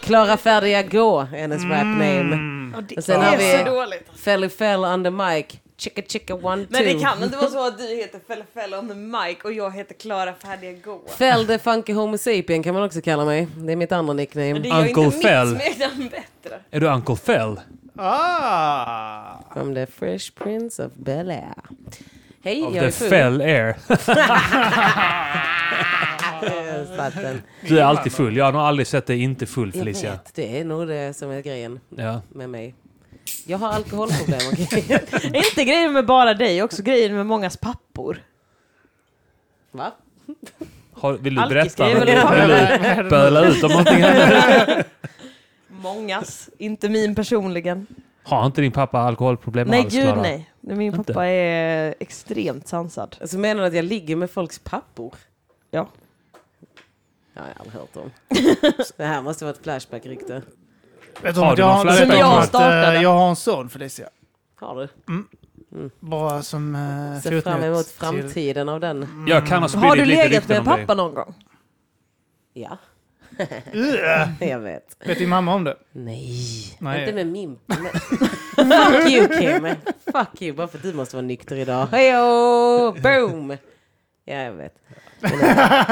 Klara färdiga gå, hennes rap Mm. name. Och det Och sen är har vi- så dåligt. Felly fell on the mic. Chicka chicka one two. Men det kan inte vara så att du heter Felle Felle on the mic och jag heter Klara Färdiga Gå. Fell the funky homo sapien kan man också kalla mig. Det är mitt andra Men det nickname. gör ju Uncle inte Fell. mitt smeknamn bättre. Är du Uncle Fell? Ah! From the fresh prince of Bel-Air. Hej, Of jag är the full. Fell Air. Jag satt den. Du är alltid full. Jag har nog aldrig sett dig inte full Äh, Jag Felicia. vet, det är nog det som är grejen Ja. med mig. Jag har alkoholproblem, okej? Är inte grejen med bara dig också grejen med mångas pappor? Va? Har, vill du Alkis, berätta? det är Vill väl du böla ut om någonting? här? Mångas, inte min personligen. Har inte din pappa alkoholproblem nej, alls, gud Klara? nej. Min Inte? pappa är extremt sansad. Alltså menar du att jag ligger med folks pappor? Ja. Det har jag aldrig hört om. Det här måste vara ett Flashback-rykte. Vet du, Har har du jag, någon har flärpa inte som jag sagt startade? att eh, jag har en son Felicia. Har du? Bara som uh, Ser fram emot framtiden av den. Jag kan ha Har du spridit lite legat rykten med om dig. pappa någon gång? Ja, Ugh. jag vet. Vet din mamma om det? Nej, Nej. inte med min. Men... Fuck you Kim! Fuck you, bara för att du måste vara nykter idag. Hejo! Boom! Ja, jag vet. Men, eh,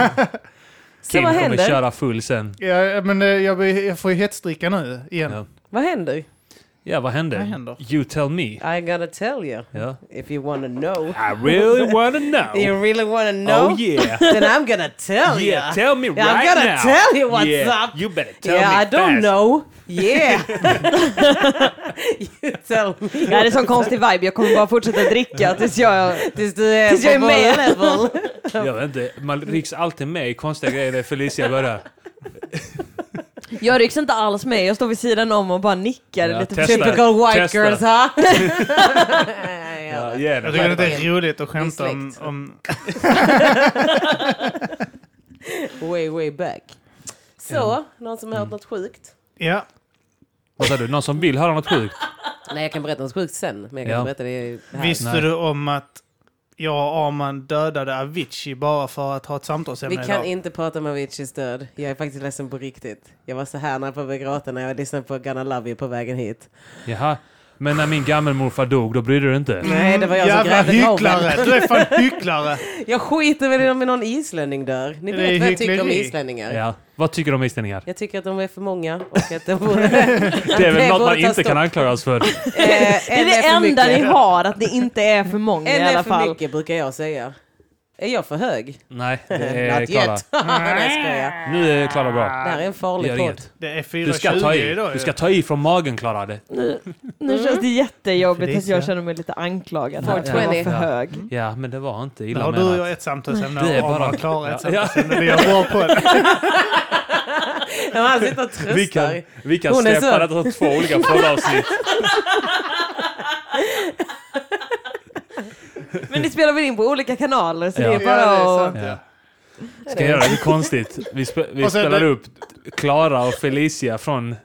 Så Kim vad kommer händer? köra full sen. Ja, men eh, jag, blir- jag får ju hetsdricka nu igen. Ja. Vad händer? Ja, vad hände? Vad händer? You tell me. I gotta tell you. Ja. If you wanna know. I really wanna know. You really wanna know? Oh yeah. Then I'm gonna tell you. Yeah, tell me Yeah, I'm right gonna now. tell you what's yeah, up. You better tell Yeah, me I don't fast. know. Yeah. you tell me. Nej, det är sån konstig vibe. Jag kommer bara fortsätta dricka tills jag... Tills du är Tills jag är på med. vår level. Jag vet inte. Man rycks alltid med i konstiga grejer där Felicia börjar. Jag rycks inte alls med. Jag står vid sidan om och bara nickar Ja, lite testa. försiktigt. Typical white Testa. girls, huh? Ja, ja. yeah, Jag tycker det- att det är roligt att skämta om, släkt. om... Way, way back. Så, någon som har hört något sjukt? Ja, Vad sa du? Någon som vill höra något sjukt? Nej, jag kan berätta något sjukt sen. Men jag kan Ja. inte berätta det här. visste Nej. du om att jag och Arman dödade Avicii bara för att ha ett Vi samtalsämne kan idag? inte prata om Aviciis död. Jag är faktiskt ledsen på riktigt. Jag var så här när jag började gråta när jag lyssnade på Gonna Love You på vägen hit. Jaha. Men när min gammelmorfar dog, då brydde du dig inte? Nej, det var jag som Jävla grävde graven. hycklare! Du är fan hycklare! Jag skiter väl i om någon islänning dör. Ni Det vet är vad jag tycker om hyckleri. islänningar. Ja. Vad tycker du om islänningar? Jag tycker att de är för många och att de borde... Eh, att Det är väl något borde man ta inte stopp. kan anklaga oss för. Eh, Det är det enda ni har, att det inte är för många En i är alla Mm, för fall. mycket brukar jag säga. Är jag för hög? Nej, det är Not Klara. yet. Nej, jag skojar. Nu är Klara Det här bra. är en Det farlig gör podd. inget. Det är Du ska 4.20 ta idag i. ju. Du ska ta i från magen, Klara. Det. Nu känns det jättejobbigt att Felicia. jag känner mig lite anklagad. här. Jag 420. var för hög. Ja, men det var inte Där illa har du och menat. jag ett samtalsämne Det är och Arman bara- och Klara ett Ja. Ja. samtalsämne. Vi har bra på det. Men Han sitter och Vi kan, tröstar. vi kan Hon är släppa så- det till två olika poddavsnitt. Men det spelar väl in på olika kanaler så Ja. det är Ja, det är bara att... sant. ja. Ja. Ska jag göra det konstigt? Vi, spe, vi Och sen spelar det- upp Klara och Felicia från...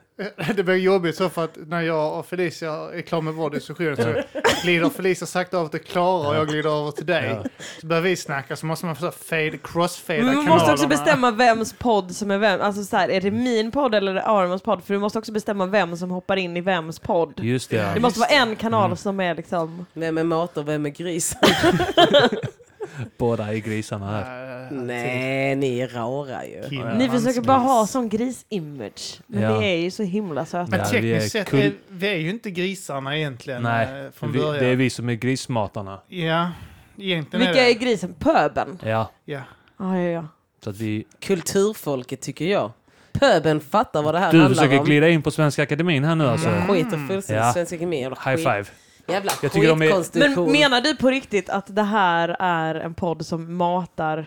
Det blir jobbigt så för att när jag och Felicia är klara med vår diskussion så glider Felicia sakta över till Klara och jag glider över till dig. Ja. Så börjar vi snacka så måste man så här fade, crossfada Men kanalerna. man måste också bestämma vems podd som är vem. Alltså så här, är det min podd eller är det Armans podd? För du måste också bestämma vem som hoppar in i vems podd. Just det, ja. Det måste vara en kanal som är liksom... Vem är mat och vem är gris? Båda i grisarna här. Eh, Nej, ni är rara ju. Kim Ni Mansgris. försöker bara ha sån gris-image. Men Ja. ni är ju så himla söta. Men Ja, vi är tekniskt sett, kul- är, vi är ju inte grisarna egentligen Nej, Nej, från vi, början. det är vi som är grismatarna. Ja, egentligen Vilka är är det. grisen? Pöben? Ja, Ja. Ja, ja, ja. så att vi... Kulturfolket tycker jag. Pöben fattar vad det här Du handlar försöker om. glida in på Svenska Akademin här nu alltså. Jag skiter fullständigt i Ja. Svensk Ekonomi. Jävla High Mm. skit- five. Jävla Jag tycker de är- Men skitkonstitution. menar du på riktigt att det här är en podd som matar Mm.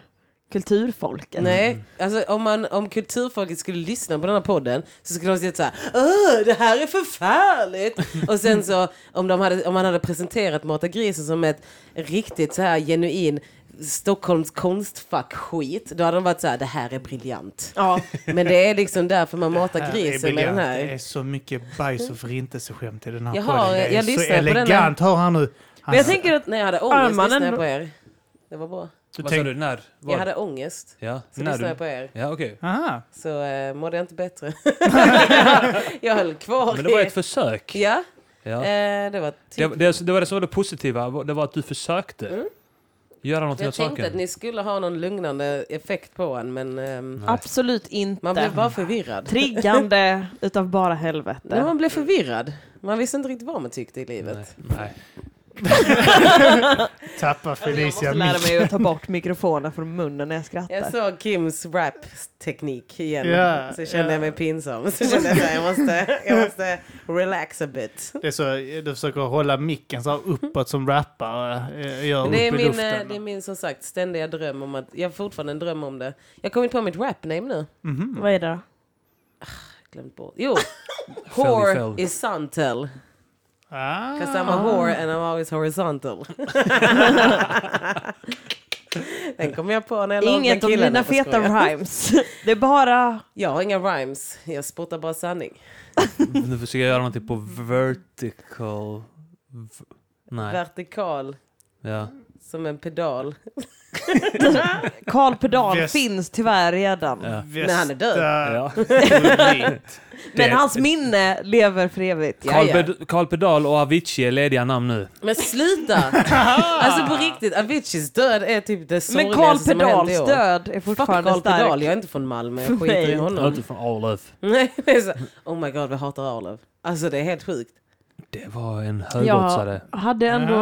kulturfolket? Nej, alltså om, man, om kulturfolket skulle lyssna på den här podden så skulle de säga så här, Åh, det här är förfärligt! och sen så om, de hade, om man hade presenterat Mata grisen som ett riktigt så här genuin Stockholms konstfack-skit, då hade de varit så här, det här är briljant. Ja, Men det är liksom därför man matar Här grisen är med den briljant. Eh, Det är här. så mycket bajs och förintelseskämt i den här Jaha, podden. Det jag- är jag så lyssnar på den här. elegant. Hör här nu. Han men jag tänker att När jag hade ångest Armanen- lyssnade jag på er. Det var bra. Vad sa tänk- du? När? Var? Jag hade ångest. Ja, Så när lyssnade du... jag på er. Ja, okej. Aha. Så eh, mådde jag inte bättre. jag höll kvar Men det var i- ett försök. Ja, Ja. eh, det var typ... Det, det, det var det som var det positiva, det var att du försökte Mm. göra någonting jag åt tänkte att saken. ni skulle ha någon lugnande effekt på en, men ehm, Absolut inte. man blev bara förvirrad. Triggande utav bara Nej, helvete. man blev förvirrad. Man visste inte riktigt vad man tyckte i livet. Nej, nej. Tappa Felicia jag måste lära mitt. mig att ta bort mikrofonen från munnen när jag skrattar. Jag såg Kims rap-teknik igen. Ja, så kände ja. jag mig pinsam. Så kände jag att jag måste, jag måste relax a bit. Det är så, du försöker hålla micken så här uppåt som rappare eh, gör upp Det är, i min, eh, luften. det är min som sagt ständiga dröm om att, jag har fortfarande en dröm om det. Jag kommer inte på mitt rap-name nu. Mhm. Mm. Vad är det då? Glömt bort. Jo, Fell i whore fell. is santel. Ah. Cause I'm a whore and I'm always horizontal. Den kom jag på när jag låg med Inget om killarna. dina Jag feta skojar. rhymes. Det är bara... Jag har inga rhymes. Jag spottar bara sanning. Nu försöker jag göra någonting på vertical... V- nej. Vertikal Ja. som en pedal. Carl Pedal Yes. finns tyvärr redan. ja. Men han är död. Västa- ja. Men hans minne lever för evigt. Ja, Carl, ja. Ped- Carl Pedal och Avicii är lediga namn nu. Men sluta! alltså på riktigt, Aviciis död är typ det Men sorgligaste Carl som har hänt Pedals i år. död är Fuck fortfarande Carl Pedal, stark. jag är inte från Malmö. För Jag skiter i mig. honom. från Arlöv. Nej, det är så. Oh my god, vi hatar Arlöv. Alltså det är helt sjukt. Det var en högoddsare. hade ändå...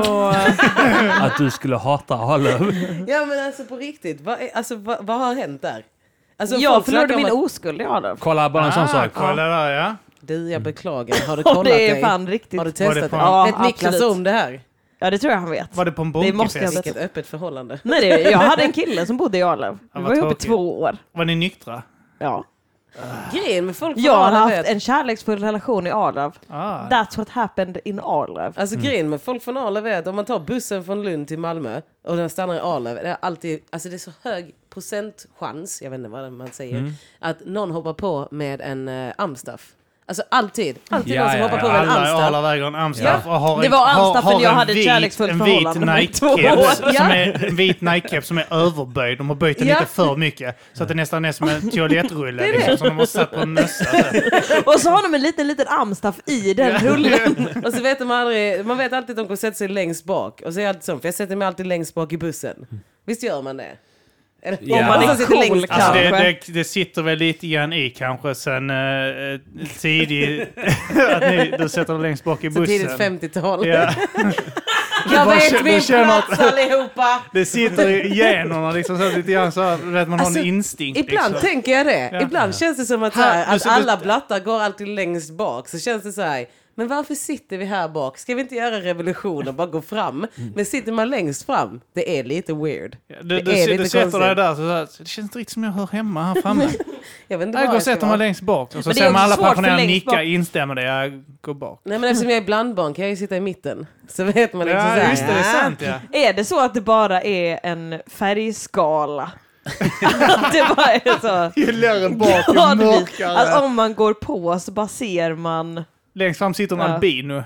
Att du skulle hata Arlöv. Ja men alltså på riktigt, vad, är, alltså, vad, vad har hänt där? Alltså, jag folk förlorade snackar om min att- oskuld, jag hade. Kolla bara en sån Ah, sak. kolla där ja. Du, jag beklagar. Har du Och kollat det är dig? fan riktigt. Har du Var det testat det? Ja, fan- Vet Niklas absolut. om det här? Ja, det tror jag han vet. Var det på en Det måste jag bunkefest? Vilket öppet förhållande. Nej, det, jag hade en kille som bodde i Arlöv. Vi vad var ihop i tråkigt. två år. Var ni nyktra? Ja. Grejen med folk från Jag har Arlöv haft är att- en kärleksfull relation i Arlöv. Ah. That's what happened in Arlöv. Alltså grejen med folk från Arlöv är att om man tar bussen från Lund till Malmö och den stannar i Arlöv, det är alltid, alltså det är så hög procentchans, jag vet inte vad man säger, Mm. att någon hoppar på med en eh, amstaff. Alltså alltid, alltid Ja, någon som ja, hoppar ja. på med en Alla i amstaff. Arla väger en amstaff och har Det en- var har- amstaffen har jag en hade ett vit- kärleksfullt en vit förhållande med i två år. Nike-keps som Ja. är- En vit Nike-keps som är överböjd. De har böjt den Ja. lite för mycket. Så att det nästan är som en toalettrulle det. liksom, som de har satt på en mössa. Och så har de en liten, liten amstaff i den rullen. Och så vet de aldrig, man vet alltid att de kommer sätta sig längst bak. Och så är jag alltid sån, för jag sätter mig alltid längst bak i bussen. Visst gör man det? Eller, Ja. Om man Man inte är sitter cool, längst Mm. Alltså bak. det, Kanske. det, det sitter väl lite grann i kanske sen uh, tidig... att ni, du sätter dig längst bak i Så bussen. tidigt 50-tal. Ja. Jag bara vet känner- min känner att- plats allihopa! Det sitter i generna liksom så lite grann så här, du vet, man har Alltså, en instinkt. Ibland liksom. tänker jag det. Ja. Ibland känns det som att, så Här, här, nu att ser du- alla blattar går alltid längst bak. Så känns det så här. Men varför sitter vi här bak? Ska vi inte göra revolution och bara gå fram? Men sitter man längst fram, det är lite weird. Ja, Du, är du, du, lite sätter dig konstigt. där så, så här, det känns inte riktigt som jag hör hemma här framme. Jag vet inte Jag var går och ska sätter vara. mig längst bak. Och så Men det är ser man också alla svårt för pensionärer längst nicka, bak. instämmer det, jag går bak. Nej men eftersom jag är blandbarn kan jag ju sitta i mitten. Så vet man liksom så Ja, här, just det, det är "Ah, sant ja. Är det så att det bara är en färgskala? att det bara är så... Ju längre bak, Gradvis. Att Alltså, om man går på så bara ser man... Längst fram sitter en Ja. albino.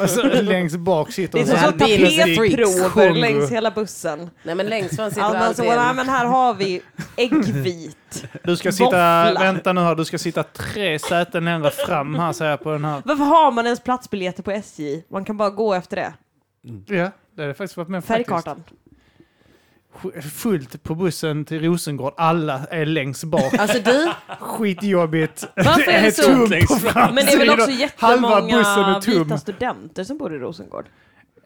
Och så längst bak sitter Det är en som så så här billig tapetprover Kongo. längs hela bussen. Nej men längst fram sitter Annars så, alltid nej, en. men här har vi äggvit. Du ska Våffla. sitta, vänta nu här, du ska sitta tre säten längre fram här säger jag på den här. Varför har man ens platsbiljetter på SJ? Man kan bara gå efter det. Ja, det har faktiskt varit med Färgkartan. faktiskt. Fullt på bussen till Rosengård, alla är längst bak. Alltså du, Skitjobbigt. varför är det så? tomt Längst på fram. framsidan. Men det är väl också Halva jättemånga bussen är tom. vita studenter som bor i Rosengård?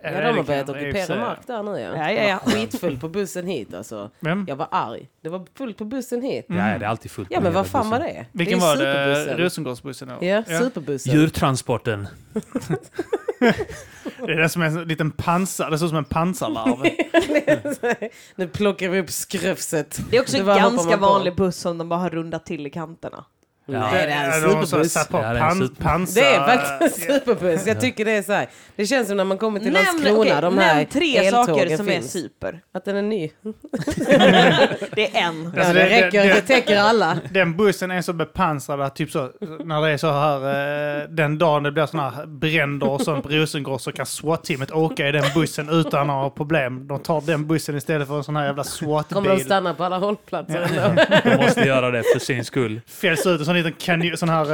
Ja, Nej, de det har börjat kan jag i och för ockupera sig. mark där nu ja. Ja, ja, ja. Skitfull på bussen hit alltså. Vem? Jag var arg. Det var fullt på bussen hit. Ja, Mm. det är alltid fullt. Ja men vad fan var det? Vilken det är var det? superbussen. Rosengårdsbussen? eller? Ja, superbussen. Djurtransporten. Det är det som är en liten pansar, det ser ut som en pansarlarv. nu plockar vi upp skröfset. Det är också Det en bara hoppar ganska man på. vanlig buss som de bara har rundat till i kanterna. Ja. Nej, det är en Eller de som superbuss. satt på Ja, det är en pan, superbuss. pansar... Det är faktiskt Ja. superpuss. Jag tycker det är så här. Det känns som när man kommer till Landskrona, okej, de här nämn tre eltågen saker som finns. är super. Att den är ny. Det är en. Ja, det Alltså, det- det- räcker, det- det täcker alla. Den bussen är så bepansrad att typ så, när det är så här, eh, den dagen det blir såna här bränder och sånt på Rosengård så kan SWAT-teamet åka i den bussen utan att ha problem. De tar den bussen istället för en sån här jävla Kommer de SWAT-bil. stanna på alla hållplatser ändå? De måste göra det för sin skull. Fälls ut en sån liten kanj- sån här,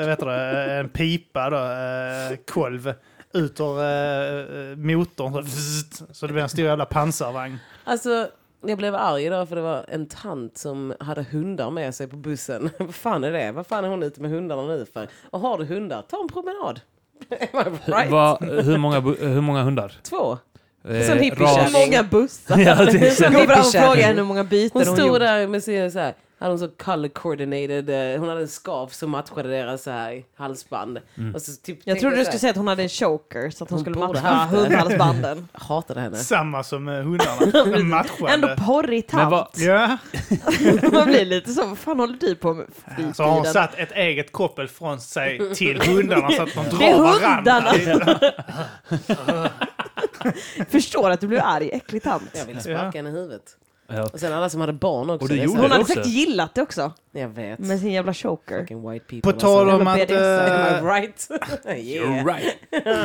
eh, vet du det, en pipa då, eh, kolv. Ut ur eh, motorn så, vzzt, så det blir en stor jävla pansarvagn. Alltså, jag blev arg idag för det var en tant som hade hundar med sig på bussen. Vad fan är det? Vad fan är hon ute med hundarna nu för? Och har du hundar, ta en promenad. Am I right? Va, hur, många, bu- hur många hundar? Två. Eh, Sån ras- Hur många bussar? Ja, det är Jag sant. går fram och Hippiekärring. frågar henne hur många byten Hon hon, stod gjort. där med sin så här, hade hon så color coordinated, eh, hon hade en scarf som matchade deras så här halsband. Och så typ Jag tänkte trodde så här, du skulle säga att hon hade en choker så att hon, Hon skulle borde matcha haft det. hundhalsbanden. Jag hatade henne. Samma som eh, hundarna. Ändå Matchande. porrig Men tant. vad- Ja. Man blir lite så, vad fan håller du på med på fritiden? Så har hon satt ett eget koppel från sig till hundarna så att de Det är drar varandra. hundarna! Förstår att du blev arg, äcklig tant. Jag ville sparka Ja. henne i huvudet. Ja. Och sen alla som hade barn också. Och det är gjorde så här, Hon hade också. säkert gillat det också, Jag vet. med sin jävla choker. Fucking white people. På tal alltså. om att... eh, Am I right? yeah. You're right.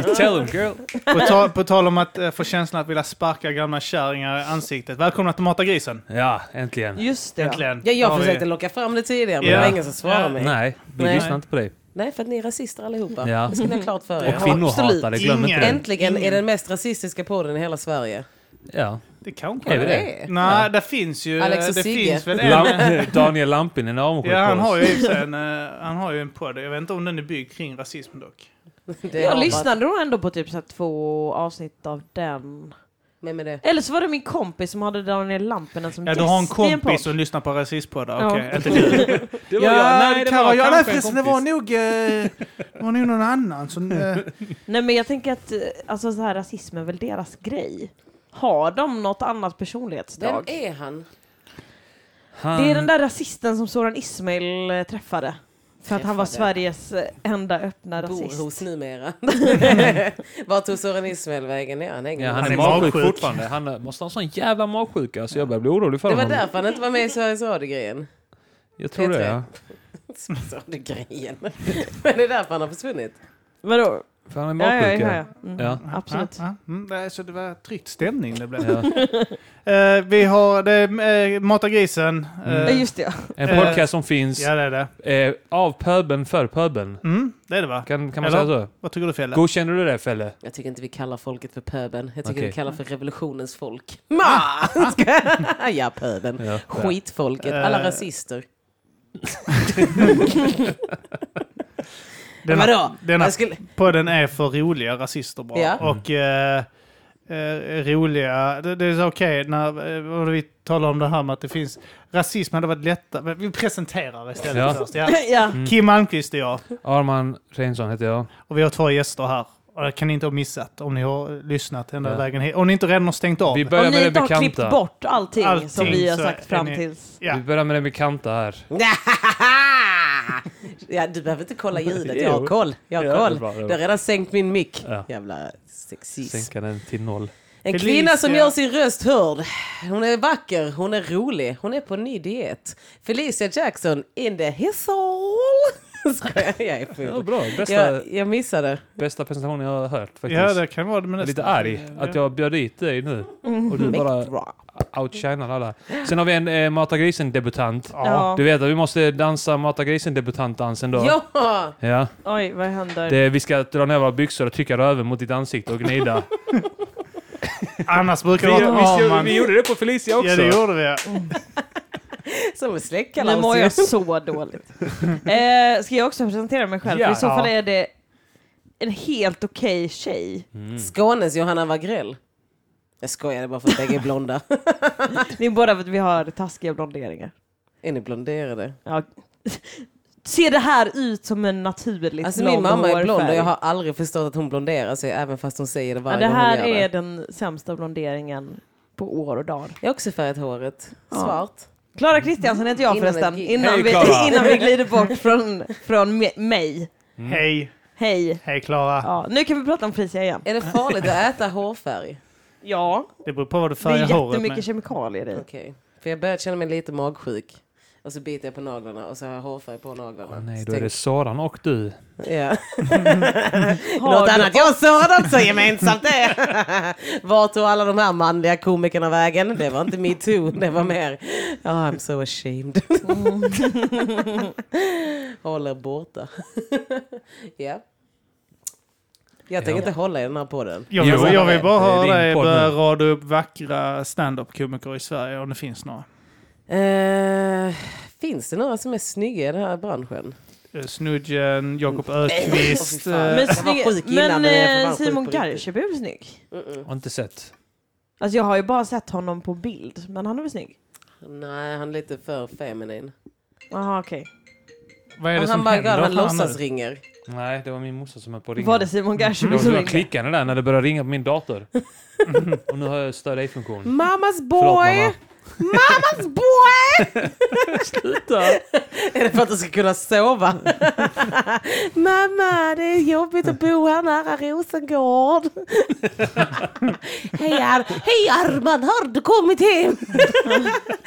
You tell them girl. På tal, på tal om att eh, få känslan att vilja sparka gamla kärringar i ansiktet. Välkomna till Mata grisen. Ja, äntligen. Just det. ja. Äntligen. Ja, Har jag vi- försökte locka fram det tidigare men Ja. det var ingen som svarade Ja. mig. Nej. Nej, vi Nej. lyssnar inte på dig. för att ni är rasister allihopa. Ja. Mm. Det ska ni ha klart för er. Och kvinnohatare, glöm inte Ingen. det. Äntligen är den mest rasistiska podden i hela Sverige. Ja. Det kanske Är vi det? Nej. Nej, det finns ju... Alex och det Sigge. finns väl en... Lam- Daniel Lampinen är avundsjuk Ja, han på oss. har, ju i och för sig en, eh, han har ju en podd. Jag vet inte om den är byggd kring rasism dock. Det har Jag varit- lyssnade nog ändå på typ så här två avsnitt av den. Vem är det? Eller så var det min kompis som hade Daniel Lampinen som Ja, du har en gäst i podd. kompis och lyssnar på rasistpoddar. Ja. Okej, inte du. Det ja, nej, nej, det kan var vara jag. Nej, kanske en förresten, det var nog... eh, Det var nog någon annan som... eh, Nej men jag tänker att eh, alltså, så här, rasism är väl deras grej. Har de något annat Vem personlighetsdrag? är han? Han, Det är den där rasisten som Soran Ismail eh, träffade. För att han var Träffade. Sveriges eh, enda öppna rasist. Bor hos numera. Vart tog Soran Ismail vägen? Ja, han hänger ja, med. han, Han är är magsjuk magsjuk. fortfarande. Han eh, måste ha en sån jävla magsjuka så jag börjar bli orolig för Det var honom. därför han inte var med i Sveriges Radio-grejen. Jag tror Det det. tror Ja. jag. Sveriges Radio-grejen. Men det är därför han har försvunnit. Vadå? För han är Ja, ja, ja, magsjuka. ja. Mm. Ja. Absolut. Ja, ja. Mm, nej, så det var tryckt stämning det blev. Ja. Eh, vi har det, är, eh, Mata grisen. eh, Mm. Ja, just det. ja. En Eh, podcast som finns Ja, det är det. eh, av pöbeln för pöbeln. Mm, det är det va? Kan, kan man Eller? säga så? Vad tycker du Felle? Godkänner du det Felle? Jag tycker inte vi kallar folket för pöben. Jag tycker Okej. vi kallar för revolutionens folk. Ma! Ska- ja, pöben. Ja. Skitfolket. Eh. Alla rasister. Denna, Vadå? denna Jag skulle... podden är för roliga rasister bara. Ja. Och Mm. eh, eh, roliga, det, det är så okej när eh, vad vi talar om det här med att det finns rasism hade varit lättare. men Vi presenterar istället Ja. Mm. först. Ja. ja. Kim Malmqvist och jag. Arman Reinsson heter jag. Och vi har två gäster här. Och det kan ni inte ha missat om ni har lyssnat ända Ja. vägen hit. Om ni inte redan har stängt av. Vi Om börjar ni med inte det har klippt bekanta. bort allting, som Allting, vi har så sagt är fram ni- tills... Ja. Vi börjar med det bekanta här. ja, du behöver inte kolla ljudet. Jo. Jag har koll. Jag Ja, har det koll. är bra, det är Du bra. har redan sänkt min mick. Ja. Jävla sexism. Sänka den till noll. En Felicia. kvinna som gör sin röst hörd. Hon är vacker, hon är rolig, hon är på en ny diet. Felicia Jackson in the hissle. Skojar, jag är Ja, full. bra. Bästa, Jag, jag missade. bästa presentationen jag har hört faktiskt. Ja, det kan vara det. Men Jag är lite nästan. arg att jag bjöd dit dig nu. Och du bara Bra. outshinar alla. Sen har vi en eh, Mata Grisen-debutant. Ja. Du vet att vi måste dansa Mata Grisen-debutantdansen då. Ja! Ja. Oj, vad händer? Det, vi ska dra ner våra byxor och trycka röven mot ditt ansikte och gnida. Annars brukar vi, det vara att vi, Arman... vi gjorde det på Felicia också. Ja, det gjorde vi. ja. Som en Nu mår jag släktkalas. ju. så dåligt. Eh, ska jag också presentera mig själv? För I så Ja. fall är det en helt okej tjej. Skånes Johanna Wagrell. Jag skojade bara för att bägge är blonda. Det är båda för att vi har taskiga blonderingar. Är ni blonderade? Ja. Ser det här ut som en naturligt Alltså blond min mamma är blond och hårfärg? jag har aldrig förstått att hon blonderar sig även fast hon säger det ja, varje Det gång här hon gör det. är den sämsta blonderingen på år och dagar. Jag har också färgat håret. Ja. Svart. Klara Kristiansen heter jag Mm. Innan ett förresten. gig. Innan, Hej, vi, Clara. innan vi glider bort från, från me- mig. Hej, Hej. hej Klara. Ja, nu kan vi prata om Frisia igen. Är det farligt att äta hårfärg? Ja, Det beror på vad du det är färgar håret jättemycket med. kemikalier i. Okej. För jag började känna mig lite magsjuk. Och så biter jag på naglarna och så har jag hårfärg på naglarna. Åh, Så nej, då är det tänk- Soran och du. Ja. Har Något du- annat jag sådant så gemensamt det. Vart tog alla de här manliga komikerna vägen? Det var inte metoo, det var mer oh, I'm so ashamed. Håller borta. ja. Jag tänker Ja. inte hålla i den här podden. Jag vill, Jo, jag vill bara det är din höra dig podd börja nu. rada upp vackra stand-up-komiker i Sverige om det finns några. Eh, finns det några som är snygga i den här branschen? Eh, Snudgen, Jakob Åh, Ökvist. fy fan. eh, Men, Jag var sjuk snygg, men innan, men jag är för eh, fan sjuk Simon på riktigt. Garkeby är väl snygg? Mm-mm. Har inte sett. Alltså jag har ju bara sett honom på bild, men han är väl snygg? Nej, han är lite för feminin. Jaha okej. vad är det han som bara går, händer? han för låtsas nu? ringer. Nej, det var min morsa som höll på att ringa. Mm. Var det Simon Garkeby Det var som så jag ringde? klickade där när det började ringa på min dator. Och nu har jag stör dig-funktion. Mammas Förlåt, boy! mamma. Mammas boy! Sluta! är det för att du ska kunna sova? Mamma, det är jobbigt att bo här nära Rosengård. Hej, Ar- Hej Arman, har du kommit hem?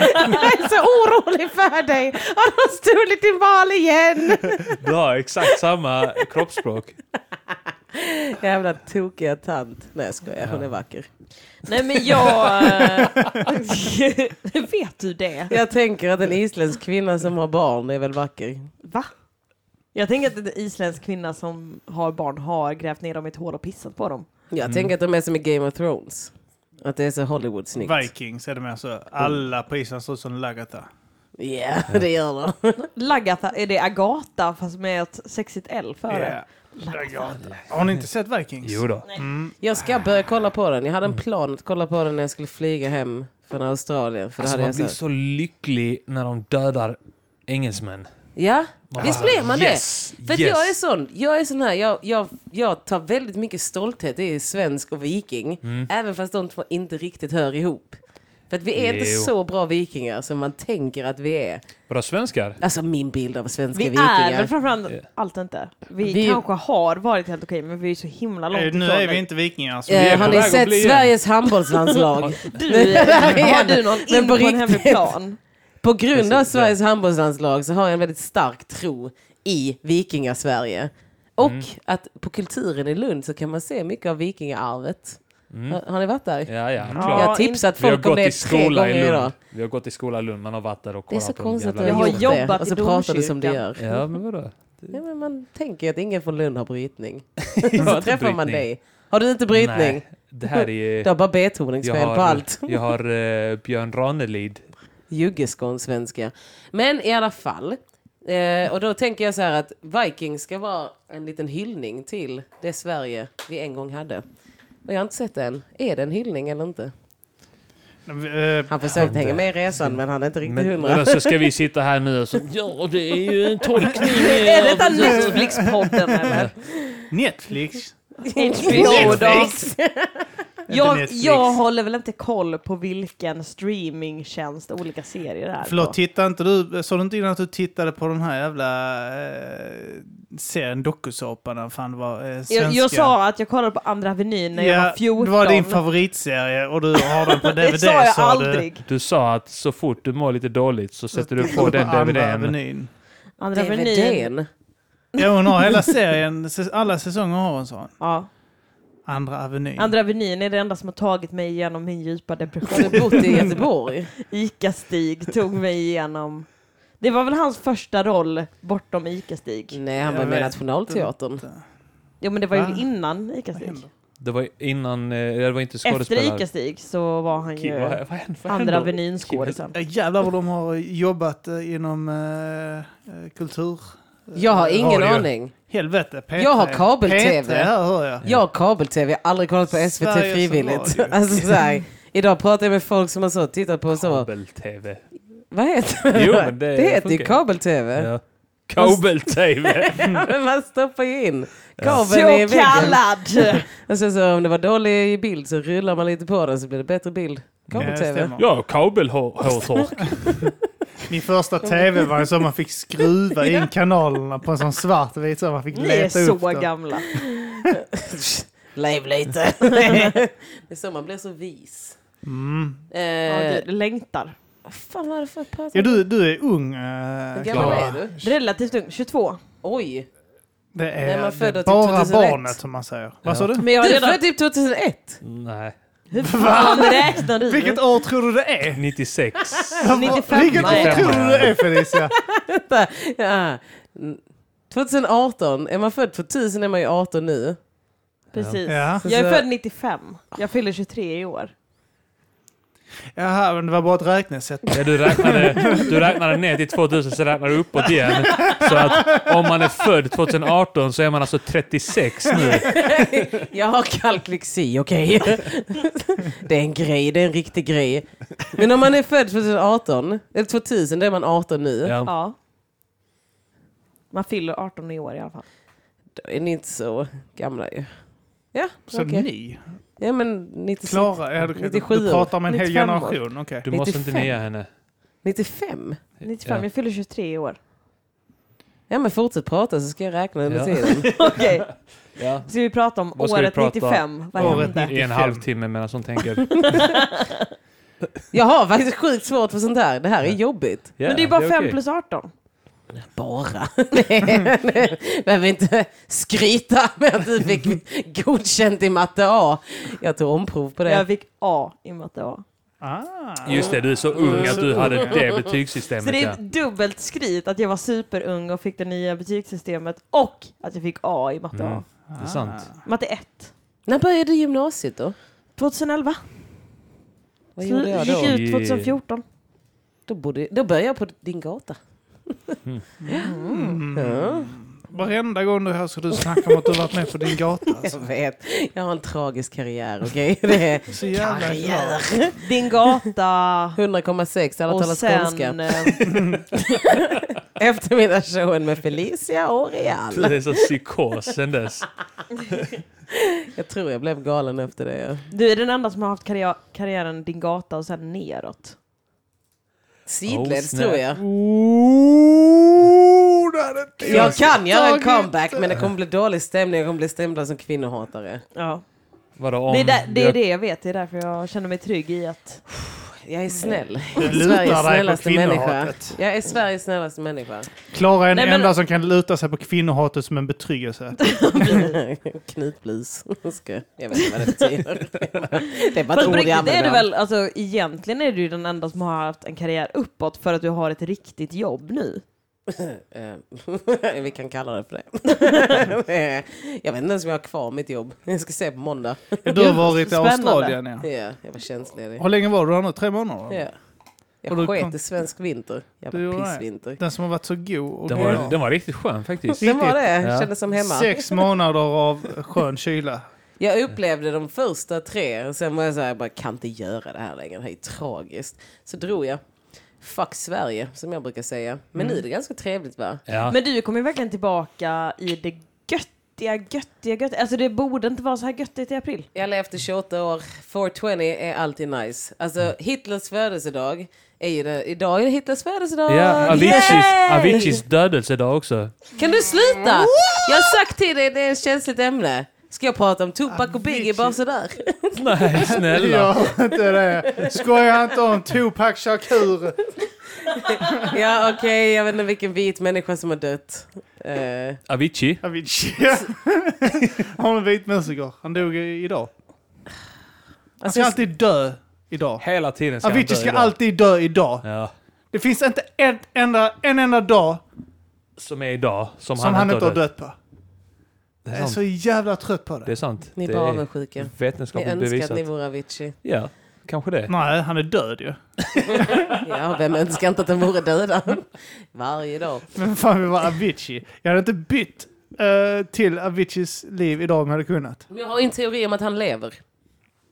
Jag är så orolig för dig. Har de stulit din val igen? Du har exakt samma kroppsspråk. Jävla tokiga tant. Nej, jag skojar. Hon är vacker. Nej men jag... eh, vet du det? Jag tänker att en isländsk kvinna som har barn är väl vacker. Va? Jag tänker att en isländsk kvinna som har barn har grävt ner dem i ett hål och pissat på dem. Jag Mm. tänker att de är som i Game of Thrones. Att det är så Hollywood-snyggt. Vikings är det med så. Alla på Island ser ut som Lagata. Ja, det gör de. Lagata, är det Agata fast med ett sexigt L före? Yeah. Lagata. Har ni inte sett Vikings? Jo då. Alltså, Jag ska börja kolla på den. Jag hade Mm. en plan att kolla på den när jag skulle flyga hem från Australien. För då Alltså, hade man jag blir så... så lycklig när de dödar engelsmän. Ja, visst blir man Ah, yes, det? För att yes. jag är sån. Jag är sån här. Jag, jag, jag tar väldigt mycket stolthet i svensk och viking. Mm. Även fast de två inte riktigt hör ihop. För att vi är inte Jo. så bra vikingar som man tänker att vi är. Vadå, svenskar? Alltså min bild av svenska Vi vikingar. är väl framförallt allt inte. Vi, Vi- kanske har varit helt okej men vi är så himla långt Eh, ifrån Nu är det. vi inte vikingar. Så vi Eh, är har på ni väg att sett bli det. Sveriges handbollslandslag? Du, har du någon in Men på på, en riktigt. hemmaplan? På grund av Sveriges handbollslandslag så har jag en väldigt stark tro i vikingasverige. Och Mm. att på kulturen i Lund så kan man se mycket av vikingaarvet. Har, har ni varit där? Ja, ja, Jag klart. har Ja, tipsat Mm. Vi har folk om gått i det tre skola gånger i idag. Lund. Vi har gått i skola i Lund. Man har varit där och Det är så kollat på de konstigt att du jävla har gjort Jag har vikingarna. det. jobbat Och i så pratar du som du domkyrkan. gör. Ja, men vadå? Ja, men man tänker ju att ingen från Lund har brytning. Jag har Så inte träffar man brytning. dig. Har du inte brytning? Nej, det här är Du ju... har bara betoningsfel på allt. jag har eh, Björn Ranelid. Juggeskånsvenska. Men i alla fall. Eh, och då tänker jag så här att Vikings ska vara en liten hyllning till det Sverige vi en gång hade. Och jag har inte sett det än. Är det en hyllning eller inte? Eh, Han försökte hänga med i resan men han är inte riktigt Men, hundra. men så ska vi sitta här nu och så... Ja, det är ju en tolkning. Är detta Netflix-podden eller? Netflix. Jo då. Netflix. Jag, Netflix. jag håller väl inte koll på vilken streamingtjänst olika serier är Förlåt, på. tittade inte du, såg du inte innan att du tittade på den här jävla eh, serien, dokusåpan, när fan det var eh, svenska? Jag, jag sa att jag kollade på Andra Avenyn när jag var 14. Det var din favoritserie och du har den på DVD. Det sa jag sa du. aldrig. Du sa att så fort du mår lite dåligt så sätter du på Kolla den Andra DVDn. Avenyn. Andra Avenyn. DVDn. Ja, hon har hela serien, säs- alla säsonger har hon sån. Ja. Andra Avenyn. Andra Avenyn är det enda som har tagit mig igenom min djupa depression. Har du bott i Göteborg? Ica-Stig tog mig igenom. Det var väl hans första roll bortom Ica-Stig? Nej, han var Jag med i vet Nationalteatern. Jo men det var Va? ju innan Vad Ica-Stig. händer? Det var innan... eh, Det var inte Efter skådespelare. Ica-Stig så var han Ki- ju vad- vad händer- vad Andra händer? Avenyn-skådisen. Ja, Jävlar vad de har jobbat eh, inom eh, eh, kultur. eh, Jag har ingen Radio. aning. Helvete, P3. Jag har kabel-tv. P3 här hör jag. Jag har kabel-tv, jag har aldrig kollat på SVT Sveriges frivilligt. Radio. Alltså, så här, idag pratar jag med folk som har så, tittat på så. Kabel-tv. Vad heter det? Jo, men det det heter ju funkar. kabel-tv. Ja. Kabel-tv! Ja, men man stoppar ju in kabeln i Så väggen. kallad! Och sen så om det var dålig bild så rullar man lite på den så blir det bättre bild. Ja, det Kabel-tv. stämmer. Ja, kabelhårtork. Min första tv var en sån man fick skruva in kanalerna på en sån svartvit så man fick Ni är leta upp så den. gamla. Lev lite. det är så man blir så vis. Mm. Ja, Eh, du längtar. fan vad är det för prat? Ja, du, du är ung, eh, Hur gammal Klara. är du? Relativt ung, 22. Oj. Det Nej, man är, det födde är typ bara 2001. barnet som man säger. Vad sa Ja. du? Men jag har Du är redan... född typ 2001. Nej. Hur fan räknar du? Vilket år tror du det är? 96. 95. Vilket år Nej. tror du det är Felicia? Vänta. Ja. Mm. 2018. Är man född 2000 är man ju 18 nu. Precis. Ja. Jag är Så- född 95. Jag fyller 23 i år. Jaha, men det var bara ett räknesätt. Ja, du, räknade, du räknade ner till 2000, så räknar du uppåt igen. Så att om man är född 2018 så är man alltså 36 nu. Jag har kalkylyxi, okej. det är en grej, det är en riktig grej. Men om man är född 2018, eller 2000, då är man 18 nu. Ja. Ja. Man fyller 18 i år i alla fall. Då är ni inte så gamla ju. Ja, Så okej. ni? Ja, men 96, Klara? Ja, du, du 97 år. pratar om en hel 95 år. generation, okej. Du måste inte 95. nia henne. 95? 95, jag fyller 23 i år. Ja, men fortsätt prata så ska jag räkna under Ja. tiden. Okej, Ja. ska vi prata om Vad ska vi året prata 95? Vad Året hände? I en 95. halvtimme medan hon tänker. Jag har faktiskt sjukt svårt för sånt här. Det här är jobbigt. ja, Men det är bara 5 okej. plus 18. Bara. Nej, nej. Behöver inte skryta med att du fick godkänt i matte A. Jag tog omprov på det. Jag fick A i matte A. Ah. Just det, du är så ung att du hade det betygssystemet. Så det är Ja. ett dubbelt skryt att jag var superung och fick det nya betygssystemet och att jag fick A i matte Mm. A. Det är sant. Matte 1. När började du gymnasiet då? 2011. Vad gjorde jag Gick då? ut 2014. Då, bodde, då började jag på din gata. Ja. Ah. Varenda gång du hör så du snackar om att du har varit med på din gata. Jag Alltså. vet. Jag har en tragisk karriär, okej? Det är Så jävla glad. karriär. Din gata 100,6. Alla och talar sen... skånska. eh, Eftermiddagsshowen med Felicia och Real. Det är så psykos sen dess. Jag tror jag blev galen efter det. ja. Du är den enda som har haft karriär, karriären din gata och sen neråt. Sidleds snap. tror jag. Oh, det hade inte Jag kan göra en tagit. comeback men det kommer bli dålig stämning. Jag kommer bli stämplad som kvinnohatare. Ja. Vadå om? Det, är där, det är jag- det jag vet, det är därför jag känner mig trygg i att... Jag är snäll. Du Sveriges lutar dig på snällaste människa. kvinnohatet. Jag är Sveriges snällaste människa. Klara är den Nej, men- enda som kan luta sig på kvinnohatet som en betryggelse. Knutblis. Ska- Jag vet inte vad det betyder. Det är bara Fast ett på ord jag riktigt, det är du använder. väl, alltså, egentligen är du ju den enda som har haft en karriär uppåt för att du har ett riktigt jobb nu. Eh, Vi kan kalla det för det. Eh, jag vet inte ens om jag har kvar mitt jobb. Jag ska se på måndag. Du har varit i Spännande. Australien, ja. Ja, jag var tjänstledig. Hur länge var du där nu? Tre månader? Ja. Och du Jag kom- sket i svensk vinter. Du Jävla gjorde det. pissvinter. Den som har varit så god och Den var, bra. den var riktigt skön faktiskt. Den var det. Ja. Kändes som hemma. Sex månader av skön kyla. Jag upplevde de första tre, och sen var jag så här, jag bara kan inte göra det här längre, det här är tragiskt. Så drog jag. Fuck Sverige, som jag brukar säga. Men nu är det ganska trevligt va? Ja. Men du kommer ju verkligen tillbaka i det göttiga, göttiga, göttiga. Alltså det borde inte vara så här göttigt i april. Jag levde 28 år, 420 är alltid nice. Alltså Hitlers födelsedag är ju det, idag är det Hitlers födelsedag! Ja, Aviciis, Yay! Aviciis dödelsedag också. Kan du sluta? Jag har sagt till dig, det är ett känsligt ämne. Ska jag prata om Tupac och Biggie bara sådär? Nej, snälla. Gör inte det. Skoja inte om Tupac Shakur. ja okej, jag vet inte vilken vit människa som har dött. Eh, Avicii. Avicii. Han är vit musiker. Han dog i- idag. Han alltså, ska alltid dö idag. Hela tiden ska Avicii han ska dö idag. alltid dö idag. Ja. Det finns inte en enda, en enda dag Som är idag. Som, som han inte har Alltså, dött på. Det Jag är är så sant. jävla trött på det. Det är sant. ni är det bara avundsjuka. Ni vetenskapligt önskar att bevisat. ni vore Avicii. Ja, kanske det. Nej, han är död ju. Ja, vem önskar inte att den vore dödad? Varje dag. Men fan, vi var Avicii. Jag hade inte bytt eh, till Aviciis liv idag om jag hade kunnat. Men Jag har en teori om att han lever.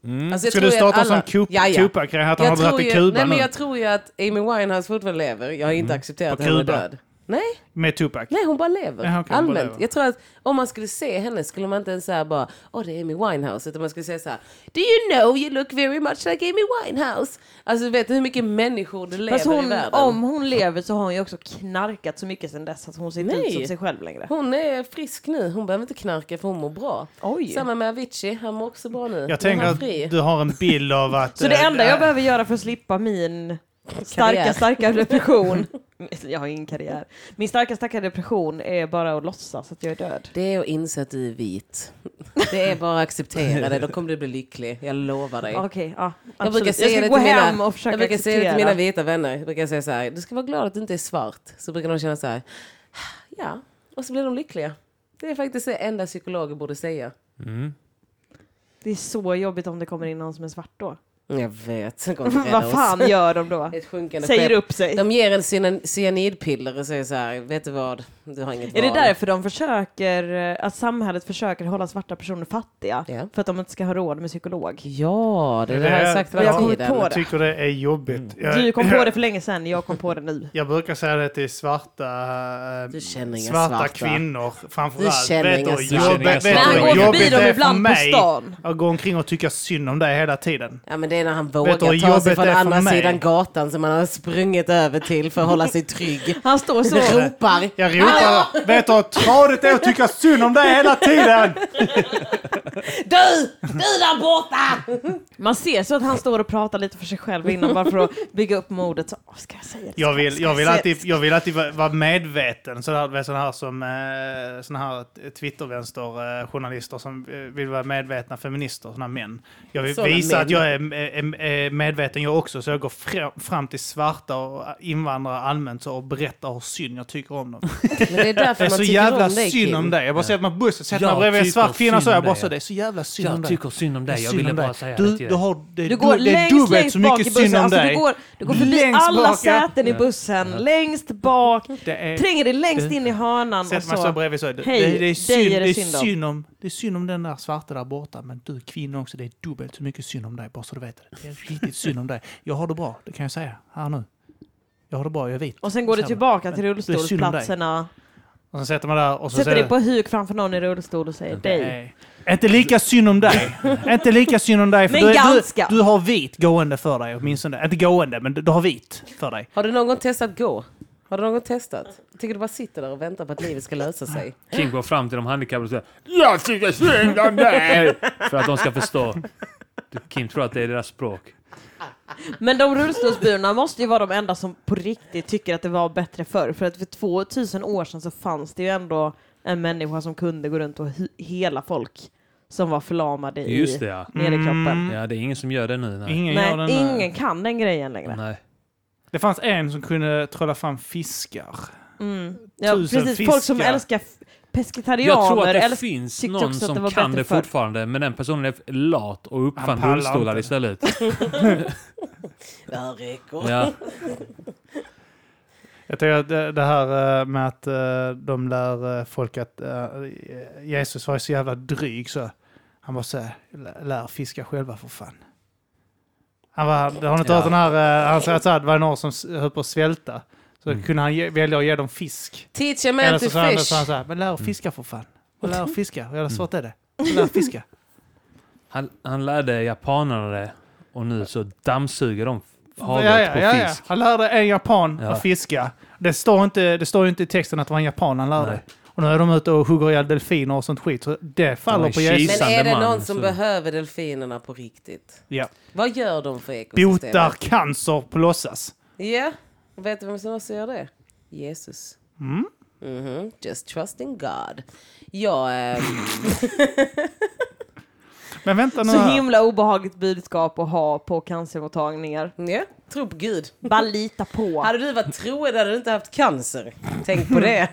Mm. Alltså, jag Ska tror du ju starta att alla- en sån Ja, ja. Tupac-grej? Att han Jag har tror dragit ju, till Kuba nej, nu? Mm. men jag tror ju att Amy Winehouse fortfarande lever. Jag har inte accepterat På att hon är Kuba. död. Nej. Med Tupac? Nej, hon bara lever. Jaha, okej, hon bara Allmänt. lever. Jag tror att om man skulle se henne skulle man inte ens säga bara åh det är Amy Winehouse. Utan man skulle säga så här Do you know you look very much like Amy Winehouse? Alltså vet du hur mycket människor det lever Fast i hon, världen? om hon lever så har hon ju också knarkat så mycket sedan dess att hon ser inte Nej. ut som sig själv längre. Hon är frisk nu. Hon behöver inte knarka för hon mår bra. Oj. Samma med Avicii. Han mår också bra nu. Nu är Jag tänker han att fri. du har en bild av att... Så det eh, enda det- jag behöver göra för att slippa min Karriär. starka, starka depression. Jag har ingen karriär. Min starka, starka depression är bara att låtsas att jag är död. Det är att inse att du är vit. Det är bara att acceptera det. Då kommer du bli lycklig. Jag lovar dig. Okej, ja. Jag absolut. brukar säga jag det ska gå till hem mina, och försöka jag brukar säga det till acceptera. mina vita vänner. Jag brukar säga så här, du ska vara glad att du inte är svart. Så brukar de känna så här, ja. Och så blir de lyckliga. Det är faktiskt det enda psykologer borde säga. Det är så jobbigt om det kommer in någon som är svart då. Jag vet. sen kommer de rädda Vad oss. fan gör de då? Ett sjunkande Säger skepp. upp sig. De ger en cyan- cyanidpiller och säger så här, vet du vad, du har inget Är det val. därför de försöker, eh, att samhället försöker hålla svarta personer fattiga? Ja. För att de inte ska ha råd med psykolog? Ja, det är det, Det här jag har är- sagt jag hela har kommit tiden. på Jag tycker det är jobbigt. Mm. Jag, Du kom på det för länge sedan, jag kom på det nu. jag brukar säga det till svarta, eh, Du känner inga svarta, svarta. kvinnor Du framförallt. känner Vet inga du hur svarta. jobbigt- vet du Men hur han går förbi jobbigt dem det är för ibland på mig stan. att gå omkring och tycka synd om dig hela tiden? Ja men det är när han Vet du hur vågar ta sig från jobbigt det är för andra mig? sidan gatan som han har sprungit över till för att hålla sig trygg. Han står så. Ropar. Jag ropar, vet du hur tradigt det är att tycka synd om dig hela tiden? Du! Du där borta! Man ser så att han står och pratar lite för sig själv innan bara för att bygga upp modet. Så, "Åh, ska jag säga det? Jag vill, Ska jag vill säga alltid, jag vill alltid vara- vara medveten. Sådana här, sån här som eh, sån här Twittervänsterjournalister som eh, vill vara medvetna feminister, sådana män. Jag vill Såna visa män. att jag är, är, är medveten jag också, så jag går fr- fram till svarta och invandrare allmänt så och berättar hur synd jag tycker om dem. Men det är därför Det är man så tycker jävla om dig synd om Kim. dig. Jag bara sätter mig på bussen, sätter Jag mig bredvid en tycker svart kvinna så synd jag om bara dig. så det är så jävla synd om Jag dig. tycker synd om Det är dig. Jag synd ville om bara dig. säga du, det till Du dig. har, det, är Du går du, det är längst, dubbelt längst så bak i mycket synd bussen. om Alltså, dig. du, går, du går förbi Längst alla bak, ja. säten i bussen, längst bak, Det är- tränger dig längst in i hörnan och Sätter man sig så. bredvid så är det, alltså, Hej, det, det, är dig synd, är det det, är synd om. synd om, det är synd om den där svarta där borta, men du kvinna också, det är dubbelt så mycket synd om dig, bara så du vet det. Det är riktigt synd om dig. Jag har det bra, det kan jag säga här nu. Jag har det bra, jag är vit. Och sen går du Samma. tillbaka Men till det är synd om dig. rullstolsplatserna, Och sen sätter man där och så sätter säger dig på huk framför någon i rullstol och säger dig. Nej. Inte lika synd om dig. inte lika synd om dig. För Men du, är- ganska. Du, du har vit gående för dig åtminstone. Inte gående, men du, du har vit för dig. Har du någon gång testat gå? Har du någon gång testat? Tycker du bara sitter där och väntar på att livet ska lösa sig? King går fram till de handikappade och säger Jag tycker synd om dig! För att de ska förstå. Du, Kim tror att det är deras språk. Men de rullstolsburna måste ju vara de enda som på riktigt tycker att det var bättre förr. För att för 2000 år sedan så fanns det ju ändå en människa som kunde gå runt och hy- hela folk som var förlamade i Just det ja. nederkroppen. Ja, det är ingen som gör det nu. Nej. Mm. Ingen gör den, Nej, eh, ingen kan den grejen Mm. längre. nej. Det fanns en som kunde trolla fram fiskar. Mm. Ja, Tusen precis. Folk som fiskar. älskar f- pescetarianer. Jag tror att det älskar- finns tyckte någon också att som det var kan bättre det förr. fortfarande, men den personen är lat och Han uppfann pallar rullstolar inte. istället. Öreko. Ja. Jag tänker att det, det här eh, med att eh, de lär eh, folk att eh, Jesus var ju så jävla dryg så han bara säger lär fiska själva för fan. Han var, har ni inte Ja. hört den här, eh, han säger att så här, det var någon som s- höll på att svälta. Så kunde han ge, välja att ge dem fisk. Teach a man Eller to så sa han, så sa han fish. så här, men lär att fiska för fan. Och lär att fiska, hur jävla svårt är det? Lär att fiska. Han, han lärde japanerna det och nu så dammsuger de havet på fisk. Han lärde en japan Ja. att fiska. Det står, inte, det står ju inte i texten att det var en japan han lärde. Nej. Och nu är de ute och hugger ihjäl delfiner och sånt skit. Så det Det var faller en på Jesus. Men är Isande det någon man, som så- behöver delfinerna på riktigt? Ja. Vad gör de för ekosystemet? Botar cancer på låtsas. Ja, och vet du vem som också gör det? Jesus. Mm. Just trust in God. Jag... Eh, Men vänta nu Så här. himla obehagligt budskap att ha på cancermottagningar. ja, tror på Gud. Bara lita på. Hade du varit troende hade du inte haft cancer. Tänk på det.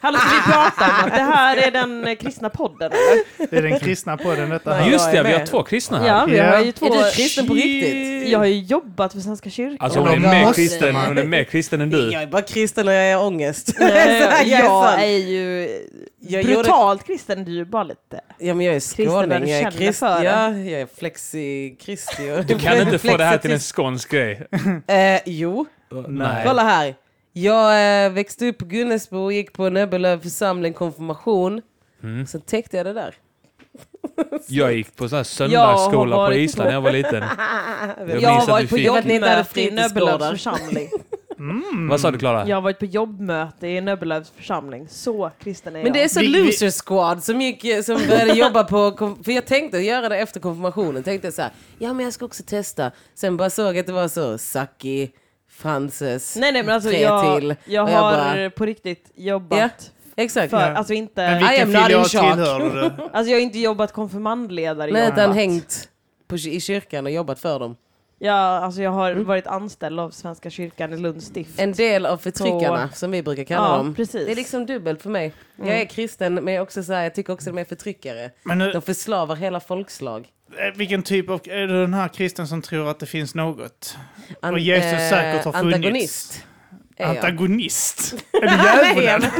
Hallå, ska vi prata om att det här är den eh, kristna podden eller? Det är den kristna podden detta här. Just Jag det, är vi har med. två kristna här. Ja, vi har ju Ja. två... Är du kristen på riktigt? Jag har ju jobbat för Svenska kyrkan. Alltså hon Ja, är men mer måste kristen, man. hon är mer kristen än Jag du. är bara kristen och jag är ångest. Så Eh, här, jag är jag sån. är ju Jag brutalt kristen, du är ju bara lite... Ja men jag är Kristen där skåning, du jag är känner krist, för ja, det. jag är flexi-kristi. Du kan inte få det här till en skånsk grej. Eh, jo, Nej. kolla här. Jag eh, växte upp på Gunnesbo och gick på Nöbbelöv församling konfirmation. Mm. Sen täckte jag det där. Jag gick på sån här söndagsskola på varit Island när jag var liten. Jag Jag har att varit vi på fick- Att ni inte hade jobbmöte i fritidsgårdar. Nöbbelövs församling. Vad sa du Klara? Jag har varit på jobbmöte i Nöbbelövs församling. Så kristen är Men det är jag. så Vi- vi- loser squad som, gick, som började jobba på... konf- För jag tänkte göra det efter konfirmationen. Tänkte så här, ja men jag ska också testa. Sen bara såg jag att det var så, Saki, Frances, Nej, nej, men alltså tre jag, till. jag Och jag har bara- på riktigt Ja. jobbat Exakt. för, Ja. alltså Men inte, vi- I am vilken not in filial shock. tillhör du? alltså jag har inte jobbat konfirmandledare. Nej, jobbat. utan hängt på, i kyrkan och jobbat för dem. Ja, alltså jag har Mm. varit anställd av Svenska kyrkan i Lunds stift. En del av förtryckarna, som vi brukar kalla Ja, dem. precis. Mm. Det är liksom dubbelt för mig. Jag är kristen, men jag, är också så här, jag tycker också de är förtryckare. Men nu, De förslavar hela folkslag. eh, vilken typ av... Är du den här kristen som tror att det finns något? An- Och Jesus eh, säkert har funnits. Antagonist. är jag. Antagonist? Är du djävulen?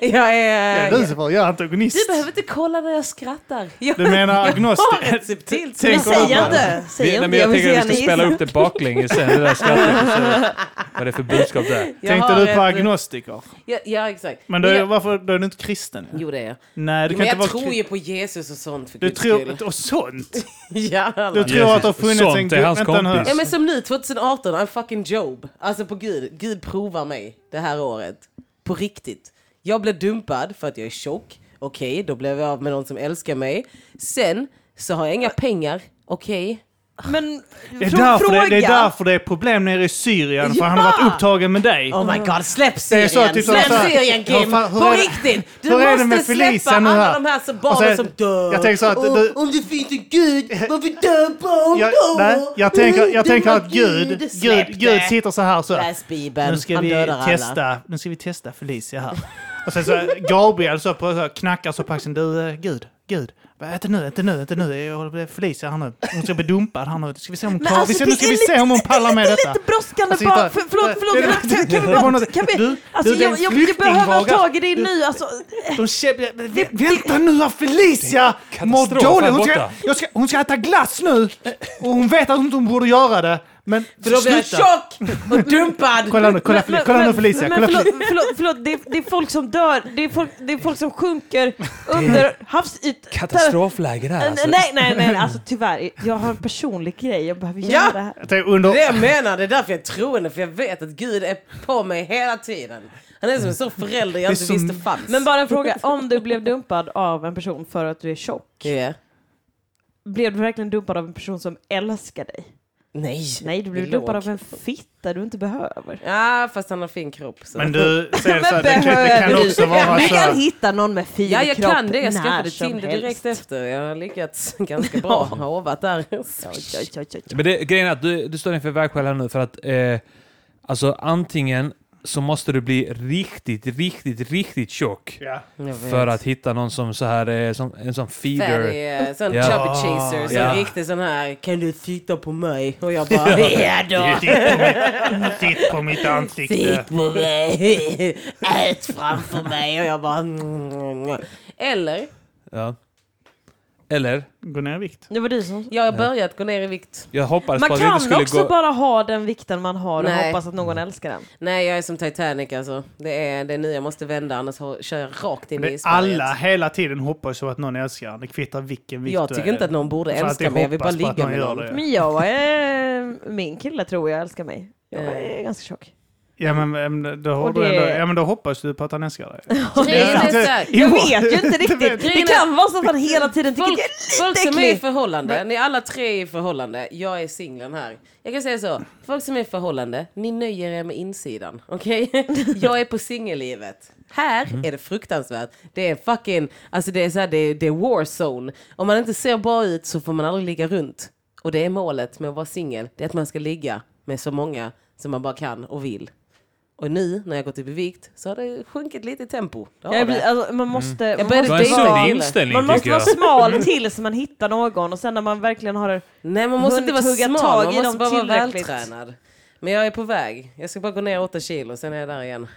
jag är... Lucifer, jag är Du antagonist. behöver inte kolla när jag skrattar. Jag Du menar har ett agnostik? subtilt Tänk Men sätt. om- säg inte! Säg Vi, nej, inte, men jag tänker att vi se ska henne spela gissa. upp det baklänges sen, det där skrattet. och så- Vad är det för budskap där? Jag Tänkte har du på ett- agnostiker? Ja, ja, exakt. Men då, är- jag... varför, då är du inte kristen? Jo, det är jag. Nej, du Men kan inte jag vara tror kristen. ju på Jesus och sånt för Du guds skull. tror... Och sånt? Ja, Du alla. tror att det har Jesus, funnits sånt en är hans vänta nu. kompis. Ja, men som nu 2018, I'm fucking Job. Alltså på gud, gud provar mig det här året. På riktigt. Jag blev dumpad för att jag är tjock. Okej, då blev jag av med någon som älskar mig. Sen så har jag inga pengar. Okej. Men Det är, frå- därför fråga! det, det är därför det är problem nere i Syrien, för han har varit upptagen med dig. Oh my god, släpp Det Syrien! är så typ släpp så här- Syrien Ja, Kim! fan, hur På är det- riktigt! Du hur är det måste med Felicia släppa nu alla här? Alltså, de här så Och barnen så- som dör. jag tänker så att Och- du- om det finns en gud, varför dör barn Jag, då? nej, jag tänker, jag Du tänker var att Gud, Gud, släpp Gud det. sitter så här så. Läs Bibeln, Nu ska han vi dödar alla. testa, nu ska vi testa Felicia här. Och sen så Gabriel så, på, så knackar så på axeln. Du, eh, Gud, Gud. Va, Inte nu, inte nu, inte nu. Jag håller på med Felicia här nu. Hon ska bli dumpad här nu. Ska vi se om hon, alltså, klarar- vi ser, nu ska vi se om hon pallar med detta. Lite brådskande Alltså, bara. hitta- För, förlåt, förlåt. Det- men kan- Kan det var vi bara... något- Kan vi... Du- Alltså, du, det är jag, en jag, jag behöver ha flyktingvåg. tag i dig Du- nu. Alltså, De kämpar- Vä- Vänta nu här Felicia! Mår katastrof dåligt! här Hon ska, borta. jag ska, hon ska äta glass nu! Och hon vet att hon inte borde göra det. Men För då blir jag tjock och dumpad. Kolla nu, kolla, Fel- kolla nu Felicia. Men, Kolla förlåt, Fel- förlåt, förlåt det, är, det är folk som dör. Det är folk, det är folk som sjunker under havsytan. Katastrofläge där alltså. Nej, nej, nej. Alltså tyvärr. Jag har en personlig grej. Jag behöver göra Ja. det här. Jag tänker under, Det jag menar, det är därför jag är troende, för jag vet att Gud är på mig hela tiden. Han är som en sån förälder jag är inte som- visste fanns. Men bara en fråga. Om du blev dumpad av en person för att du är tjock. Ja. Blev du verkligen dumpad av en person som älskar dig? Nej. Nej, du blev Det är dumpad lågt. av en fitta du inte behöver. Ja, fast han har fin kropp. Så. men du, säger så, här, det, behöver kan, det kan du? också vara Du så. kan här- hitta någon med fin Ja, jag kropp kan det. Jag när skaffade som Tinder helst. direkt efter. Jag har lyckats ganska bra. Har Hovat där. Oj, oj, oj, oj, oj. Men det, grejen är att du, du står inför vägskäl här nu för att eh, alltså antingen så måste du bli riktigt, riktigt, riktigt tjock Ja. för att hitta någon som så här, eh, som, en sån feeder. Fatty, eh, sån Ja. chubby chaser, sån Ja. riktig sån här kan du titta på mig? Och jag bara ja då, Titt på mitt ansikte. titt på mig, ät framför mig och jag bara mm. Eller, Ja. Eller, Gå ner i vikt. Det var du som... jag har börjat gå ner i vikt. jag hoppades Man på att vi inte kan skulle också gå... bara ha den vikten man har och Nej. hoppas att någon älskar den. Nej jag är som Titanic alltså. Det är det är nu jag måste vända annars har- kör jag rakt in i Det- isberget. Alla hela tiden hoppas på att någon älskar en. Det kvittar vilken vikt Jag du tycker är inte att någon borde Så att älska jag mig, jag vill bara hoppas på att ligga någon med gör någon. det. Men jag är... Min kille tror jag älskar mig. Jag är ganska tjock. Ja men, men, då, har Och du det- ändå, ja men då hoppas du på att han älskar dig. Grejen är så här, Jag Jo. vet ju inte riktigt. Det Grejen kan vara så att man hela tiden tycker Folk, det folk är lite som är i äckligt. förhållande, ni är alla tre i förhållande, jag är singeln här. Jag kan säga så, folk som är i förhållande, ni nöjer er med insidan. Okej? Jag är på singellivet. Här Mm. är det fruktansvärt. Det är fucking, alltså det är så här, det är, det är warzone. Om man inte ser bra ut så får man aldrig ligga runt. Och det är målet med att vara singel, det är att man ska ligga med så många som man bara kan och vill. Och nu när jag gått upp i vikt så har det sjunkit lite i tempo. Det har Jag det. blir, alltså, man måste... Jag man började Det måste var en dejta vara- en sund kille. inställning Man måste tycker vara jag. smal tills man hittar någon och sen när man verkligen har... Nej man måste inte vara hunnit hugga smal, tag man i måste dem bara vara tillräckligt. vältränad. Men jag är på väg. Jag ska bara gå ner 8 kilo, sen är jag där igen.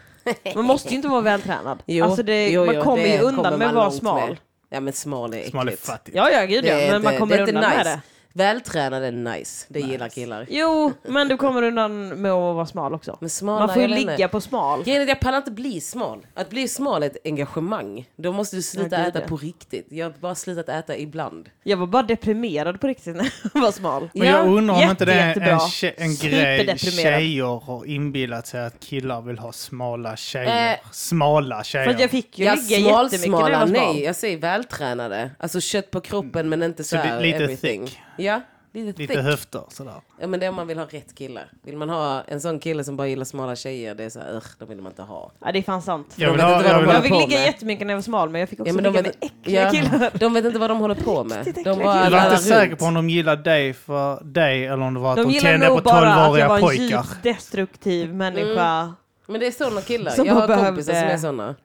Man måste ju inte vara vältränad. Jo, alltså det, jo, man jo, kommer det ju undan kommer med man att vara långt smal. med. Ja men smal är äckligt. Smal är fattig. Ja, ja, gud ja. Men man kommer det är inte undan med det. Vältränade, nice. Det gillar killar. Jo, men du kommer undan med att vara smal också. Men Man smala får ju jag lämnar. ligga på smal. Grejen är att jag pallar inte bli smal. Att bli smal är ett engagemang. Då måste du sluta Ja, gud, äta ja. på riktigt. Jag har bara slutat äta ibland. Jag var bara deprimerad på riktigt när jag var smal. Ja, Men jag undrar om jätte- inte det är jättebra. en, tje- en grej Superdeprimerad. tjejer har inbillat sig att killar vill ha smala tjejer. Eh, smala tjejer. För att jag fick ju Ja, ligga smal, jättemycket när jag smala. var smal. Nej, jag säger vältränade. Alltså kött på kroppen men inte så Så här li- lite everything. thick. Ja, lite, Lite thick. höfter sådär. Ja, men det är om man vill ha rätt killar. Vill man ha en sån kille som bara gillar smala tjejer, det är så här, "Ugh, de vill man inte ha. Ja, det är fan sant. Jag vill vet ha, inte vad jag de håller vill ha Jag fick på ligga med. jättemycket när jag var smal, men jag fick också Ja, men de, ligga vet, med äckliga ja, killar. de vet inte vad de håller på med. Riktigt De äckliga bara killar. Jag var lallar inte säker runt. på om de gillar dig för dig eller om det var att De de, gillar tände på nog bara att jag 12-åriga var en pojkar. djupt destruktiv människa. Men det är såna killar. Som jag bara har kompisar behövde- som är såna.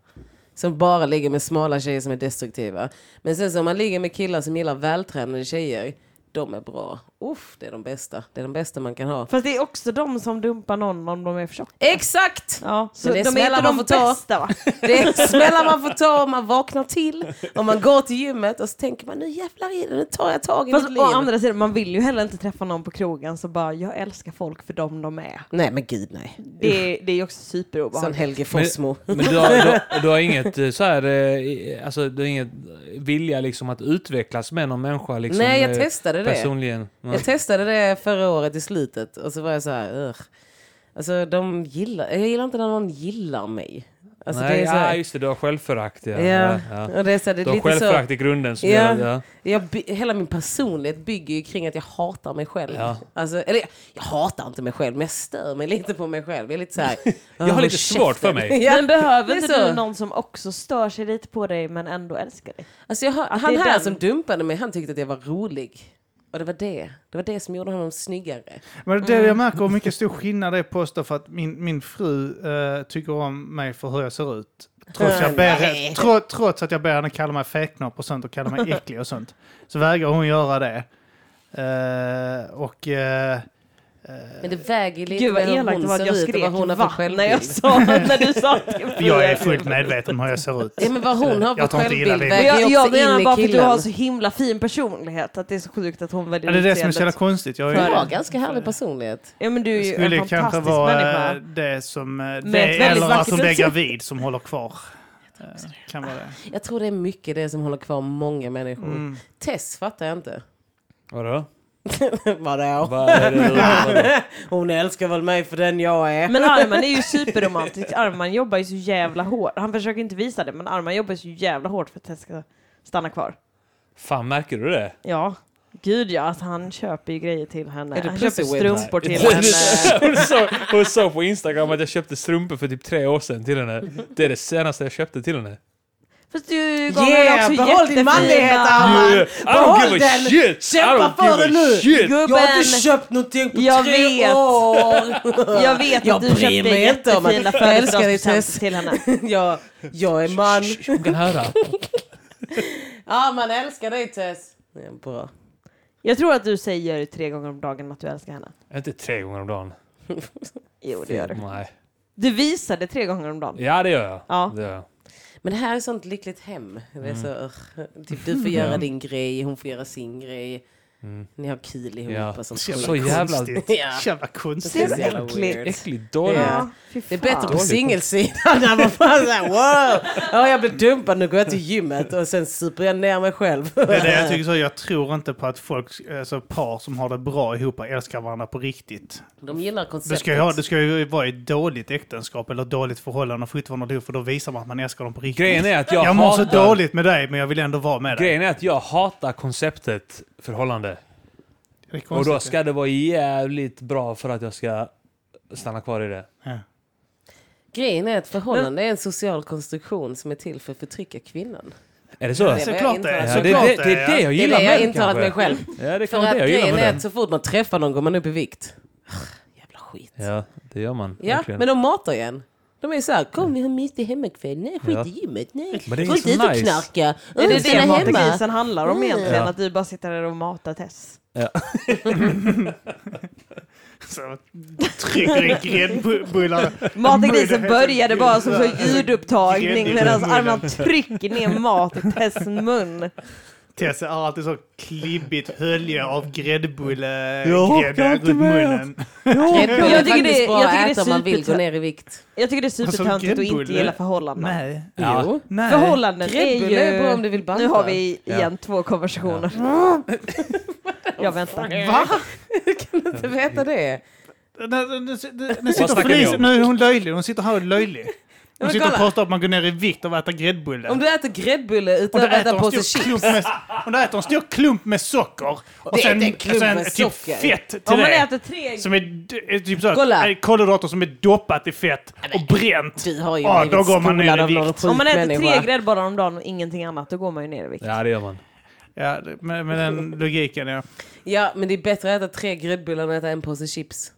Som bara ligger med smala tjejer som är destruktiva. Men sen så om man ligger med killar som gillar vältränade tjejer, de är bra. Uff, det är de bästa. Det är de bästa man kan ha. Fast det är också de som dumpar någon om de är för tjocka. Exakt! Ja, så Men det de är är smällar inte man de får ta. bästa va? Det är smällar man får ta om man vaknar till. Om man går till gymmet och så tänker man nu jävlar i det, nu tar jag tag i Fast mitt å liv. andra sidan, man vill ju heller inte träffa någon på krogen så bara jag älskar folk för dem de är. Nej men gud nej. Det, det är ju också Sån superobehagligt. Helge Fossmo. Men du har, du, har- du har inget eh, så här, eh, i- alltså du har inget vilja liksom att utvecklas med någon människa liksom? Nej jag eh, testade det. Personligen. Nej. Jag testade det förra året i slutet och så var jag så här, "Ugh." alltså, de gillar, jag gillar inte när någon gillar mig. Alltså, Nej, det är så ja, här, just det, du har självförakt. Ja. ja, Ja, ja. Och det är så här, det Du är har lite så, självförakt i grunden. Som Ja. gör- ja. jag, by- hela min personlighet bygger ju kring att jag hatar mig själv. Ja. Alltså, eller jag hatar inte mig själv, men jag stör mig lite på mig själv. Jag är lite så här, Jag har "Åh, lite svårt för mig." käften. Men behöver det är inte du så. någon som också stör sig lite på dig men ändå älskar dig? Alltså jag, har- Att han det är här den- som dumpade mig, han tyckte att jag var rolig. Och det var det. Det var det som gjorde honom snyggare. Men det Mm. jag märker hur mycket stor skillnad det är på oss då, för att min, min fru eh, tycker om mig för hur jag ser ut. Trots, jag ber, Nej. tro, trots att jag ber henne kalla mig fäknopp och sånt och kalla mig äcklig och sånt. Så vägrar hon göra det. Eh, och... eh, Men det väger lite Gud vad med hur elakt det hon var ser att jag ut och skrek vad hon har för va? När jag självbild. sa, när du sa till mig. eh, jag är fullt medveten om hur jag ser ut. Ja, men vad hon har för Jag tar inte illa självbild vid mig. Men väger ju jag, jag också menar in bara i för att du har så killen. himla fin personlighet att det är så sjukt att hon Ja, väljer det är det som är så jävla utseendet. konstigt. Jag Du är, har ganska härlig personlighet. Ja men du är ju skulle en kanske fantastisk vara eh, människa. det som... eh, väldigt Det, eller vackert att hon är utseende. gravid som håller kvar. Eh, Kan vara det. Jag tror det är mycket det som håller kvar många människor. Mm. Mm. Tess fattar jag inte. Vadå? Vadå? Vad är det du- vadå? Hon älskar väl mig för den jag är. Men Arman är ju superromantisk. Arman jobbar ju så jävla hårt. Han försöker inte visa det men Arman jobbar ju så jävla hårt för att Tess ska stanna kvar. Fan, märker du det? Ja. Gud ja, alltså han köper ju grejer till henne. Är det Han köper pussy strumpor till Hon henne. eh, sa- hon sa- Hon sa på Instagram att jag köpte strumpor för typ tre år sedan till henne. Det är det senaste jag köpte till henne. Fast du gav henne Yeah, också behåll din jättefina- manlighet Arman! Yeah, I don't give a shit! I Kämpa don't för det give a nu! shit! Jag har Gubben! inte köpt någonting på Jag tre vet. år! Jag vet att Jag du bryr köpte mig inte om att- jättefina Jag älskar dig, Tess. födelsedagspresenter till henne. jag, jag är man. Shh, Hon kan höra. Ja, man älskar dig Tess. Ja, bra. Jag tror att du säger tre gånger om dagen att du älskar henne. Inte tre gånger om dagen. Jo, det gör du. Nej. Du visar det tre gånger om dagen. Ja, det gör jag. Ja. Det gör jag. Men det här är sånt lyckligt hem. Det Mm. är så, "Ugh." typ, du får göra din grej, hon får göra sin grej. Mm. Ni har kul ihop Ja. och sånt. Så Så jävla jävla- konstigt. Ja. Så jävla konstigt. Det är så Det är så jävla äckligt. weird. Äckligt dåligt. Ja. fy Det är fan. bättre på Dåligt. singelsidan. Där man bara såhär, wow! Ja, jag blev dumpad, nu går jag till gymmet och sen super jag ner mig själv. Det är det jag tycker så. Jag tror inte på att folk, alltså par som har det bra ihop älskar varandra på riktigt. De gillar Det konceptet. ska, ju, ha- det ska ju vara ett dåligt äktenskap eller dåligt förhållande och fortfarande ihop för då visar man att man älskar dem på riktigt. Grejen är att jag, jag mår så hatar... dåligt med dig men jag vill ändå vara med dig. Grejen är att jag hatar konceptet förhållande. Det är Och konstigt. då ska det vara jävligt bra för att jag ska stanna kvar i det. Ja. Grejen är att förhållande är en social konstruktion som är till för att förtrycka kvinnan. Är det så? det Ja, var Såklart det jag är. inte- det, det, Såklart det, det är det jag Det är gillar det jag med intalat kanske. mig själv. Ja, det För kan vara att det jag gillar grejen är med att det. så fort man träffar någon går man upp i vikt. Jävla skit. Ja, det gör man. Ja, verkligen. men de matar igen. De är såhär, kom vi har mysig hemmakväll. Nej, skit i gymmet. Nej, Men det är gå ju så inte ut och nice. knarka. Är Ung, det stanna det hemma. matgrisen handlar om egentligen? Ja. Att du bara sitter där och matar Tess? Så Alltså, trycker i gräddbullarna. Matagrisen började bara som så ljudupptagning Gräddigt i medan munnen. Arman trycker ner mat i Tess mun. Tess har alltid så klibbigt hölje av Jag orkar gräddbulle-grädde inte runt med. munnen. Red Bull är Jag tycker det- faktiskt bra jag att tycker det är äta om man vill gå supertö- ner i vikt. Jag tycker det är supertöntigt att Alltså, inte gräddbulle? gilla förhållanden. Nej. Ja. Jo. Nej. Förhållanden är Red Bull är bra om ju... du vill banta. Nu har vi Ja. igen två konversationer. Jag väntar. Va? inte veta det. Den- den- den- den- den sitter snackar och ni fnyser. om? Nu är hon löjlig. Hon sitter här och är löjlig. men Hon sitter och kolla. påstår att man går ner i vikt av att äta gräddbulle. Om du äter gräddbulle utan Och att där äta äter en hon påse stor klump chips. med, och där äter hon stor klump med socker. Och Det är sen, inte en klump sen med typ socker. fett till Om man det. äter tre... Som är d- är typ så Kolla. Kolla. kolhydrater som är doppat i fett och bränt. Du har ju Ja, blivit då går man ner i skolad av vikt. någon sjuk Om man äter tre människa. gräddbollar om dagen och ingenting annat, då går man ju ner i vikt. Ja, det gör man. Ja, det- med, med den logiken ja. Ja, men det är bättre att äta tre gräddbullar än att äta en påse chips.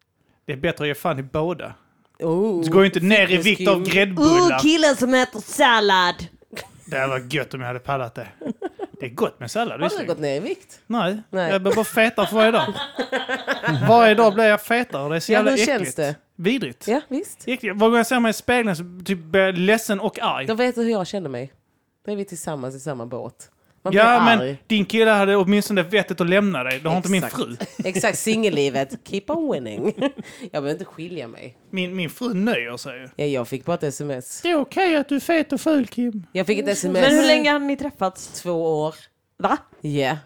Det är bättre att ge fan i båda. Oh. Du går ju inte ner i vikt av fitnesskul. gräddbullar. killen som äter sallad! Det här var gött om jag hade pallat det. Det är gott med sallad. Har du visserligen. gått ner i vikt? Nej, Nej. jag blir bara fetare för varje dag. Varje dag blir jag fetare och det är så Ja, jävla hur äckligt. känns det? Vidrigt. Ja, visst. Äckligt. Varje gång jag ser mig i spegeln så typ blir jag ledsen och arg. Då vet du hur jag känner mig. Då är vi tillsammans i samma båt. Man blir Ja, arg. men din kille hade åtminstone vettet att lämna dig. Det har inte min Exakt. fru. Exakt, singellivet. Keep on winning. Jag behöver inte skilja mig. Min, min fru nöjer sig ju. Ja, jag fick bara ett sms. Det är okej att du är fet och ful, Kim. Jag fick ett sms. Men hur länge har ni träffats? Två år. Va? Ja.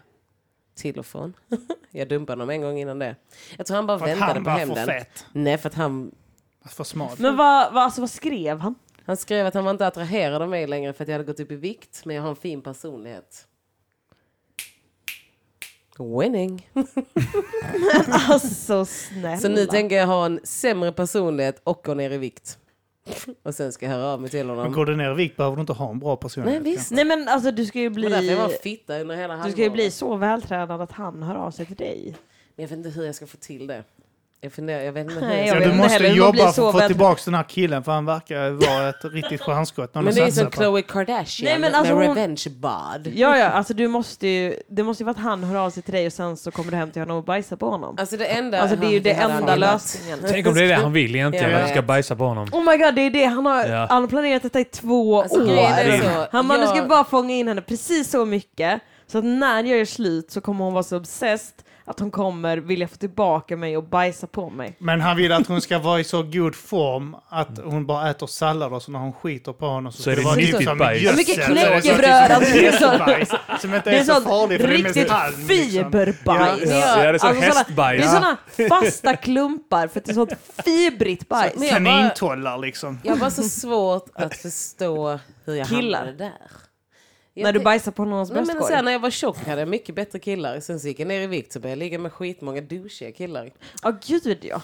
Till och från. Jag dumpade honom en gång innan det. Jag tror han bara För att väntade han på var för hämnden. fet. Nej, för att han, För smal. Men vad, vad, alltså, vad skrev han? han skrev att han var inte attraherad av mig längre för att jag hade gått upp i vikt. Men jag har en fin personlighet. Winning. Alltså snälla. Så nu tänker jag ha en sämre personlighet och gå ner i vikt. Och sen ska jag höra av mig till Men honom. går du ner i vikt behöver du inte ha en bra Nej, personlighet. visst. Nej men alltså du ska ju Det var därför bli... jag var en fitta under hela halvåret. Du ska ju bli så vältränad att han hör av sig till dig. Men jag vet inte hur jag ska få till det. Jag, funderar, jag vet inte hur jag Nej, jag ska... Ja, vet du inte måste heller hur man blir jobba så för att få väl- tillbaka den här killen för han verkar vara ett riktigt stjärnskott. när de Men det är ju som satsar på- Khloe Kardashian Nej, men alltså med hon- Revenge Bad. Ja, ja, alltså du måste ju... Det måste ju vara att han hör av sig till dig och sen så kommer du hem till honom och bajsar på honom. Alltså det enda... Alltså det är ju det hade han enda gillat. lösningen. Tänk om det är det han vill egentligen, Ja. att jag ska bajsa på honom. Oh my god, det är det. Han har, Ja. han har planerat detta i två Alltså, år. grejen är Åh, så, Han bara, nu ska jag- jag bara fånga in henne precis så mycket så att när jag gör slut så kommer hon vara så obsessed att hon kommer vilja få tillbaka mig och bajsa på mig. Men han vill att hon ska vara i så god form att hon bara äter sallad och så när hon skiter på honom så, Så ska är det vara nyttigt typ som bajs. gödsel. Mycket Så det är så knäckebröd, typ alltså, som det är så- jättebajs, Som inte Det är, är så sånt farlig för det är mest riktigt halm, liksom. fiberbajs. Ja, ja, det är så hästbajs. Det är såna fasta klumpar för att det är sånt fibrigt bajs. Så- men- jag bara- Kanintollar liksom. Jag har bara så svårt att förstå hur jag Killar. hamnade där. Jag när du tänk- bajsar på någons Nej, men sen bröstkorg. när jag var tjock hade jag mycket bättre killar. Sen så gick jag ner i vikt så började jag ligga med skitmånga douchiga killar. Ja, gud ja.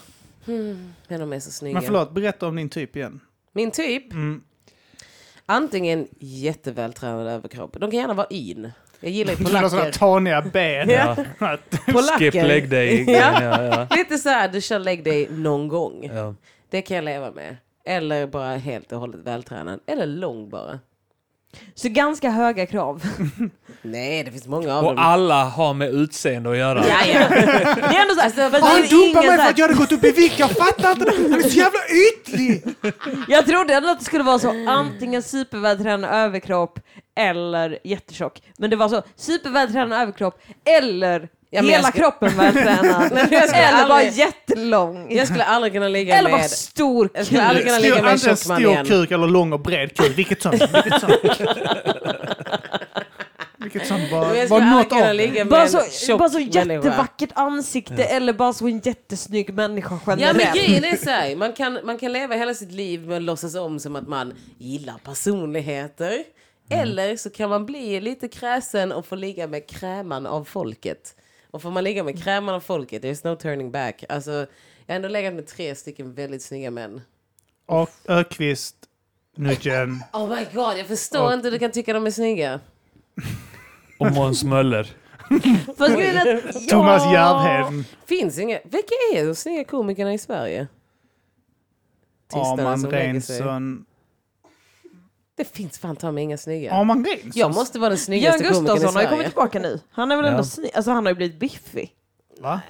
Men de är så snygga. Men förlåt, berätta om din typ igen. Min typ? Antingen jättevältränad överkropp. De kan gärna vara in. Jag gillar ju Du har sådana polacker. taniga ben. Ja. Skip polacker. leg day. Ja, ja, Lite så här, du kör lägg dig någon gång. ja. Det kan jag leva med. Eller bara helt och hållet vältränad. Eller lång bara. Så ganska höga krav. Nej, det finns många av Och dem. alla har med utseende att göra. Ja, Alltså, ja. Det är ändå så här, för det är Han dumpar ingen mig så för här- att jag hade gått upp i vikt, jag fattar inte det! Han är så jävla ytlig! Jag trodde ändå att det skulle vara så antingen supervältränad överkropp eller jättetjock. Men det var så supervältränad överkropp eller Ja, men jag hela ska- kroppen vältränad. men jag ska eller bara aldrig- jättelång. Jag skulle aldrig kunna ligga eller bara med... stor Jag skulle aldrig kuk. kunna ligga med en Antingen tjock man stor igen. kuk eller lång och bred kuk, vilket som. Vilket som. Vilket som Men var, jag var skulle aldrig något kunna av det. ligga med Bara en så, tjock bara så människa. jättevackert ansikte eller bara så en jättesnygg människa Ja men generellt. grejen är så här, man kan, man kan leva hela sitt liv men låtsas om som att man gillar personligheter. Eller så kan man bli lite kräsen och få ligga med kräman av folket. Och får man ligga med kräman av folket, there's no turning back. Alltså, jag har ändå legat med tre stycken väldigt snygga män. Och Ökvist, Nugent. Oh my god, jag förstår Och- inte hur du kan tycka de är snygga. Och Måns Möller. Fast grejen är att- ja. Thomas Järvheden. Finns inga, vilka är de snygga komikerna i Sverige? Tystarna Arman som lägger sig. Rensson. Det finns fan ta mig inga snygga. Arman Rensson? Jag måste vara den Jörn snyggaste komikern i Gustafsson har ju kommit Sverige. tillbaka nu. Han är väl Ja. ändå snygg. Alltså han har ju blivit biffig. Va?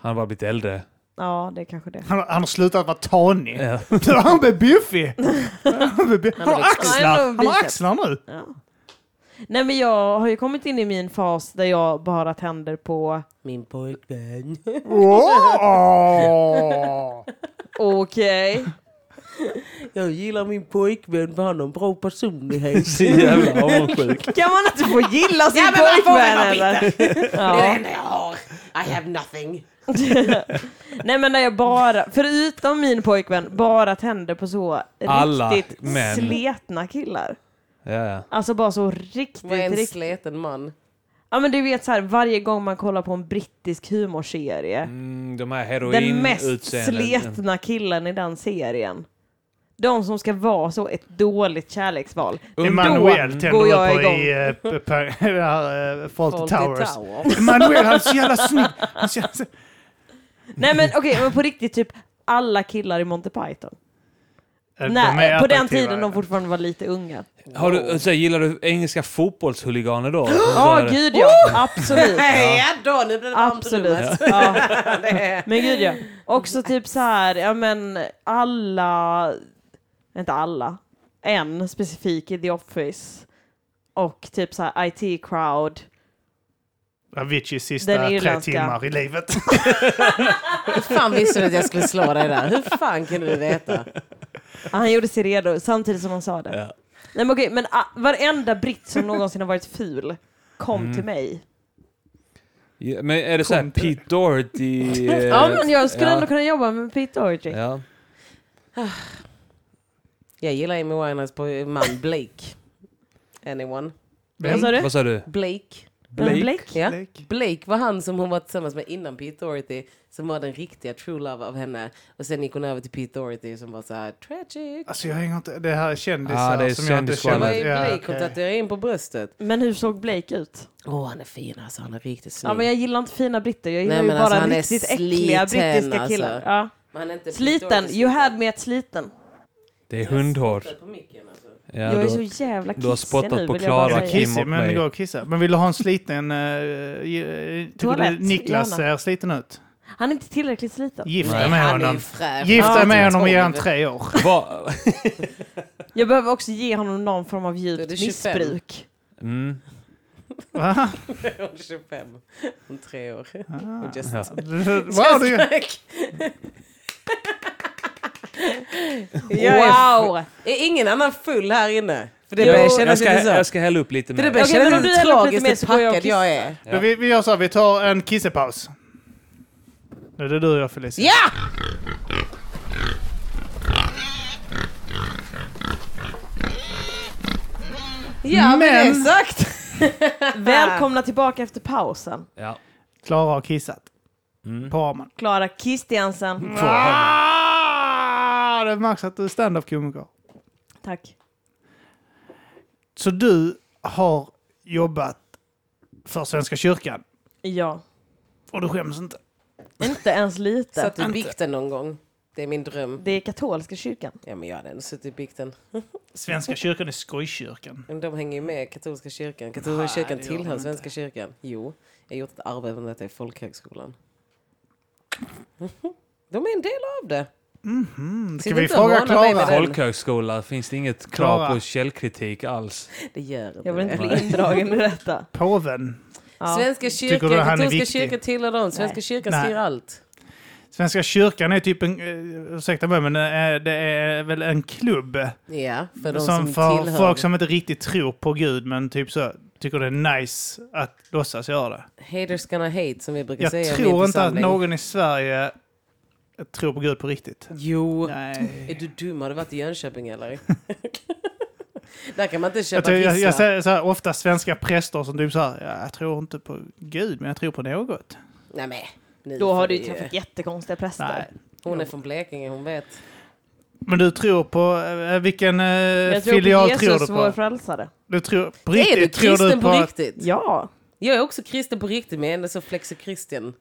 Han har bara blivit äldre. Ja, det är kanske det. Han, har- han har slutat vara tanig. Ja. Nu har han blivit biffig. Han, blev biff- han har blivit- axlar. Han har Han har blivit- axlar nu. Ja. Nej men jag har ju kommit in i min fas där jag bara tänder på Min pojkvän. Åh! okej. Jag gillar min pojkvän för han har en bra personlighet. Så jävla avundsjuk. Kan man inte få gilla sin Ja, men man får väl pojkvän vara eller? Det är det Ja. enda jag har. I have nothing. Nej men när jag bara, förutom min pojkvän, bara tänder på så Alla riktigt män. sletna killar. Ja, ja. Alltså bara så riktigt, Vad är en riktigt. sleten man? Ja men du vet så här, varje gång man kollar på en brittisk humorserie. Mm, de här Den mest heroinutseendet. sletna killen i den serien. De som ska vara så ett dåligt kärleksval. Emanuel Då tänder går jag upp på igång. i eh, p- p- det här, eh, Fawlty Fawlty Towers. Towers. Emanuel, han är så jävla snygg! Han är så jävla snygg. Nej men okej, men på riktigt typ alla killar i Monty Python. Eh, de är Nej, på den attraktiva. tiden de fortfarande var lite unga. Har du, så här, gillar du engelska fotbollshuliganer då? Ja, gud ja. Absolut. Ja då, nu blir det varmt i Absolut. rummet. Ja. Det är- Men gud ja. Också typ så här, ja men alla, inte alla, en specifik i The Office och typ så här IT-crowd. Aviciis Den sista tre irländska. timmar i livet. Hur fan visste du att jag skulle slå dig där? Hur fan kunde du veta? Ja, Ah, Han gjorde sig redo samtidigt som han sa det. Ja. Nej men okej, men ah, varenda britt som någonsin har varit ful kom Mm. till mig. Ja, Men är det så här Kom till Pete Doherty? eh, Ja men jag skulle ja, ändå kunna jobba med Pete Doherty. Ja. Jag gillar Amy Winehouse på man Blake. Anyone? Vad sa du? Vad sa du? Blake. Blake? Alltså, Ja. Blake. Blake var han som hon var tillsammans med innan Pete Doherty som var den riktiga true love av henne. Och sen gick hon över till Pete Doherty som var så här tragic. Alltså jag hänger inte... Det här är kändisar Ah, det är som jag inte Det kändisskvaller. var känner. ju Ja, Blake och okej. tatuerade in på bröstet. Men hur såg Blake ut? Åh han är fin alltså, han är riktigt snygg. Mm. Ja men jag gillar inte fina britter, jag gillar Nej, ju men bara alltså, han är riktigt sliten, äckliga brittiska alltså. killar. Ja. Men han är inte Pete Sliten, Doherty you snygg. had me ett sliten. Det är hundhår. Titta på micken, alltså. Ja, jag är då- så jävla kissig du har spottat nu på vill jag bara Clara säga. Kim. Kissig, åt men mig. gå och kissa. Men vill du ha en sliten... Uh, tycker du Toalett, Niklas gärna. ser sliten ut? Han är inte tillräckligt sliten. Gift Nej, dig med han är ju honom. fräsch. Gift Ja, dig med typ honom och ge honom tolv. tre år. Va? Jag behöver också ge honom någon form av Då är djupt det 25. missbruk. Mm. Va? Hon är 25. Om tre år. Och just, Ja. Wow, du, like- Jag är, Wow! är ingen annan full här inne? För det Jo. börjar Jag, kännas ska, lite så. jag ska hälla upp lite för det mer. börjar Okej, men kännas om lite du häller upp lite tragiskt mer hur så går jag och packad jag är. Då vi, vi gör så här, vi tar en kissepaus. Nu är det du och jag Felicia. Ja! Ja, men, Men- exakt. Välkomna tillbaka efter pausen. Ja. Klara har kissat. På armen. Klara Mm. Kristiansen. Ah, det märks att du är standup-komiker. Tack. Så du har jobbat för Svenska kyrkan Ja. och du skäms inte? Inte ens lite. Satt i bikten någon gång. Det är min dröm. Det är katolska kyrkan. Ja, men jag hade ändå suttit i bikten. Svenska kyrkan är skojkyrkan. Men de hänger ju med katolska kyrkan. Katolska Nej, kyrkan det gör tillhör de inte. Svenska kyrkan. Jo, jag har gjort ett arv även detta i folkhögskolan. De är en del av det. Mm, ska Sitt vi inte fråga och håna mig med Klara? det. Folkhögskola, finns det inget krav Klara. på källkritik alls? Det gör inte Jag vill inte det. bli indragen i detta. Påven. Ja. Svenska Tycker kyrkan, du han är katolska viktig? kyrkan tillhör dem. Svenska kyrkan Nej. styr allt. Svenska kyrkan är typ en, eh, ursäkta mig, men det är, det är väl en klubb Ja, för de som, som för tillhör. folk som inte riktigt tror på Gud men typ så tycker det är nice att låtsas göra det. Haters gonna hate, som vi brukar Jag säga i tror min inte att församling. någon i Sverige tror på Gud på riktigt. Jo. Är Nej. du dum? Har du varit i Jönköping eller? Där kan man inte Jag, köpa tror, jag, jag vissla. ser så här, ofta svenska präster som typ så här, "Ja, jag tror inte på Gud men jag tror på något. Nej, men. nu Då får har du vi ju träffat jättekonstiga präster. Nej. Hon är från Blekinge, hon vet. Men du tror på, eh, vilken eh, Jag tror filial på tror du Jesus, vår på? frälsare. Du tror, på Är riktigt, du tror du kristen på, att- riktigt? Ja. Jag är också kristen på riktigt, men jag är ändå så flexikristen.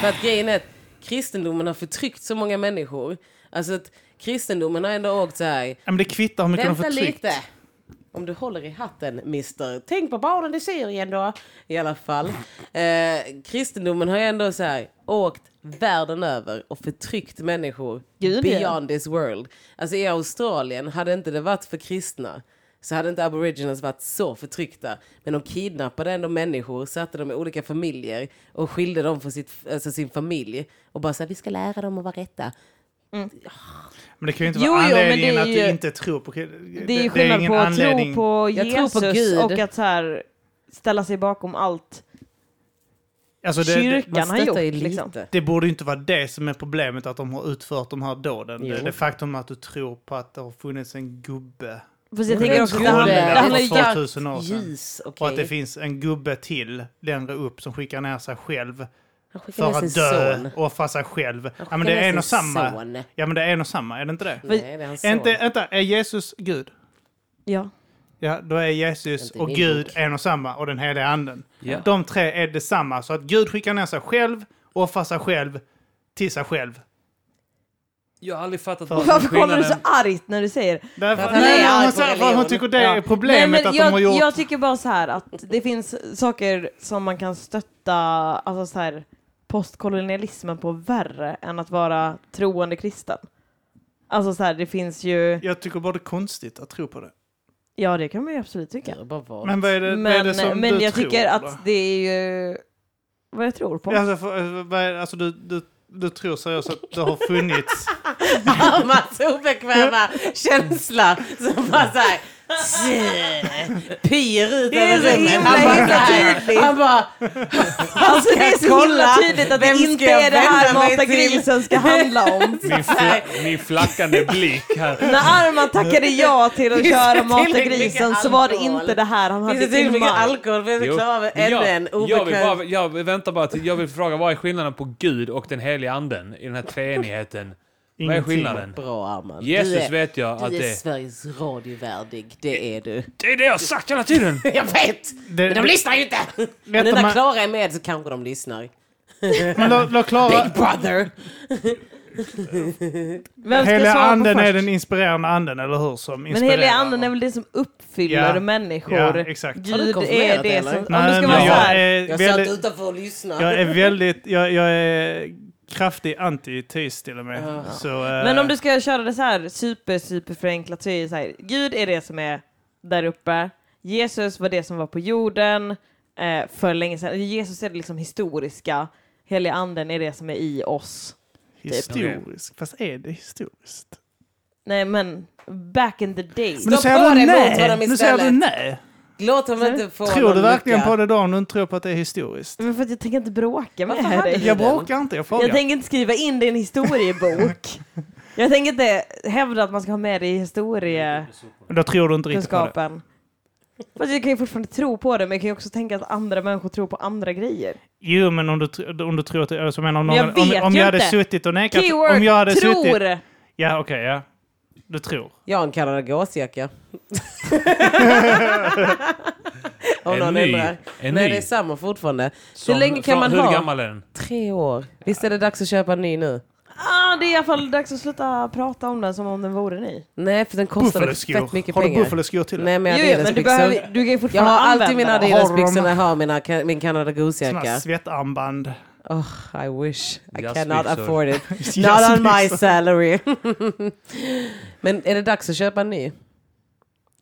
För att grejen är att kristendomen har förtryckt så många människor. Alltså att kristendomen har ändå åkt så här. Ja, men det kvittar hur mycket de Vänta förtryckt. lite. Om du håller i hatten, mister. Tänk på barnen i Syrien då. I alla fall. Eh, kristendomen har ju ändå så här, åkt världen över och förtryckt människor Gud, ja. beyond this world. Alltså i Australien hade inte det varit för kristna så hade inte aboriginals varit så förtryckta. Men de kidnappade ändå människor, satte dem i olika familjer och skilde dem från sitt, alltså sin familj. Och bara så här, vi ska lära dem att vara rätta. Men det kan ju inte Jo, vara jo, men anledningen det är att du ju- inte tror på... Det, Det är ju skillnad på att tro på Jag Jesus tror på Gud. och att så här, ställa sig bakom allt Alltså det, det, kyrkan har gjort. stöttar ju Liksom. det borde ju inte vara det som är problemet, att de har utfört de här dåden. Jo. Det, det faktum att du tror på att det har funnits en gubbe. Fast jag Men tänker det också att tror det jag. handlar, det handlar ju för ganska 2000 år sedan. Ljus, Och okej. att det finns en gubbe till längre upp som skickar ner sig själv Han skickar för ner att sin dö son. och offra sig själv. Han Ja, men det skickar är ner en och sin samma. son. Ja, men det är en och samma, är det inte det? Nej, det är hans Är, inte, son. vänta, är Jesus Gud? Ja. Ja, då är Jesus Inte i och min Gud bok. en och samma och den heliga anden. Ja. De tre är detsamma. Så att Gud skickar ner sig själv, offrar sig själv, till sig själv. Jag har aldrig fattat Varför kollar du så argt när du säger Därför, Att han nej, är arg hon, på säger- religion. hon tycker det Ja. är problemet Nej, men att jag, de har gjort... Jag tycker bara så här att det finns saker som man kan stötta, alltså så här postkolonialismen på värre än att vara troende kristen. Alltså så här, det finns ju, Jag tycker bara det är konstigt att tro på det. ja det kan man ju absolut tycka. Bara var. Men vad är det, vad är det som Men, men du jag tror tycker på då? att det är ju vad jag tror på. Alltså, för, vad är, alltså du, du, du tror seriöst att det har funnits... Armas obekväma känsla som bara såhär pyr ut Det är över så rummet. himla, Han bara himla så här- tydligt. Han bara, Alltså det är så himla kolla. tydligt att det Vem ska inte jag är det här vända mig Mata till? grisen ska handla om. Min, fla- min flackande blick här. När Arman tackade ja till att Finns det köra Mata tillräckligt grisen mycket så var det alkohol? inte det här finns han hade det i tillräckligt mycket mind. alkohol för att Jo. klara av ännu en jag, jag, vill obekväm... bara, jag väntar bara till, jag vill fråga vad är skillnaden på Gud och den heliga anden i den här treenigheten? Vad är Ingenting. skillnaden? Bra Arman. du Jesus är, vet jag att du är det Sveriges radiovärdig, det är du. Det är det jag har sagt hela tiden! Jag vet! Men de det- lyssnar ju inte! Men nu Rätta när mig- Klara är med så kanske de lyssnar. Men låt låt Klara... Big brother! Vem ska Heliga svara på anden först? är den inspirerande anden, eller hur? Som Men inspirerar. heliga anden är väl det som uppfyller Ja. människor? Ja, exakt. Har du Gud är konfirmerat det eller? som... Om du Nej, ska men vara jag, så här. är Jag satt väldigt, utanför och lyssnade. jag är väldigt... Jag, jag är kraftig anti-teist till och med. Så, eh, Men om du ska köra det så här super, super förenklat så är det så här. Gud är det som är där uppe. Jesus var det som var på jorden eh, för länge sedan. Jesus är det liksom historiska. Heliga anden är det som är i oss. Historisk. Fast är det historiskt? Nej men, back in the days. Men nu Stopp säger på du dig mot nej! honom Nu säger du istället. nej! Låt dem inte få Tror någon du verkligen lucka. på det då om du inte tror på att det är historiskt? Men för att jag tänker inte bråka med Varför hade dig. du Jag bråkar inte, jag Jag frågar. tänker inte skriva in det i en historiebok. jag tänker inte hävda att man ska ha med det i historiekunskapen. Då tror du inte riktigt på det. Fast jag kan ju fortfarande tro på det, men jag kan ju också tänka att andra människor tror på andra grejer. Jo, men om du, tr- om du tror att det är så menar om Men någon, jag om, vet om ju jag hade inte. suttit och nekat... Keyword, Om jag hade tror! suttit... Ja, okej, ja. Du tror. Jag har en Canada Gåsjacka. Om En någon ny. undrar. En Nej, ny. det är samma fortfarande. Som- Hur länge kan från- man hur ha? gammal är den? Tre år. Visst är det dags att köpa en ny nu? Ah, det är i alla fall dags att sluta prata om den som om den vore ny. Nej, för den kostade fett mycket Buffaloskor. Har du pengar. buffaloskor till det? Nej, men Jo, jag jo, men du, behöver, Adidasbyxor. du kan ju Jag fortfarande har alltid använda mina den. Adidasbyxor Har de- när jag har mina, ka- min Canada Såna här Goose-jacka. svettarmband. Oh, I wish. I Jazzbyxor. cannot afford it. Not on my Jazzbyxor. salary. men är det dags att köpa en ny?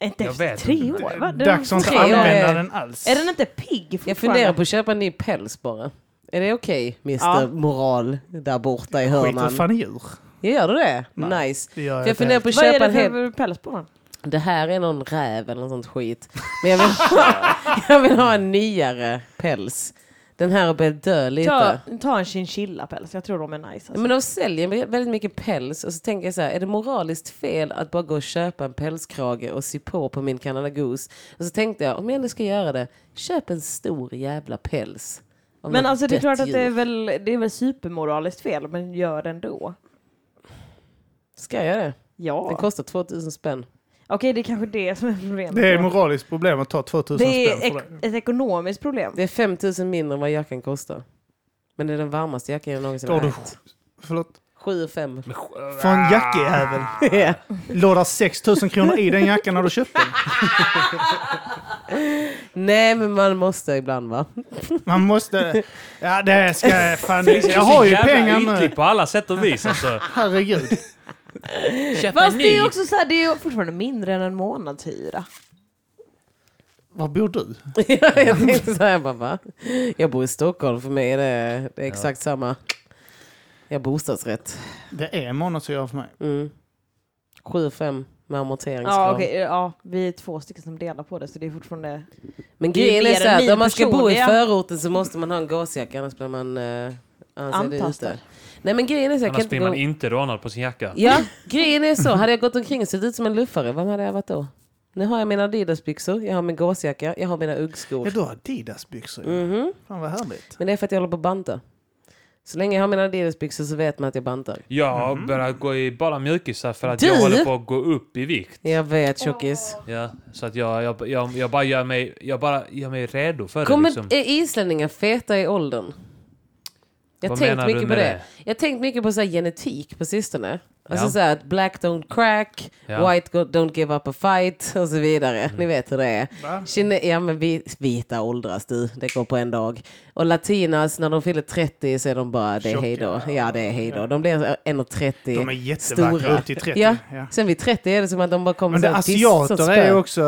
Inte Jag efter vet tre inte. år, va? Den- Dags att inte tre år. använda den alls. Är den inte pigg Jag fortfarande? funderar på att köpa en ny päls bara. Är det okej, Mr Ja. Moral där borta i Skiter hörnan? fan i djur. Ja, Gör du det? Nej, Nice. Det gör För jag jag inte. funderar på att Vad är köpa en det hel... för päls på den? Det här är någon räv eller något sånt skit. Men jag vill ha, jag vill ha en nyare päls. Den här har börjat dö Ta, lite. ta en chinchilla-päls, jag tror de är nice. Alltså. Men de säljer väldigt mycket päls och så tänker jag så här, är det moraliskt fel att bara gå och köpa en pälskrage och sy på på min Canada Goose? Och så tänkte jag, om jag ändå ska göra det, köp en stor jävla päls. av Men något alltså det är dött klart att det är, djur. väl, det är väl supermoraliskt fel, men gör det ändå. Ska jag det? Den Ja. kostar 2000 spänn. Okej, det är kanske det som är problemet. Det är ett då. moraliskt problem att ta 2000 det är spänn för ek det. ett ekonomiskt problem. Det är 5000 mindre än vad jackan kostar. Men det är den varmaste jackan jag någonsin Då har du- ägt. Förlåt. 7 5. Från jackjävel. Ja. Låg där 6000 kronor i den jackan när du köpte den? Nej, men man måste ibland va? Man måste... Ja, det ska jag fan... Jag har ju Så jävla pengar nu. ytlig på alla sätt och vis alltså. Herregud. Fast det är ju också så här, det är ju fortfarande mindre än en månadshyra. Var bor du? Ja, jag tänkte så här, jag bara, va? Jag bor i Stockholm, för mig är det, det är exakt samma. Jag har bostadsrätt. Det är månadshyra för mig. Mm. 7-5 med amorteringskrav. Ja, okej, ja, vi är två stycken som delar på det så det är fortfarande... Men Det är ju grejen är mer så än här, ni att om man ska bo i personliga. förorten så måste man ha en gasjacka annars blir man eh, annars är det Antastad. ute. Nej men grejen är så, jag kan Annars inte blir gå... Mm. man inte rånad på sin jacka. Ja, grejen är så. Hade jag gått omkring och sett ut som en luffare, vem hade jag varit då? Nu har jag mina Adidas-byxor, jag har min gasjacka, jag har mina Ja, uggskor. du har Adidas-byxor. ju. Mhm. Fan vad härligt. Men det är för att jag håller på att banta. Så länge jag har mina Adidas-byxor så vet man att jag bantar. Jag har börjat gå i bara mjukisar för att Du? jag håller på att gå upp i vikt. Jag vet tjockis. Ja, så att jag, jag, jag, jag bara gör mig, jag bara gör mig redo för det. Kommer Liksom. är islänningar feta i åldern? Jag har Vad tänkt menar du mycket på med det. det? Jag har tänkt mycket på så här genetik på sistone. Alltså Ja. så här att black don't crack, Ja. white go- don't give up a fight och så vidare. Ni vet hur det är. Kine- ja, men vi, vita åldras du, det går på en dag. Och latinas, när de fyller 30 så är de bara, det är Tjocka. hej då. Ja, det är hej då. De blir 1,30 De är jättevackra upp till 30. Ja. Ja. Sen vid 30 är Alltså, det som att de bara kommer Men så det, här piss- som asiater är spön. ju också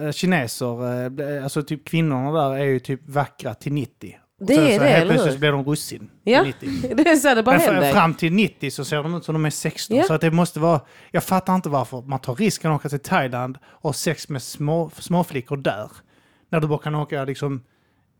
eh, d- kineser. eh, d- alltså typ kvinnorna där är ju typ vackra till 90. Och Det sen är så det, Helt eller plötsligt hur? blir de russin. till Ja. 90. Det är så här, det bara Men fr- händer. fram till 90 så ser de ut som de är 16. Ja. Så att det måste vara... Jag fattar inte varför man tar risken att åka till Thailand och ha sex med små, småflickor där. När du bara kan åka liksom,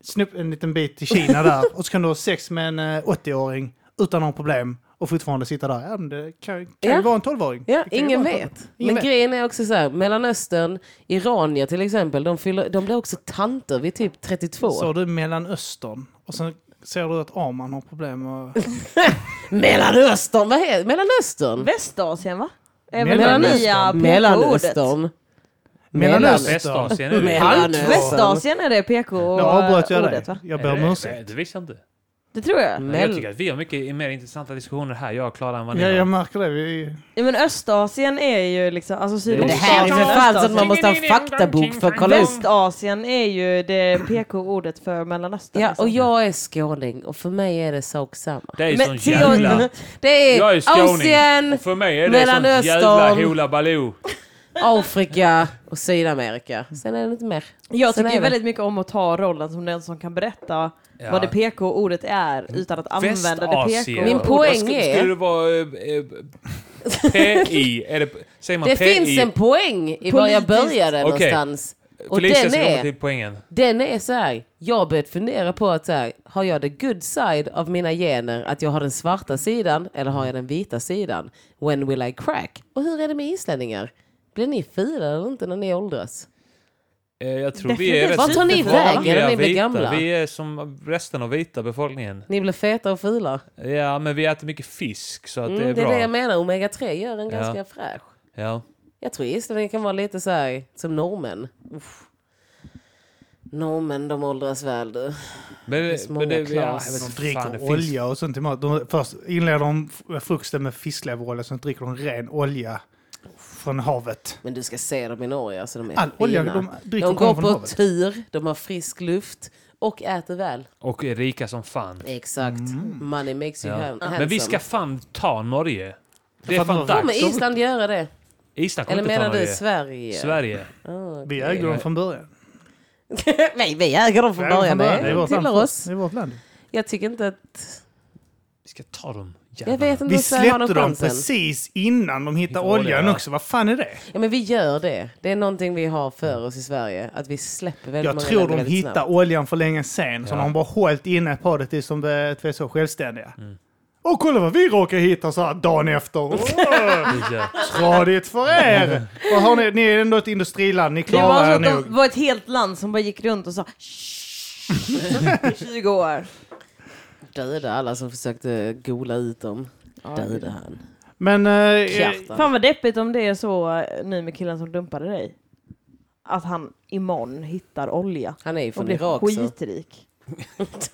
snupp en liten bit till Kina där och så kan du ha sex med en eh, 80-åring utan några problem och fortfarande sitta där. Ja, men det kan, kan Ja. ju vara en 12-åring. Ja, Det kan ju ingen vara en vet. 12-åring. Ingen men vet. grejen är också så här, Mellanöstern, Iranier till exempel, de, fyller, de blir också tanter vid typ 32. Så du Mellanöstern och sen ser du att Arman har problem och... Mellanöstern, vad heter Mellanöstern? Västasien va? Är väl det nya Mellanöstern. PK-ordet? Mellanöstern. Mellanöstern. Västasien är det. Mellan- Mellanöstern. Västasien är det Nu avbröt jag dig. PK-ordet va? Jag Är ber om det- ursäkt. nej, Eh, Det visste jag inte. Det tror jag. Mell- Men jag tycker att vi har mycket mer intressanta diskussioner här, jag och Klara, än vad ni Ja, har. jag märker det. Vi... Ja, men Östasien är ju liksom, alltså Men det Sydostasien här är och för fan så att Östasien. man måste ha en faktabok för att kolla upp. Västasien är ju det PK-ordet för Mellanöstern. Ja, liksom. och jag är skåning och för mig är det sak samma. Det är Men sån till- jävla... Det är, Jag är skåning. Mm. Asien, Och för mig är det sån jävla Mellanöstern. hula baloo. Afrika och Sydamerika. Sen är det inte mer. Jag Sen tycker är ju det. väldigt mycket om att ta rollen som den som kan berätta Ja. vad det PK-ordet är utan att använda det Västasien. PK-ordet. Min poäng Vad skulle- är- Skulle det vara... eh, eh, PI? Är det, säger man Det PI? finns en poäng i var jag Politiskt- började Okej. någonstans. Och Felicia den ska komma är... till poängen. Den är så här, jag har börjat fundera på att så här, har jag the good side av mina gener, att jag har den svarta sidan eller har jag den vita sidan? When will I crack? Och hur är det med islänningar? Blir ni fula eller inte när ni åldras? Eh, Jag tror vi är Definitivt. rätt Vart tar ni superfula. vägen när ni blir vita. gamla? Vi är som resten av vita befolkningen. Ni blir feta och fula. Ja, men vi äter mycket fisk så att Mm, det är bra. jag menar, omega-3 gör en ganska fräsch. Ja. Jag tror islänningar kan vara lite så här, som norrmän. Uff. Norrmän, de åldras väl du. Men, det finns men många det, ja, jag Klas. vet De inte dricker fan, det finns- olja och sånt till mat. De, först inleder de f- frukosten med fiskleverolja, sen dricker de ren olja från havet. Men du ska se dem i Norge, alltså de är All olja fina. de dricker De kommer går från på havet. tur, de har frisk luft och äter väl. Och är rika som fan. Exakt. Mm. Money makes you Mm. Ja. hand- handsome. Men vi ska fan ta Norge. Det är Fan, fan vad- Kommer dags. Island göra det? Island kommer Eller inte ta menar du Norge. Sverige? Sverige. Ah, Vi okej. äger dem från början. Nej, vi äger dem från Vi äger dem början. Det är Det vårt land. tillhör oss. Det är vårt land. Jag tycker inte att... Vi ska ta dem. Jag vet inte Vi om Sverige har någon släppte dem chansen. precis innan de hittade Hittade oljan olja. också. Vad fan är det? Ja, men vi gör det. Det är någonting vi har för oss i Sverige. Att vi släpper väldigt Jag många tror länder de väldigt hittade snabbt. oljan för länge sen. Så Ja. de har bara hållit inne på det tills de blev att vi är så självständiga. Mm. Och kolla vad vi råkar hitta så här dagen efter. Åh, Ja. Tradigt för er! Vad har ni? Ni är ändå ett industriland, ni Det var klarar er som att nog. de var ett helt land som bara gick runt och sa "Shh" i 20 år. Döda alla som försökte gola ut dem. Döda han. Men eh, Kjartan. Fan vad deppigt om det är så eh, nu med killen som dumpade dig. Att han imorgon hittar olja Han är ju och från blir Irak så. skitrik.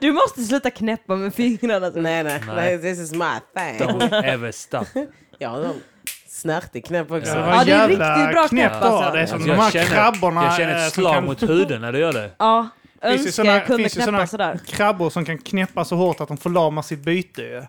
du måste sluta knäppa med fingrarna. Nej, nej, nej. This is my thing. Don't ever stop. Ja, de snärtig knäpp också. eh, Ja. Det var Ja, det är jävla riktigt bra knäppt knäpp, alltså. av Det är som Alltså, de här jag, känner, krabborna. jag känner eh, ett som slag kan- mot huden när du gör det. Ja, Finns ju önskar såna- jag kunde finns ju knäppa såna sådär. Krabbor som kan knäppa så hårt att de förlamar sitt byte. ju.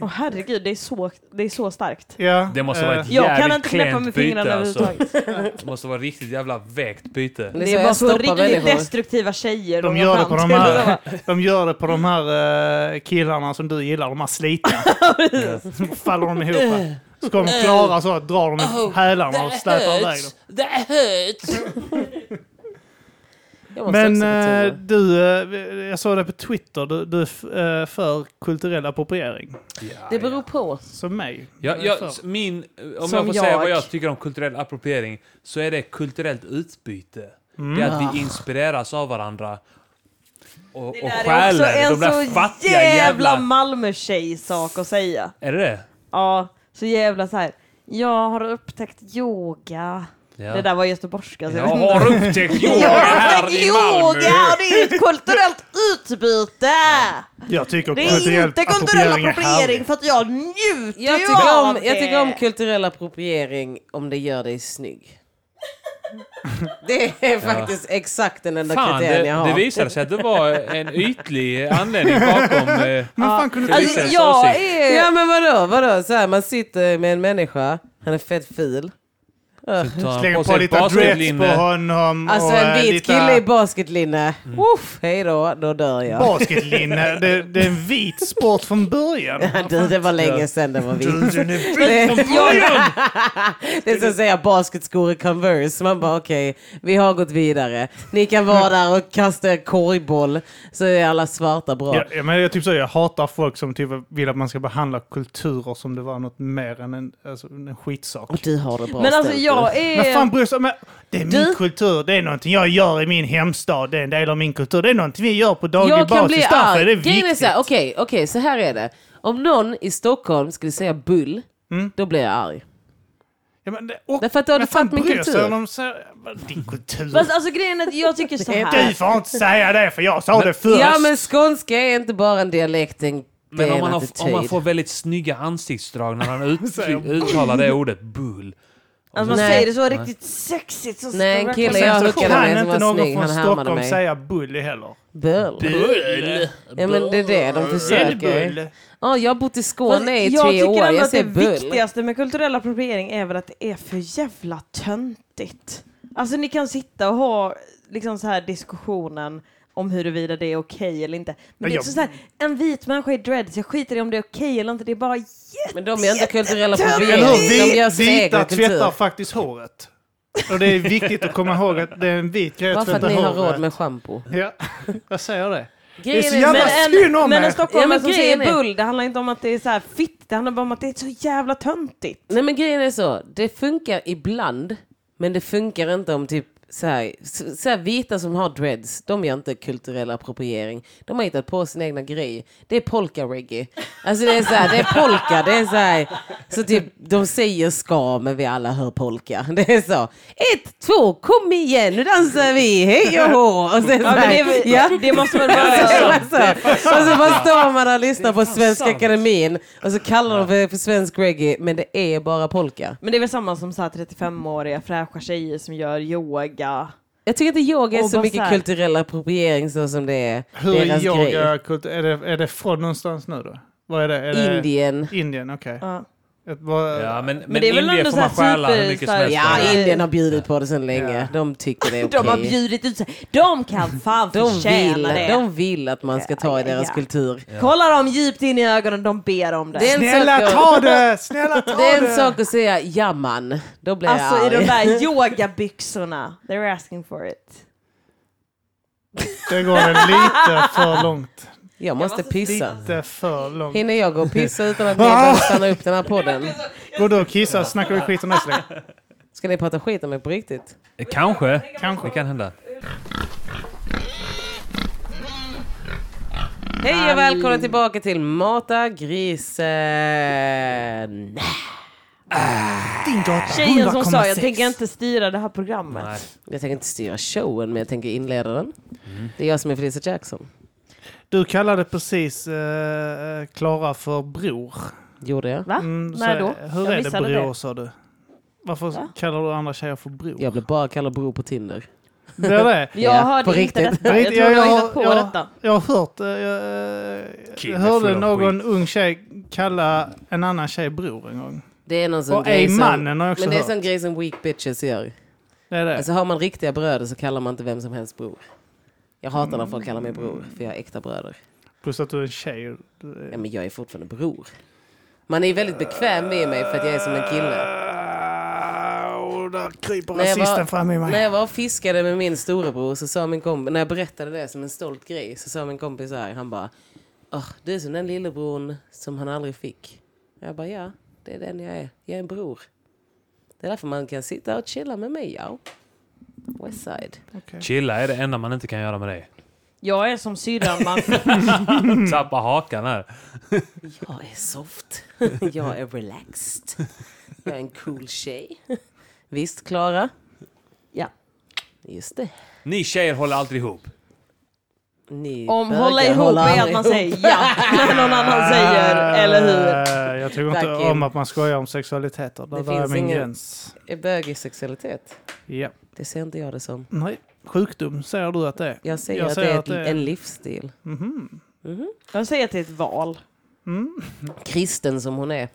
Åh herregud, det är så, det är så starkt. Ja, Det måste vara eh, ett Jag kan jävligt inte knäppa klent med fingrarna byte, alltså. överhuvudtaget. Det måste vara riktigt jävla vägt byte. Det Det är jag bara så stoppar riktigt människor. destruktiva tjejer. De går gör, det fram på de, till här, och de gör det på de här eh, killarna som du gillar, de här slitna. Så faller de ihop. Så kommer Klara så att drar de i hälarna och släpar iväg dem. Det hurts! Jag måste Men också eh, betona. du, eh, jag såg det på Twitter, du, du är f- eh, för kulturell appropriering. Det beror på. Som mig. Ja, Du är jag, för. s- min, eh, om Som jag får säga jag. vad jag tycker om kulturell appropriering så är det kulturellt utbyte. Det är att vi inspireras av varandra. Och, och Det där är också stjäler en de där så fattiga jävla jävla... Malmö-tjej-sak att säga. Är det det? Ja, så jävla så här. Jag har upptäckt yoga. Ja. Det där var alltså. göteborgska. Så jag jag vet inte. har upptäckt yoga Jag har här upptäckt i yoga och Malmö! det är ett kulturellt utbyte! Jag tycker Det är inte kulturell appropriering för att jag njuter Jag ju tycker, av om, jag det. tycker om kulturell appropriering om det gör dig snygg. Det är faktiskt exakt den enda Fan, kriterien jag det, har. det visade sig att det var en ytlig anledning bakom... Eh, Men fan kunde du... Alltså, Kulturell jag åsikt. är... Ja men vadå, vadå? Så här, man sitter med en människa, han är fett ful. tar han Slänger på på sig ett lite dreads på basketlinne. honom Alltså och en eh, vit lite Mm. kille i basketlinne. Uff, hej då, då dör jag. basketlinne. Det, det är en vit sport från början. Du, det var länge sedan det var Du, vitt. den är Det, vit. det är som att säga basketskor i Converse. Man bara okej, vi har gått vidare. Ni kan vara där och kasta er korgboll så är alla svarta bra. Ja, ja, men jag, typ så, jag hatar folk som typ vill att man ska behandla kulturer som det var något mer än en, alltså, en skitsak. Och du har det bra Men alltså ställt, jag du. Men är... fan bryr sig men Det är min Ehm, Du- kultur, det är någonting jag gör i min hemstad, det är en del av min kultur, det är någonting vi gör på daglig Jag kan basis. bli Därför är det arg. Grejen är viktigt. så här, okej, okej, så här är det. Om någon i Stockholm skulle säga bull, då blir jag arg. Ja, men det, och, Därför att då har men du fan tagit min bryr sig kultur. Mm. om de säger, "Vad, Din kultur. Fast alltså grejen är att jag tycker så Du här. får inte säga det för jag sa det först. Ja men skånska är inte bara en dialekt, det är en- det Men är om en man, har, attityd. om man får väldigt snygga ansiktsdrag när han ut, uttalar det ordet, bull. Att Alltså, man Nej. säger det så riktigt sexigt. Så Nej, en står det kille verkligen- jag så hookade kan med som inte var någon snygg, från han härmade Stockholm mig. säga bully heller. Bull. Bull! Ja men det är det de försöker. Bull. Ja, jag har bott i Skåne i Alltså, jag tre tycker år, ändå jag att det säger bull. viktigaste med kulturell appropriering är väl att det är för jävla töntigt. Alltså ni kan sitta och ha liksom så här diskussionen om huruvida det är okej eller inte. Men det är Jag- också så här, en vit människa i dreads, jag skiter i om det är okej eller inte, det är bara jätte... Men de är inte kulturella Eller hur? appropriering, de Vi, gör sin vita egen kultur. tvättar faktiskt håret. Och det är viktigt att komma ihåg att det är en vit grej Bara att för att tvätta ni har håret. råd med schampo. Ja, jag säger det. Grejen så är- jävla men- s- synd om en, men er. en stockholmare Ja, men som grejen säger är- bull, det handlar inte om att det är så här fitt, det handlar bara om att det är så jävla töntigt. Nej men grejen är så, det funkar ibland, men det funkar inte om typ så här, så så här vita som har dreads, de gör inte kulturell appropriering. De har hittat på sin egna grej. Det är polka-reggae. Alltså det är så här, det är polka, det är så här, så typ de säger ska men vi alla hör polka. Det är så, ett, två, kom igen, nu dansar vi, hej och hå! Och sen så Ja, men här, det, ja. det måste väl Ja, det vara... var så. Och så bara alltså, står man där och lyssnar på fan Svenska sant. Akademin och så kallar de det för svensk reggae men det är bara polka. Men det är väl samma som så här 35-åriga fräscha tjejer som gör yoga. Jag tycker inte yoga är Och så bara så mycket här. kulturell appropriering så som det är Hur är deras yoga grej. kultur? Är det, är det från någonstans nu då? Vad är det? Är det Indien. Indien, okej. Ja. Ett- vad- Ja, Eh, men, men, det är väl Indien ändå får så här man stjäla hur mycket som super- helst. Ja, Ja. Indien har bjudit på det sedan länge. Ja. De tycker det är okej. De har bjudit ut sig. De kan fan De vill, förtjäna det. de vill att man ska ta i Ja, ja, deras ja. kultur. Kolla dem djupt in i ögonen, de ber om det. Det är en Snälla sak ta det! Snälla ta att, det är en det! sak att säga ja man. Då blir alltså i jag de arg. där yogabyxorna. They're asking for it. Det går väl lite för långt. Jag måste pissa. Lite för långt. Hinner jag gå och pissa utan Ah. att ni behöver stanna upp den här podden? Går du och kissar snackar vi skit om det så länge. Ska ni prata skit om mig på riktigt? Eh, Kanske. Kanske. Det kan hända. Hej och välkomna tillbaka till Mata eh, grisen. Tjejen som sa, jag 100,6. tänker inte styra det här programmet. Nej. Jag tänker inte styra showen, men jag tänker inleda den. Mm. Det är jag som är Felicia Jackson. Du kallade precis eh, Klara för bror. Gjorde jag? Va? Mm, så, När då? Hur jag är det missade bror, sa du? Varför kallar du andra tjejer för bror? Jag blev bara kallad bror på Tinder. Det är det. Jag Ja, på hörde inte riktigt. detta. Jag tror du har hittat på detta. Jag har hört, eh, jag, Kid jag är hörde full av någon ung tjej kalla en annan tjej bror en gång. Det är någon sån Och grej ej som... mannen har jag också Men det är hört. sån grej som weak bitches gör. Det är det. Alltså har man riktiga bröder så kallar man inte vem som helst bror. Jag hatar när folk kallar mig bror, för jag är äkta bröder. Plus att du är en tjej. Eh, Ja, men jag är fortfarande bror. Man är ju väldigt bekväm med mig för att jag är som en kille. Och där kryper När jag rasisten var- fram i mig. När jag var och fiskade med min storebror så sa min kompis, när jag berättade det som en stolt grej så sa min kompis så här, han bara "Åh, Du är som den lillebror som han aldrig fick. Jag bara ja, det är den jag är. Jag är en bror. Det är därför man kan sitta och chilla med mig, ja. Westside. Chilla är det enda man inte kan göra med dig. Jag är som syrran, man Tappa hakan här. Jag är soft. Jag är relaxed. Jag är en cool tjej. Visst, Klara? Ja. Just det. Ni tjejer håller alltid ihop. Ni Om bögar hålla ihop håller är att aldrig man ihop. säger ja när någon annan säger, eller hur? Eh, Jag tycker inte Tack, Kim. om att man skojar om sexualiteter. Där, Det där är finns min ingen- gräns. Är bög sexualitet? Ja. Det ser inte jag det som. Nej. Sjukdom säger du att det är. Jag säger, Jag att, säger det är att det ett- är- en livsstil. Mhm. Mhm. Jag säger att det är ett val. Mm. Kristen som hon är.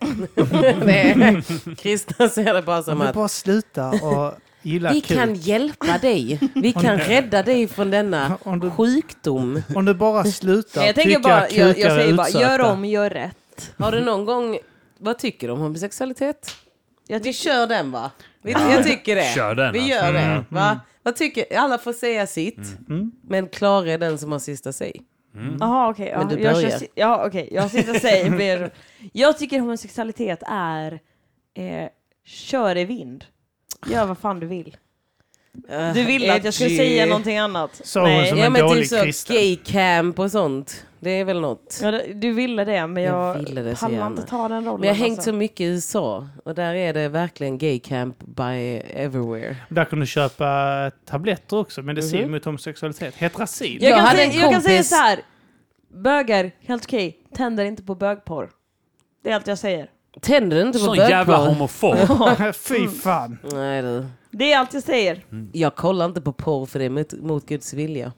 Nej, kristna ser det bara Om som vi att bara sluta och gilla vi kul. kan hjälpa dig. Vi kan rädda dig från denna Om du, sjukdom. om du bara slutar Jag tänker tycka bara, att kukar jag, jag säger är bara, utsatta. gör om, gör rätt. Har du någon gång... Vad tycker du om homosexualitet? Jag Vi kör den va? Vi, jag tycker det. Kör den, Mm. Vi gör det. Va? Vad tycker, alla får säga sitt. Mm. Men Klara är den som har sista sig. Jaha okej, Mm. Men du ja, jag, börjar. kör si- ja, okej. jag sitter och säger mer. Jag tycker homosexualitet är eh, kör i vind. Gör vad fan du vill. Du ville att jag skulle säga någonting annat. Sa hon som Ja en men dålig typ så kristen. gay camp och sånt. Det är väl något. Ja, du- du ville det men Jag jag, ville det så pallar gärna. inte ta den rollen. Men jag har hängt alltså. så mycket i USA och där är det verkligen gay camp by everywhere. Där kan du köpa tabletter också. Medicin Mhm. mot homosexualitet. Hetrazin. Ja. Jag jag, kan hade säga, en jag kan säga kompis- så här. Bögar, helt okej, tänder inte på bögporr. Det är allt jag säger. Tänder du inte på Sån jävla bögporr? homofob. Mm. Fy fan. Nej du. Det är allt jag säger. Jag kollar inte på porr för det är mot, mot Guds vilja.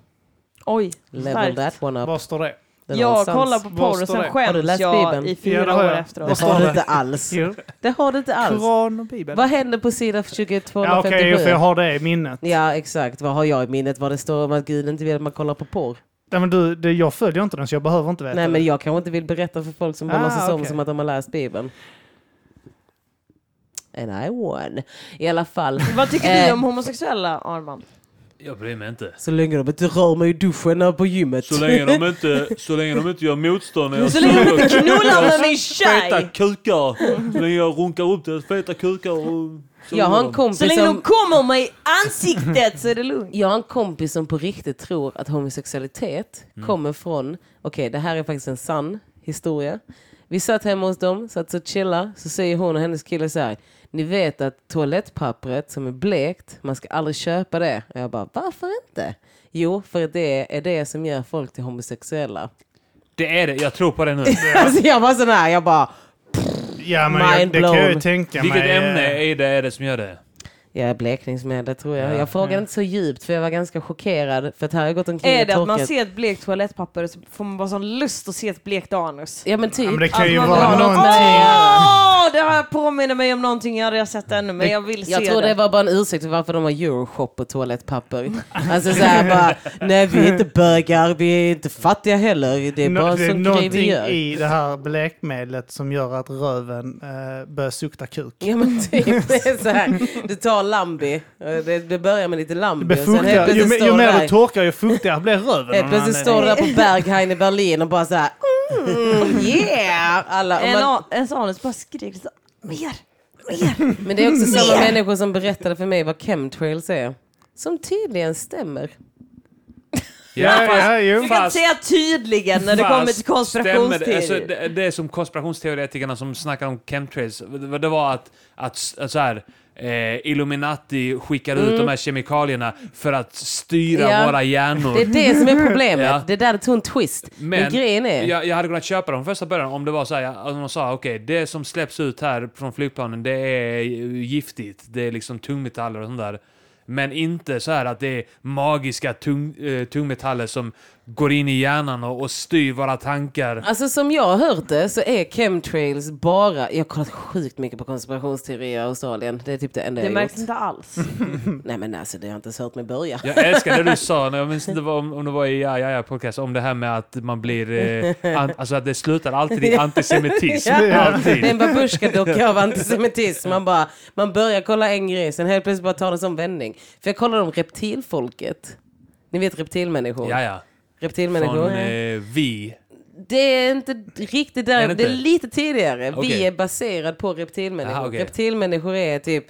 Oj, Level starkt. that one up. Var står det? Det är Jag någonstans. kollar på porr Var och står sen det? Har du skäms läst jag Bibeln? i Ja, det fyra har år jag. Det efteråt. står har du det? inte alls. Jo. Det har du inte alls. Koran och Bibeln. Vad händer på sida Ja, 2257? Okej, jo, för jag har det i minnet. Ja, exakt. Vad har jag i minnet? Vad det står om att Gud inte vill att man kollar på porr? Nej, men du, det, jag följer inte den så jag behöver inte veta. Nej, det. men jag kanske inte vill berätta för folk som bara Ah, låtsas om okej. som att de har läst Bibeln. And I won. I alla fall. Vad tycker du Eh. om homosexuella, Arman? Jag bryr mig inte. Så länge de inte rör mig i duschen här på gymmet. Så länge de inte, så länge de inte gör motstånd när jag Så länge de suger inte knullar med min feta tjej! kukar. Så länge jag runkar upp deras feta kukar och... jag har en Så kompis länge de som... kommer mig i ansiktet så är det lugnt. Jag har en kompis som på riktigt tror att homosexualitet kommer från, okej det här är faktiskt en sann historia. Vi satt hemma hos dem, satt och chilla, så säger hon och hennes kille så här, ni vet att toalettpappret som är blekt, man ska aldrig köpa det. Och jag bara, varför inte? Jo, för det är det som gör folk till homosexuella. Det är det, jag tror på det nu. Alltså jag var sån här, jag bara, Ja, men jag, Mind det kan jag ju blown. tänka Vilket mig. eh, ämne är det, är det som gör det? jag är blekningsmedel tror jag. Ja. Jag frågade inte så djupt för jag var ganska chockerad för att här har jag gått omkring Är och det att man torkat. ser ett blekt toalettpapper så får man bara sån lust att se ett blekt anus? Ja men Ja, typ. men det kan Att ju man vara bara- någonting. Åh, det här påminner mig om någonting jag aldrig har sett ännu men jag vill se Jag tror det var bara en ursäkt för varför de har euroshop och toalettpapper. Alltså såhär bara, nej vi är inte bögar, vi är inte fattiga heller. Det är Nå- bara det en är sån grej vi någonting gör. i det här blekmedlet som gör att röven eh, börjar sukta kuk. Ja men typ, det är såhär, du tar Lambi, det, det börjar med lite Det Lambi blir och sen helt fuktigare. Ju, plötsligt mer- ju står du mer du där. torkar ju fuktigare blir röven. Helt plötsligt står du där på Berghain i Berlin och bara såhär, mm, yeah! Alla, och En, man, a- ens anus bara skriker så, mer, mer. men det är också Mm. samma människor som berättade för mig vad chemtrails är. Som tydligen stämmer. Ja, fast- ja, Du ju. kan inte Fast- säga tydligen när det Fast kommer till stämmer det? Alltså, konspirationsteorier. det, det är som konspirationsteoretikerna som snackar om chemtrails. Det, det var att, att, att så här, eh, Illuminati skickade ut de här kemikalierna för att styra Mm. Ja. våra hjärnor. Det är det som är problemet. Ja. Det där tog en twist. Men, Men grejen är... jag, jag hade kunnat köpa dem från första början om det var så här, ja, om de sa okej, det som släpps ut här från flygplanen det är giftigt, det är liksom tungmetaller och sånt där. Men inte så här att det är magiska tung, eh, tungmetaller som går in i hjärnan och, och styr våra tankar. Alltså som jag har hört det så är chemtrails bara... Jag har kollat sjukt mycket på konspirationsteorier i Australien. Det är typ det enda Det jag har märks gjort. inte alls. Nej men alltså det har jag inte ens hört mig börja. Jag älskar det du sa, när jag minns inte vad- om, om det var i Ja, ja, ja podcast, om det här med att man blir... Eh, an, alltså att det slutar alltid i antisemitism. Ja. Alltid. Det är en babusjkadocka av antisemitism. Man, bara, man börjar kolla en grej, sen helt plötsligt bara tar det som vändning. För jag kollade om reptilfolket. Ni vet reptilmänniskor? Ja, ja. Reptilmänniskor. Från eh, Vi. Det är inte riktigt där, Är det det, inte? är lite tidigare. Okej. Vi är baserad på reptilmänniskor. Aha, okej. Reptilmänniskor är typ...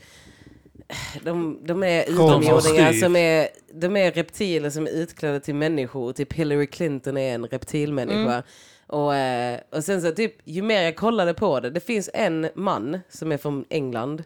De, de är Kronos. utomjordingar Styr. som är, de är reptiler som är utklädda till människor. Typ Hillary Clinton är en reptilmänniska. Mm. Och, eh, och sen så typ, ju mer jag kollade på det, det finns en man som är från England.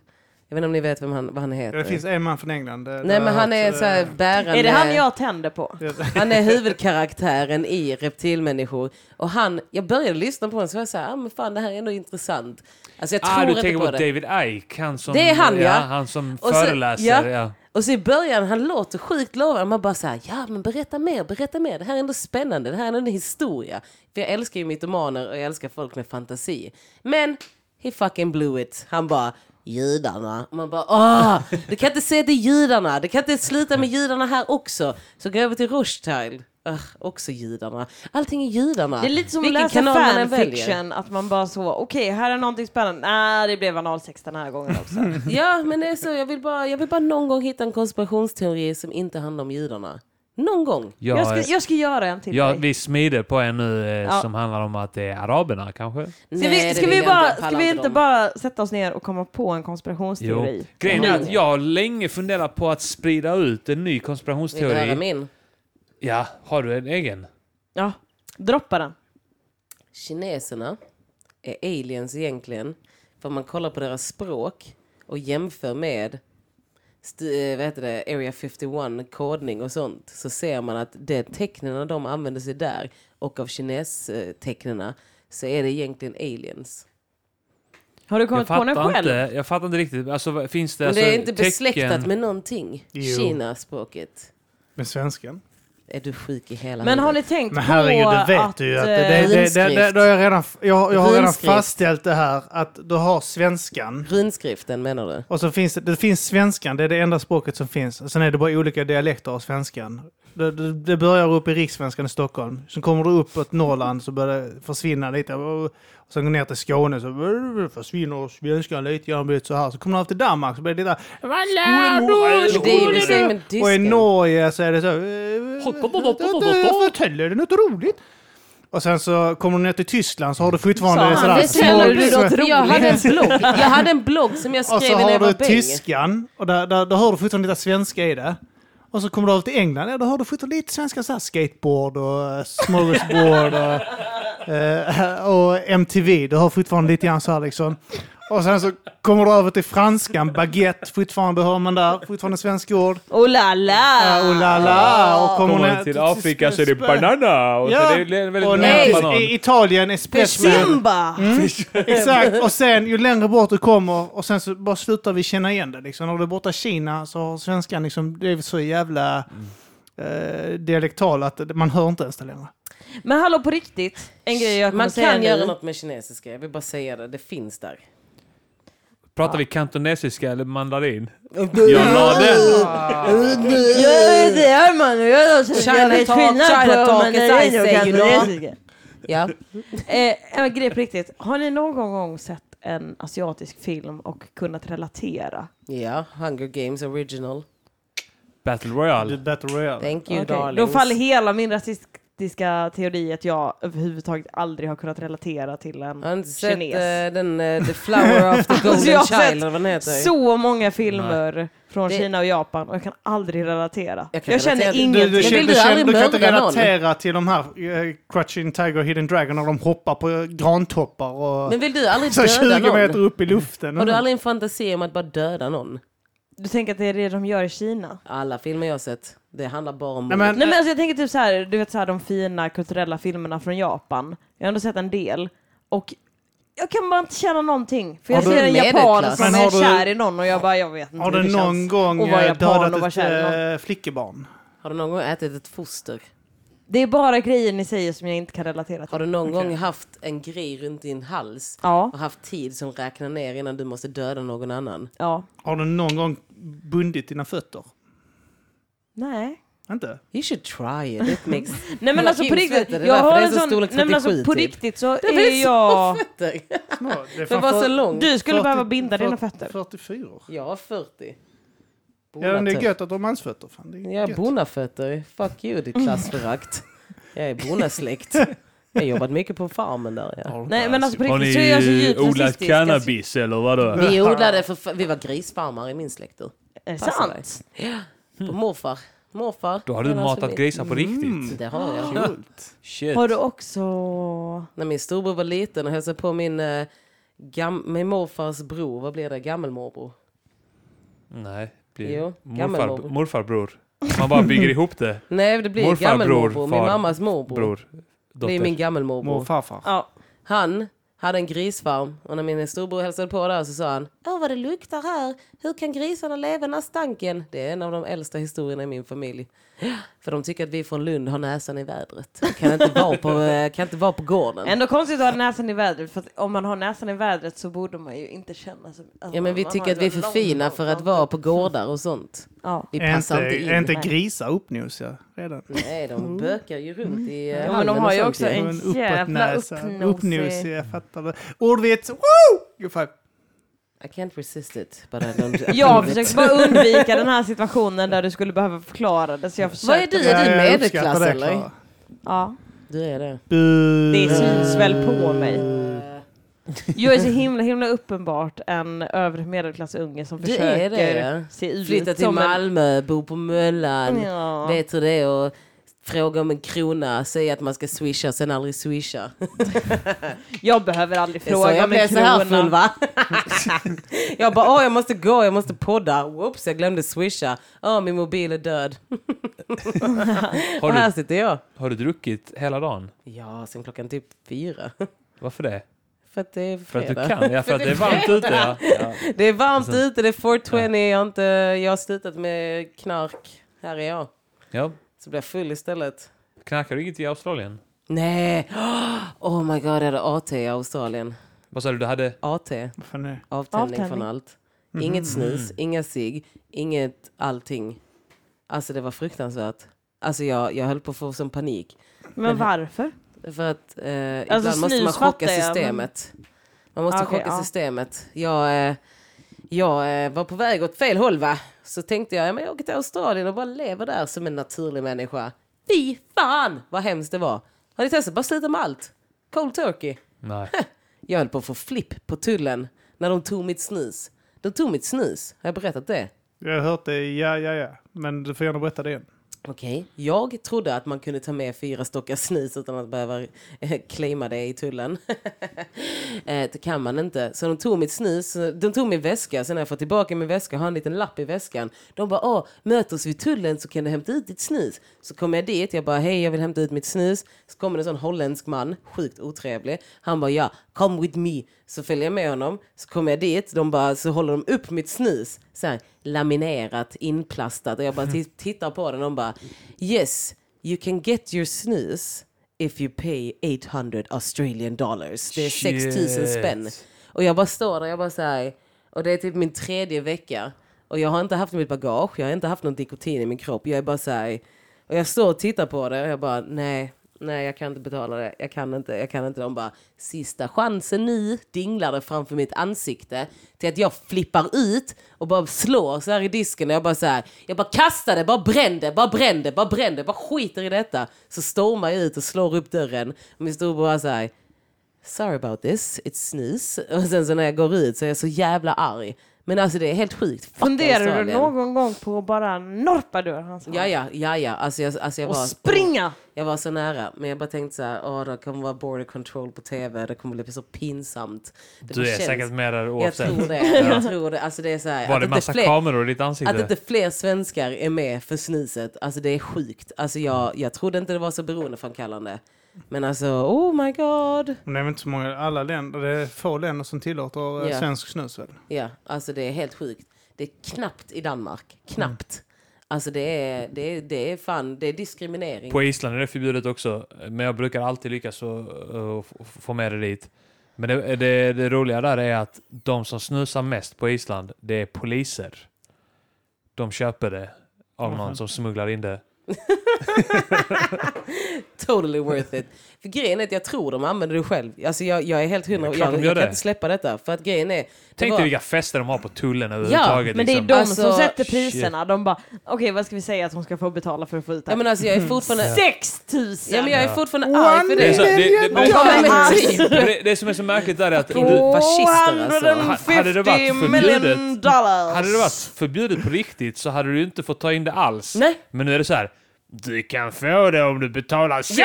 Jag vet inte om ni vet vem han, vad han heter. Det finns en man från England. eh, Eh. Nej där men jag han har är hört, så här eh, bärande. Är det han jag tänder på? Han är huvudkaraktären i Reptilmänniskor. Och han, jag började lyssna på honom så var jag så här, ah, men fan det här är ändå intressant. Alltså jag tror Ah, du inte tänker på på det. David Icke, han som, Det är han, ja. han som Och så- föreläser. ja. ja. Och så i början, han låter sjukt lovande. Man bara så här, ja men berätta mer, berätta mer. Det här är ändå spännande, det här är ändå en historia. För jag älskar ju mytomaner och jag älskar folk med fantasi. Men, he fucking blew it. Han bara, judarna. Och man bara, ah, du kan inte säga det är judarna. Du kan inte sluta med judarna här också. Så går jag över till Rothschild. Ah, också judarna. Allting är judarna. Det är lite som att Vilken läsa kanal man än väljer. fanfiction, att man bara så, okej, här är någonting spännande. Nej, det blev analsex den här gången också. Ja, men det är så. Jag vill, bara, jag vill bara någon gång hitta en konspirationsteori som inte handlar om judarna. Någon gång. Ja, Jag, ska, jag ska göra en till ja, dig. vi smider på en nu eh, Ja. som handlar om att det är araberna kanske. Ska Nej, vi, det ska vill vi, jag bara, Jag pallar ska vi inte dem. bara sätta oss ner och komma på en konspirationsteori? Mm. Grejen är Nu. att jag har länge funderat på att sprida ut en ny Vill du höra konspirationsteori. min? Ja, har du en egen? Ja, droppa den. Kineserna är aliens egentligen. För om man kollar på deras språk och jämför med st- eh, vad heter det, Area 51 kodning och sånt så ser man att de tecknen de använder sig där och av kines-tecknena så är det egentligen aliens. Har du Jag kommit på den fattar, själv? inte, jag fattar inte riktigt. Alltså, vad- finns det, Men alltså, det är inte besläktat tecken- med någonting. Jo. Kina-språket. Med svensken. Är du sjuk i hela Men har huvudet? ni tänkt Men herregud, på det vet att... du ju. Att eh, det, det, det, det, det, runskrift. då har jag, redan, jag, jag har redan Runskrift. fastställt det här att du har svenskan. Runskriften menar du? Och så finns det, det finns svenskan, det är det enda språket som finns. Sen är det bara olika dialekter av svenskan. Det, det, det börjar upp i rikssvenskan i Stockholm. Sen kommer du uppåt Norrland så börjar det försvinna lite. Och sen går du ner till Skåne så försvinner svenskan lite grann. blir det Så, här. så kommer du upp till Danmark så blir det lite... Det är ju liksom det same med Och i tysken. Norge så är det så... Förtäller det något roligt? Och sen så kommer du ner till Tyskland så har du fortfarande Fan, sådär... det känner du små- något roligt. Jag hade en blogg, jag hade en blogg som jag skrev och så när jag har var du bäng. tyskan, och där, där, där har du fortfarande lite svenska i det. Och så kommer du över till England, ja, då har du fortfarande lite svenska, så här, skateboard och eh, smorgasbord och, eh, och MTV. Du har fortfarande lite grann så här liksom. Och sen så kommer du över till franskan, baguette, fortfarande hör man där, fortfarande svenska ord. Oh la Ah, la! Uh, och la la, och kommer Kommer ner- du till Afrika så är det banana. Och Ja. så är det är väldigt Och nära ner nej. banan. till I- Italien, espresso. Simba! Exakt, och sen ju längre bort du kommer och sen så bara slutar vi känna igen det. Liksom. När du är borta i Kina så har svenskan liksom, det är så jävla eh, dialektal att det- man hör inte ens det längre. Men hallå på riktigt, en grej jag kommer Man säga kan nu. göra något med kinesiska, jag vill bara säga det. Det finns där. Pratar vi kantonesiska eller mandarin? Jag la den. Ja, det gör man. Jag gör så China talk, China talk is I say, you know. Ja. Eh, en grej på riktigt. Har ni någon gång sett en asiatisk film och kunnat relatera? ja, Hunger Games original. Battle Royale. Battle Royale. Thank you Okej, darlings. Då faller hela min rasistiska teori att jag överhuvudtaget aldrig har kunnat relatera till en Har du inte sett kines. eh, den eh, The Flower of the Alltså, jag Golden har sett Child? eller Vad den heter? Så många filmer från Det- Kina och Japan och jag kan aldrig relatera. Jag, Jag kan känner relatera till- Du, ingenting. du, Men känner- vill du, du känner- aldrig du kan inte mörda någon? relatera till de här eh, Crouching Tiger och Hidden Dragon när de hoppar på eh, grantoppar och Men vill du aldrig så 20 döda meter någon? upp i luften. Har du aldrig en fantasi om att bara döda någon? Du tänker att det är det de gör i Kina? Alla filmer jag har sett, det handlar bara om Nej, men, Nej men alltså jag tänker typ så här, du vet så här de fina kulturella filmerna från Japan. Jag har ändå sett en del. Och jag kan bara inte känna någonting. För jag Har du ser en japan medelklass? som Men är har du- kär i någon och jag bara, jag vet inte Har du hur det någon känns. gång att vara eh, japan och dödat vara ett kär i eh, flickebarn? Har du någon gång ätit ett foster? Det är bara grejer ni säger som jag inte kan relatera Har till. du någon gång haft en grej runt din hals Ja, och haft tid som räknar ner innan du måste döda någon annan? ja, Har du någon gång bundit dina fötter? nej. Inte? You should try it, it makes... Nej men Men alltså Kim på riktigt, svettar, det är jag därför har det är en så sån... storlek Nej men alltså på 37 typ. riktigt så Det är är jag... fötter! Små. Det är För att vara så framför- lång. Du skulle 40 behöva binda dina 40 fötter. 44. Ja, 40. Ja, men det är Bonafötter. gött att de har mansfötter. Fan, det är Jag är gött. bonafötter. Fuck you, ditt klassförakt. Jag är bonasläkt. Jag har jobbat mycket på farmen där. Ja. Nej men alltså på Har riktigt så är jag så ni eh, djupt odlat rasistisk. alltså. cannabis eller vadå? Vi odlade för fa- vi var grisfarmare i min släkt. du. Är det Passar dig. sant? På Mm. morfar. Morfar. Då har du Men alltså matat min- grisar på Mm. riktigt? Det har jag. Coolt. Shit. Har du också... När min storbror var liten och hälsade på min, eh, gam- min morfars bror, vad blir det, gammelmorbror? Nej. Jo, Blir gammelmorbror. morfar, morfarbror. Man bara bygger ihop det. Nej, det blir Morfar, gammelmorbror. bror, min far, mammas morbror Bror. blir min Dotter. gammelmorbror. Mor och farfar. Ja. Han hade en grisfarm och när min storbror hälsade på där så sa han Åh vad det luktar här, hur kan grisarna leva den här stanken? Det är en av de äldsta historierna i min familj. För de tycker att vi från Lund har näsan i vädret. Kan inte vara på, eh, kan inte vara på gården. Ändå konstigt att ha näsan i vädret, för att om man har näsan i vädret så borde man ju inte känna sig... alltså, Ja men vi man tycker har att vi är ett för långt- fina för att vara på gårdar och sånt. Ja. Vi Är passar inte, inte är in. inte grisar uppnosiga redan? Nej, de bökar ju runt i eh, Ja, men hallen de har och ju sånt också en- Och en uppåt jävla eh. näsa. uppnosig. Uppnosig, jag fattar det. Ordvits! Woo! Good five. I can't resist it, but I don't... Jag försökte bara undvika den här situationen där du skulle behöva förklara det, så jag försökte... Vad är du? Ja, Är du jag medelklass uppskattar det, eller? Klara. Ja. Du är det. Bu. Det Mm. syns väl på mig. Jag är så himla, himla uppenbart en övre medelklassunge som Du försöker är det. se ut Flytta till som en- Malmö, bo på Möllan. Ja. Vet hur det är och fråga om en krona, säga att man ska swisha sen aldrig swisha. Jag behöver aldrig Det är så fråga jag om en blev så här full krona. va? jag bara, åh jag måste gå, jag måste podda. Whoops, jag glömde swisha. Åh, min mobil är död. Har Och här du, sitter jag. har du druckit hela dagen? Ja, sen klockan typ fyra. Varför det? För att det är fredag. För att du kan? Ja, för att det är varmt ute. Ja. Ja. Det är varmt ute, det är 420, jag, har inte, jag har slutat med knark. Här är jag. Ja. Så blir jag full istället. Knarkar du inget i Australien? Nej! Oh my god, jag hade AT i Australien. Vad sa du? Du hade... AT, Vad fan är Mhm. det? avtändning Avtändning. Mhm. Mm. från allt. Inget snus, inga cigg, inget allting. Alltså det var fruktansvärt. Alltså jag, jag höll på att få som panik. Men varför? För att eh, Alltså, ibland måste snus man chocka fattar jag, men- systemet. Man måste Ah, okej, chocka ja. systemet. Jag, eh, jag eh, var på väg åt fel håll va? Så tänkte jag, ja, men jag åker till Australien och bara lever där som en naturlig människa. Fy fan vad hemskt det var. Har ni testat? Bara sluta med allt. Cold turkey. Nej. Jag höll på att få flipp på tullen när de tog mitt snus. De tog mitt snus. Har jag berättat det? Jag har hört det, ja, ja, ja. Men du får gärna berätta det igen. Okej. Jag trodde att man kunde ta med fyra stockar snus utan att behöva eh, claima det i tullen. eh, det kan man inte. Så de tog mitt snus, eh, de tog min väska. Sen när jag fått tillbaka min väska har jag en liten lapp i väskan. De bara, åh, möt oss vid tullen så kan du hämta ut ditt snus. Så kommer jag dit, jag bara, hej jag vill hämta ut mitt snus. Så kommer det en sån holländsk man, sjukt otrevlig. Han bara, ja, come with me. Så följer jag med honom, så kommer jag dit, de bara, så håller de upp mitt snus. Så här, laminerat, inplastat. Och jag bara t- tittar på den och de bara, yes, you can get your snus if you pay 800 Australian dollars. Det är 6000 spänn. Shit. Och jag bara står där, jag bara säger och det är typ min tredje vecka. Och jag har inte haft mitt bagage, jag har inte haft någon nikotin i min kropp. Jag är bara såhär, och jag står och tittar på det och jag bara nej, nej jag kan inte betala det, jag kan inte, jag kan inte. De bara sista chansen nu, dinglar det framför mitt ansikte. Till att jag flippar ut och bara slår så här i disken och jag bara såhär, jag bara kastar det, bara bränn det, bara bränn det, bara bränn det, bara skiter i detta. Så stormar jag ut och slår upp dörren. Och min storbror bara såhär, sorry about this, it's snus. Och sen så när jag går ut så är jag så jävla arg. Men alltså det är helt sjukt. Fuck Funderar du Australien. någon gång på att bara norpa du hans hand? Ja, ja, ja, ja. Alltså jag, alltså jag Och var... springa! Jag var så nära, men jag bara tänkte så här, åh, det kommer vara border control på tv, det kommer bli så pinsamt. Det Du bara är känns- säkert med där Jag oavsett. tror det. Jag tror det. Alltså det är så här, Var att det inte massa fler- kameror i ditt ansikte? Att inte fler svenskar är med för snuset, alltså det är sjukt. Alltså jag, jag trodde inte det var så beroendeframkallande. Men alltså, oh my god. Men det är väl inte så många, alla länder, det är få länder som tillåter Ja. yeah. svensk snus väl? Ja, alltså det är helt sjukt. Det är knappt i Danmark. Knappt. Mm. Alltså det är, det, är, det är fan, det är diskriminering. På Island är det förbjudet också, men jag brukar alltid lyckas att, eh, f- f- få med det dit. Men det, det, det roliga där är att de som snusar mest på Island, det är poliser. De köper det av Mhm. någon som smugglar in det. Totally worth it. För grejen är att jag tror de använder det själv. Alltså jag, jag är helt hundra. Det är Jag, klart jag, de gör kan det. inte släppa detta. För att grejen är... det Tänk var- dig vilka fester de har på tullen överhuvudtaget. Men det är liksom. de som Alltså, sätter priserna. De bara, okej vad ska vi säga att hon ska få betala för att få ut det Ja här? men alltså jag är fortfarande... 6 000! Ja men jag är fortfarande One arg för Det är det. så- det- det- million det- Ja, men dollars! typ. det, det som är så märkligt där är att om du, fascister, alltså. Hade det varit 250 förbjudet- million dollars! hade det varit förbjudet på riktigt så hade du inte fått ta in det alls. Nej. Men nu är det så här. Du kan få det om du betalar 6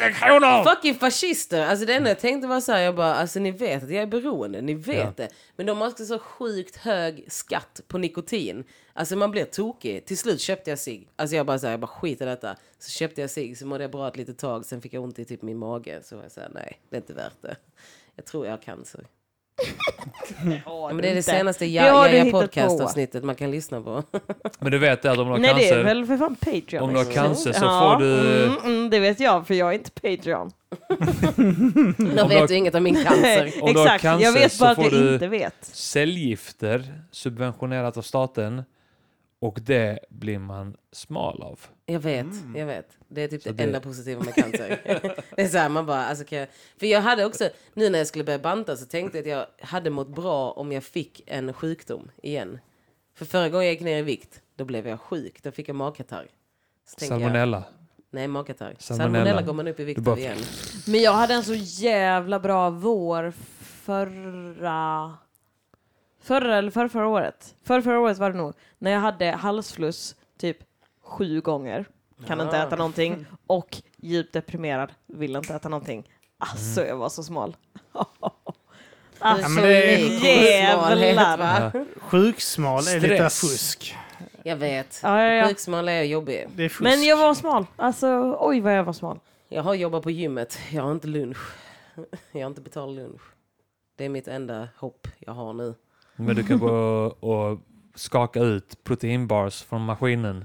000 kronor! Fucking fascister! Alltså det enda jag tänkte var så här, jag bara, alltså ni vet att jag är beroende, ni vet Ja. det. Men de har också så sjukt hög skatt på nikotin. Alltså man blir tokig. Till slut köpte jag cigg. Alltså jag bara så här, jag bara skit i detta. Så köpte jag cigg, så mådde jag bra ett litet tag, sen fick jag ont i typ min mage. Så var jag så här, nej det är inte värt det. Jag tror jag har cancer. Ja, men det är det senaste Det har jag, du jag, jag hittat podcastavsnittet man kan lyssna på. Men du vet det att om du har Nej det är cancer, väl för fan Patreon. Om du har liksom. cancer så får du- Mm, mm, det vet jag för jag är inte Patreon. Då har- vet du inget om min cancer. Om du har Exakt, cancer jag vet så bara att får jag du- inte vet. cellgifter subventionerat av staten och det blir man smal av. Jag vet, jag vet. Det är typ Så det, det- enda positiva med cancer. det är så här, man bara, alltså kan jag... För jag hade också, nu när jag skulle börja banta så tänkte jag att jag hade mått bra om jag fick en sjukdom igen. För förra gången jag gick ner i vikt, då blev jag sjuk. Då fick jag magkatarr. Så tänker Jag, Salmonella. nej, magkatarr. Salmonella. Salmonella. går man upp i vikt Du bara- av igen. Men jag hade en så jävla bra vår förra... Förra eller förra, förra året. Förra, förra året var det nog. När jag hade halsfluss typ sju gånger. Kan inte Ah. äta någonting. Och djupt deprimerad. Vill inte äta någonting. Alltså jag var så smal. Alltså. Du men såg det är- unik och smalhet, Jävlar. va? Sjuksmal är lite Stress. fusk. Jag vet. Ja, ja, ja. Sjuksmal är jobbig. Det är fusk. Men jag var smal. Alltså oj vad jag var smal. Jag har jobbat på gymmet. Jag har inte lunch. Jag har inte betalat lunch. Det är mitt enda hopp jag har nu. Men du kan gå och skaka ut proteinbars från maskinen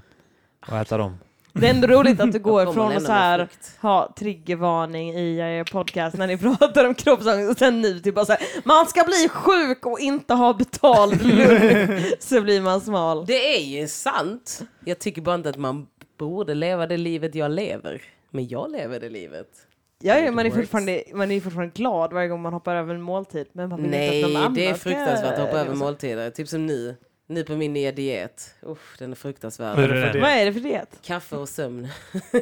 och äta dem. Det är ändå roligt att du går kommer från ändå att så med här frukt. ha triggervarning i er podcast när ni pratar om kroppsångest och sen nu till bara så här, man ska bli sjuk och inte ha betald lunch så blir man smal. Det är ju sant. Jag tycker bara inte att man borde leva det livet jag lever. Men jag lever det livet. Ja, ja, man, är works. fortfarande, man är fortfarande glad varje gång man hoppar över en måltid. Men man vill inte att någon Nej, annan det är ska- fruktansvärt att hoppa över måltider. Typ som nu. Nu på min nya diet. Usch, den är fruktansvärd. Men- det för Vad är det för det? Kaffe och sömn.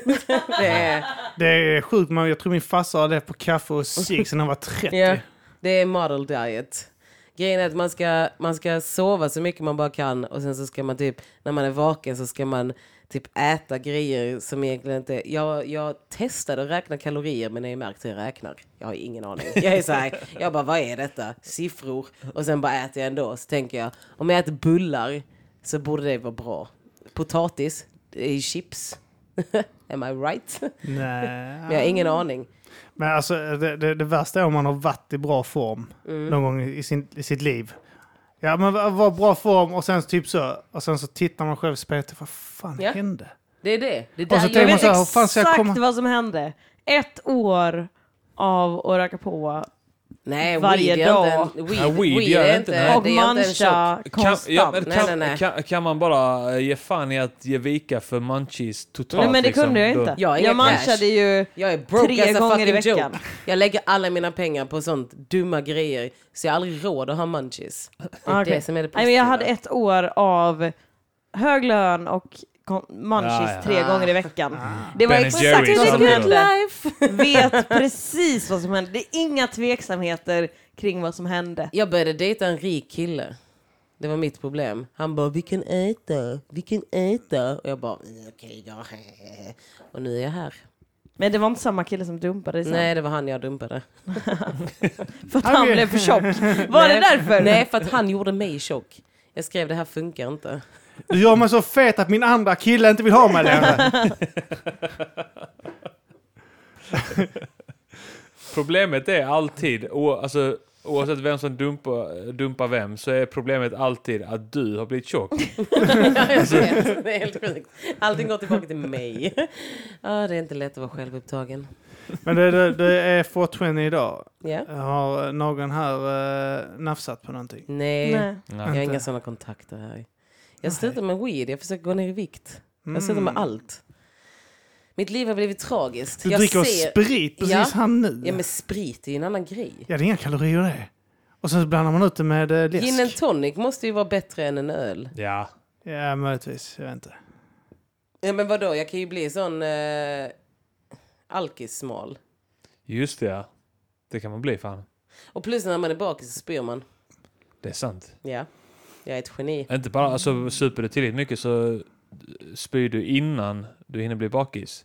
det är, Det är sjukt, man, jag tror min farsa har det på kaffe och cigg sen han var 30. ja, det är model diet. Grejen är att man ska, man ska sova så mycket man bara kan och sen så ska man typ, när man är vaken så ska man typ äta grejer som egentligen inte... Jag, jag testade att räkna kalorier men jag har ju märkt hur jag räknar. Jag har ingen aning. Jag är så här, jag bara vad är detta? Siffror. Och sen bara äter jag ändå. Så tänker jag, om jag äter bullar så borde det vara bra. Potatis, det är ju chips. Am I right? Nej. Men jag har ingen aning. Men alltså, det, det, det värsta är om man har varit i bra form någon gång i, sin, i sitt liv. Ja, man var var i bra form och sen så typ så, och sen så tittar man själv i spelet, vad fan Ja. hände? Det är det. det är Och så där tänker jag Jag man vet vet så här, "Hur fan ska jag exakt komma?" vad som hände. Ett år av att röka på Nej, varje weed är dag. inte en, weed, Ja, weed weed gör är inte inte, det. Eh, det är och inte en tjock- mancha Kan, konstant. ja, men Nej, kan, nej, nej. Kan, kan man bara ge fan i att ge vika för munchies totalt? Nej men det liksom? kunde jag Då- inte. Jag har inga Jag cash. manchade ju Jag är broke Tre as a gånger i fucking veckan. joke. Jag lägger alla mina pengar på sånt dumma grejer så jag har aldrig råd att ha munchies. Det är Okej. det som är det Nej, positiva. men jag hade ett år av hög lön och kon- munchies Ja, ja. tre Ah. gånger i veckan. Det var Ben exakt Jerry's vad som alltid. hände. life. Vet precis vad som hände. Det är inga tveksamheter kring vad som hände. Jag började dejta en rik kille. Det var mitt problem. Han bara, vi kan äta, vi kan äta. Och jag bara, "Mm, okej då. Och nu är jag här. Men det var inte samma kille som dumpade dig sen? Nej, det var han jag dumpade. För att han Okej. blev för tjock? Var det Nej. därför? Nej, för att han gjorde mig tjock. Jag skrev det här funkar inte. Du gör mig så fet att min andra kille inte vill ha mig längre. Problemet är alltid, o, alltså, oavsett vem som dumpar, dumpar vem, så är problemet alltid att du har blivit tjock. Ja, jag vet. Det är helt sjukt. Allting går tillbaka till mig. Ja, det är inte lätt att vara självupptagen. Men det, det, det är 420 idag. Ja. Har någon här eh, nafsat på någonting? Nej, Nej. jag har Nej. inga sådana kontakter här. Jag slutar med weed, jag försöker gå ner i vikt. Jag slutar med Mm. allt. Mitt liv har blivit tragiskt. Du jag dricker ser... sprit precis Ja. här nu. Ja, men sprit är ju en annan grej. Ja, det är inga kalorier det. Och sen så blandar man ut det med eh, läsk. Gin and tonic måste ju vara bättre än en öl. Ja. Ja, möjligtvis. Jag vet inte. Ja, men vadå, jag kan ju bli sån eh, alkissmal. Just det, ja. Det kan man bli fan. Och plus när man är bakis så spyr man. Det är sant. Ja, jag är ett geni. Inte bara, alltså super du tillräckligt mycket så spyr du innan du hinner bli bakis.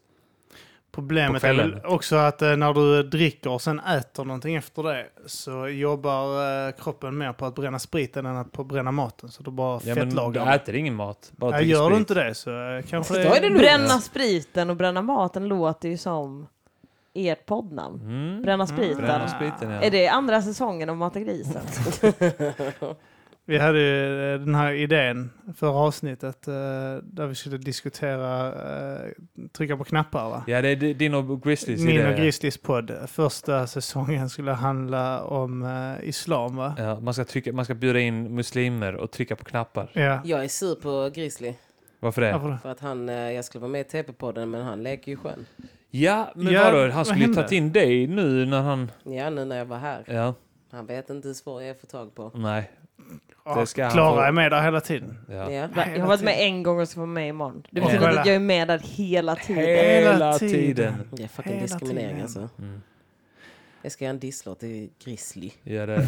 Problemet På är kvällen. väl också att eh, när du dricker och sen äter någonting efter det så jobbar eh, kroppen mer på att bränna spriten än att på att bränna maten. Så då bara Ja, men du fettlagrar man. äter ingen mat, bara Ja, dricker gör du sprit. inte det så eh, kanske Då är det lugnt. Bränna spriten och bränna maten låter ju som ert poddnamn. Mm. Bränna spriten. Bränna spriten, ja. Är det andra säsongen av Mata grisen? Vi hade ju eh, den här idén för avsnittet eh, där vi skulle diskutera, eh, trycka på knappar va? Ja, det är di- din och Grizzlys Min idé. och Grizzlys podd, eh, första säsongen skulle handla om eh, islam va? Ja, man, ska trycka, man ska bjuda in muslimer och trycka på knappar. Ja. Jag är sur på Grizzly Varför det? Varför det? för att han, eh, jag skulle vara med i TP-podden men han leker ju skön. Ja, men Ja, vadå? Han vad skulle ju hände? tagit in dig nu när han... Ja, nu när jag var här. Ja, Han vet inte hur svår jag är att få tag på. nej. Ja, Det ska han få. Klara är med där hela tiden. Ja. Ja. Jag har varit med en gång och ska vara med imorgon. Det Ja. betyder inte att jag är med där hela tiden. Hela Hela tiden. tiden. Det är fucking Hela diskriminering tiden. alltså. Mm. Jag ska göra en disslåt till Grizzly. Ja, det...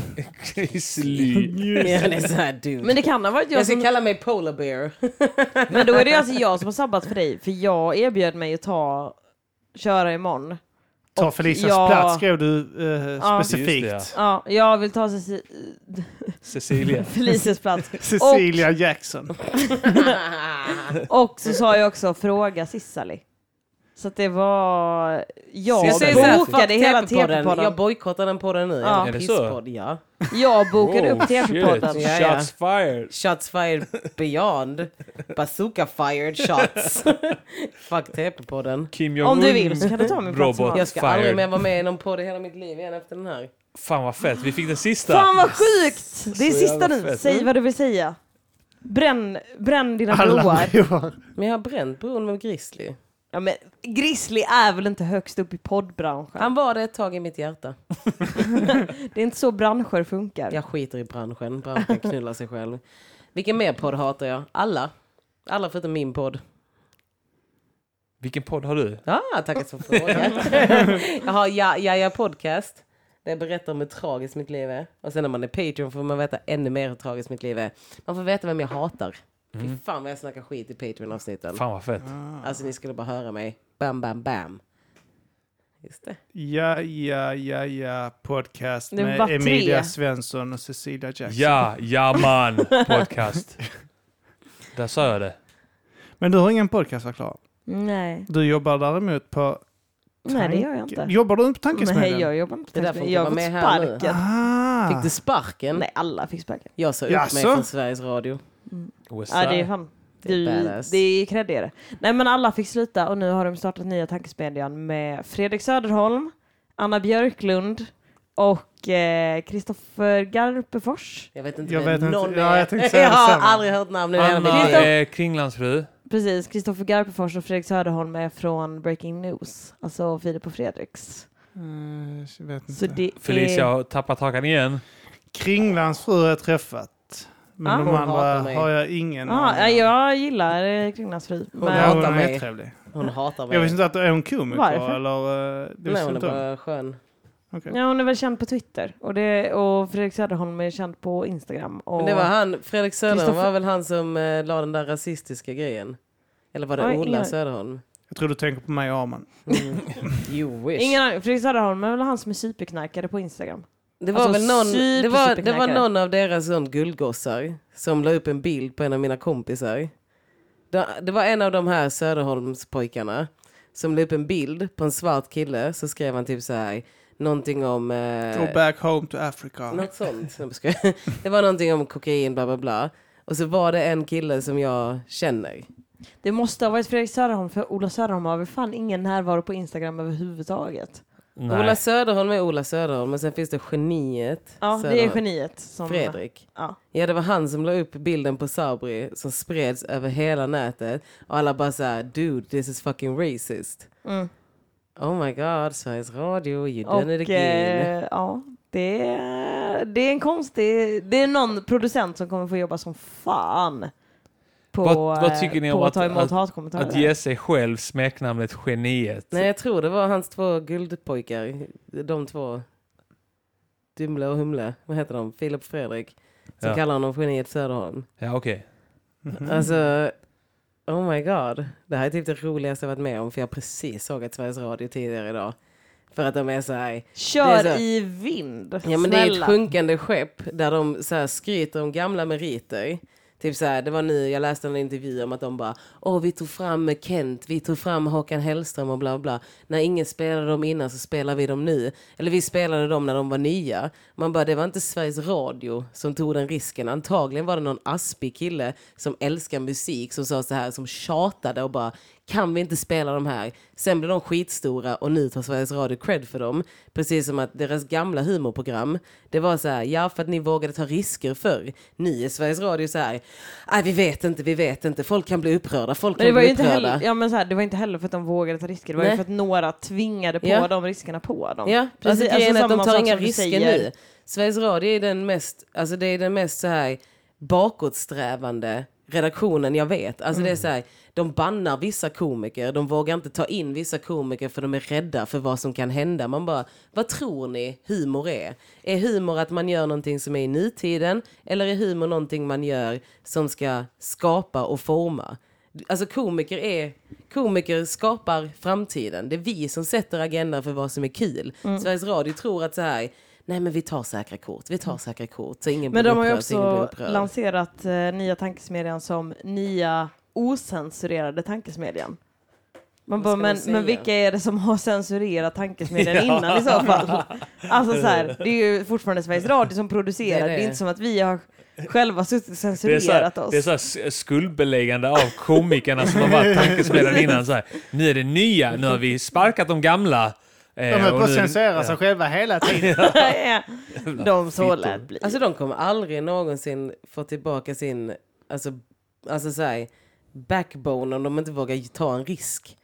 Grizzly. Ja, det är så här dumt. Men det kan ha varit jag jag ska som... kalla mig Polar Bear. Men då är det alltså jag som har sabbat för dig. För jag erbjöd mig att ta... Köra imorgon. Ta Och Felicias jag- plats skrev du eh, Ja. specifikt. Just Ja, jag vill ta Ceci... Cecilia. Felicias plats. Cecilia Jackson. Och så sa jag också fråga Sissali. Så att det var... Jag jag säger Sissali. så här, bokade fuck hela TP-podden. Jag TP-podden. bojkottar den podden nu. Ja. Ja. Är det så? Pisspodd, ja. Jag bokade upp TP-podden. Oh, shit. Ja, ja. Shots fired. Shots fired beyond. Bazooka fired shots. Fuck TP-podden. Kim Om Jong-Un. du vill så kan du ta min plats. Robot. imorgon. Jag ska Fired. aldrig mer vara med i någon podd i hela mitt liv igen efter den här. Fan vad fett, vi fick den sista. Fan vad sjukt! Det är Så sista jävla nu. fett. Säg vad du vill säga. Bränn, bränn dina Alla broar. broar. Men jag har bränt bron med Grizzly. Ja, men Grizzly är väl inte högst upp i poddbranschen? Han var det ett tag i mitt hjärta. Det är inte så branscher funkar. Jag skiter i branschen. Branschen knullar sig själv. Vilken mer podd hatar jag? Alla. Alla förutom min podd. Vilken podd har du? Ah, tackar som frågan. jag har ja, ja, ja podcast. Där jag berättar om hur tragiskt mitt liv är. Och sen när man är Patreon får man veta ännu mer hur tragiskt mitt liv är. Man får veta vem jag hatar. Fy fan vad jag snackar skit i Patreon-avsnitten. Fan vad fett. Alltså ni skulle bara höra mig. Bam, bam, bam. Just det. Ja, ja, ja, ja. Podcast Det med var tre. Emilia Svensson och Cecilia Jackson. Ja, ja man podcast. Där sa jag det. Men du har ingen podcast va, Klara? Nej. Du jobbar däremot på... Nej, det gör jag inte. Jobbar du inte på Tankesmedjan? Nej, jag jobbar inte Det är därför på hon Jag kan har fått vara med här nu. Mm. sparken. Ah. Fick du sparken? Nej, alla fick sparken. Jag sa upp mig Jaså? från Sveriges Radio. West Ja, det är Side. fan. Det är Du, badass. det är kreddigare. Nej men alla fick sluta och nu har de startat nya tankesmedjan med Fredrik Söderholm, Anna Björklund och eh, Kristoffer Garpefors. Jag vet inte Jag vem vet inte. någon Ja, är. jag tänkte säga har detsamma. aldrig hört namnet. i hela mitt Anna liv. är Kringlands fru. Precis, Kristoffer Garpefors och Fredrik Söderholm är från Breaking News, alltså Filip och Fredriks. Mm, Eh, jag vet Så inte. det Felicia är... har tappat hakan igen. Kringlands fru har jag träffat. Men Ah. de Hon andra hatar mig. har jag ingen Ah, ja, aning om. jag gillar eh, Kringlands fru. Hon Ja, Men, hon hatar är mig. jättetrevlig. Hon hatar mig. Jag visste inte att är hon komiker Varför? eller... eh, Det Nej, visste jag hon är inte om. bara skön. Okej. ja, hon är väl känd på Twitter och, det, och Fredrik Söderholm är känd på Instagram. Och... Men det var han, Fredrik Söderholm Kristoffer- var väl han som eh, la den där rasistiska grejen? Eller var det Oj, Ola ingen- Söderholm? Jag tror du tänker på mig och Arman. You wish. Ingen aning. Fredrik Söderholm är väl han som är superknarkare på Instagram? det, var alltså, väl någon, super, det, var, det var superknäckare. någon av deras sån guldgossar som la upp en bild på en av mina kompisar. Det, det var en av de här Söderholmspojkarna som la upp en bild på en svart kille. Så skrev han typ så här, någonting om... eh, Go back home to Africa. Något sånt. Jag skojar. Det var någonting om kokain, bla bla bla. Och så var det en kille som jag känner. Det måste ha varit Fredrik Söderholm för Ola Söderholm har väl fan ingen närvaro på Instagram överhuvudtaget. Nej. Ola Söderholm är Ola Söderholm, men sen finns det geniet. Ja, det är Söderholm. geniet. Som, Fredrik. Ja. Ja, det var han som la upp bilden på Sabri som spreds över hela nätet. Och alla bara såhär, dude this is fucking racist. Mm. Oh my god, Sveriges Radio, you Och done it again. eh, ja, det är, det är en konstig... Det är någon producent som kommer få jobba som fan på, Vad- vad tycker ni eh, om på att- att ta emot att- hatkommentarer. Att ge sig själv smeknamnet Geniet. Nej, jag tror det var hans två guldpojkar. De två. Dumle och Humle. Vad heter de? Filip och Fredrik. Som Ja. kallar honom geniet Söderholm. Ja, okej. Alltså, oh my god. Det här är typ det roligaste jag varit med om för jag precis såg att Sveriges Radio tidigare idag. För att de är så här, Kör det är så- i vind, ja men det är ett snälla. sjunkande skepp där de så här skryter om gamla meriter. Typ så här, det var nu jag läste en intervju om att de bara, åh vi tog fram Kent, vi tog fram Håkan Hellström och bla bla. När ingen spelade dem innan så spelar vi dem nu. Eller vi spelade dem när de var nya. Man bara, det var inte Sveriges Radio som tog den risken. Antagligen var det någon aspig kille som älskar musik som sa så här, som tjatade och bara, kan vi inte spela de här? Sen blev de skitstora och nu tar Sveriges Radio cred för dem. Precis som att deras gamla humorprogram, det var så här, ja för att ni vågade ta risker förr. Ni i Sveriges Radio så här, nej vi vet inte, vi vet inte, folk kan bli upprörda, folk kan Men det var bli ju inte upprörda. heller, ja, men så här, det var inte heller för att de vågade ta risker, det var ju Nej. för att några tvingade på Ja. de riskerna på dem. Ja, precis. Alltså, grejen är att de samma tar sak inga som du risker säger. nu. Sveriges Radio är den mest, alltså det är den mest så här bakåtsträvande redaktionen jag vet. Alltså Mm. det är så här, de bannar vissa komiker, de vågar inte ta in vissa komiker för de är rädda för vad som kan hända. Man bara, vad tror ni humor är? Är humor att man gör någonting som är i nutiden eller är humor någonting man gör som ska skapa och forma? Alltså komiker är komiker skapar framtiden. Det är vi som sätter agendan för vad som är kul. Mm. Sveriges Radio tror att så här, nej men vi tar säkra kort, vi tar säkra kort. Så ingen Men blir de har ju upprörd, så ingen blir också upprörd. lanserat eh, nya tankesmedjan som nya osensurerade tankesmedjan. Man Vad bara, ska man men, säga? men vilka är det som har censurerat tankesmedjan innan i så fall? Alltså så här, det är ju fortfarande Sveriges Radio som producerar, Det det är är, det. inte som att vi har själva suttit och Det är, så censurerat här, oss. det är så här s- skuldbeläggande av komikerna som har varit tankesmedjan innan. Så här, nu är det nya, nu har vi sparkat de gamla. eh, De höll på och att nu- censurera sig själva hela tiden. De så lät bli. Alltså de kommer aldrig någonsin få tillbaka sin, alltså, alltså så här, backbone om de inte vågar ta en risk.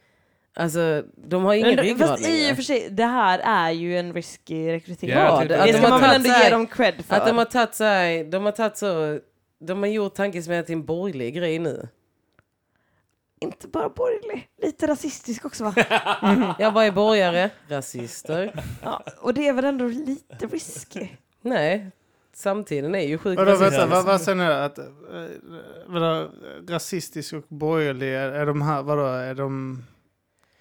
Alltså de har ingen Men, ryggrad fast i och längre. för sig, det här är ju en risky rekrytering. Ja, jag tycker det det. ska Att de man har väl tagit ändå så här- ge dem cred för. Att de har tagit så här, de har tagit så, de har gjort tankesmedjan till en borgerlig grej nu. Inte bara borgerlig, lite rasistisk också va? Jag bara är borgare, rasister. Ja, och det är väl ändå lite risky? Nej, samtiden är ju sjukt Vadå, vänta, rasistisk. vad, vad säger ni då? Att, eh, vadå, rasistisk och borgerlig, är, är de här, vadå, är de...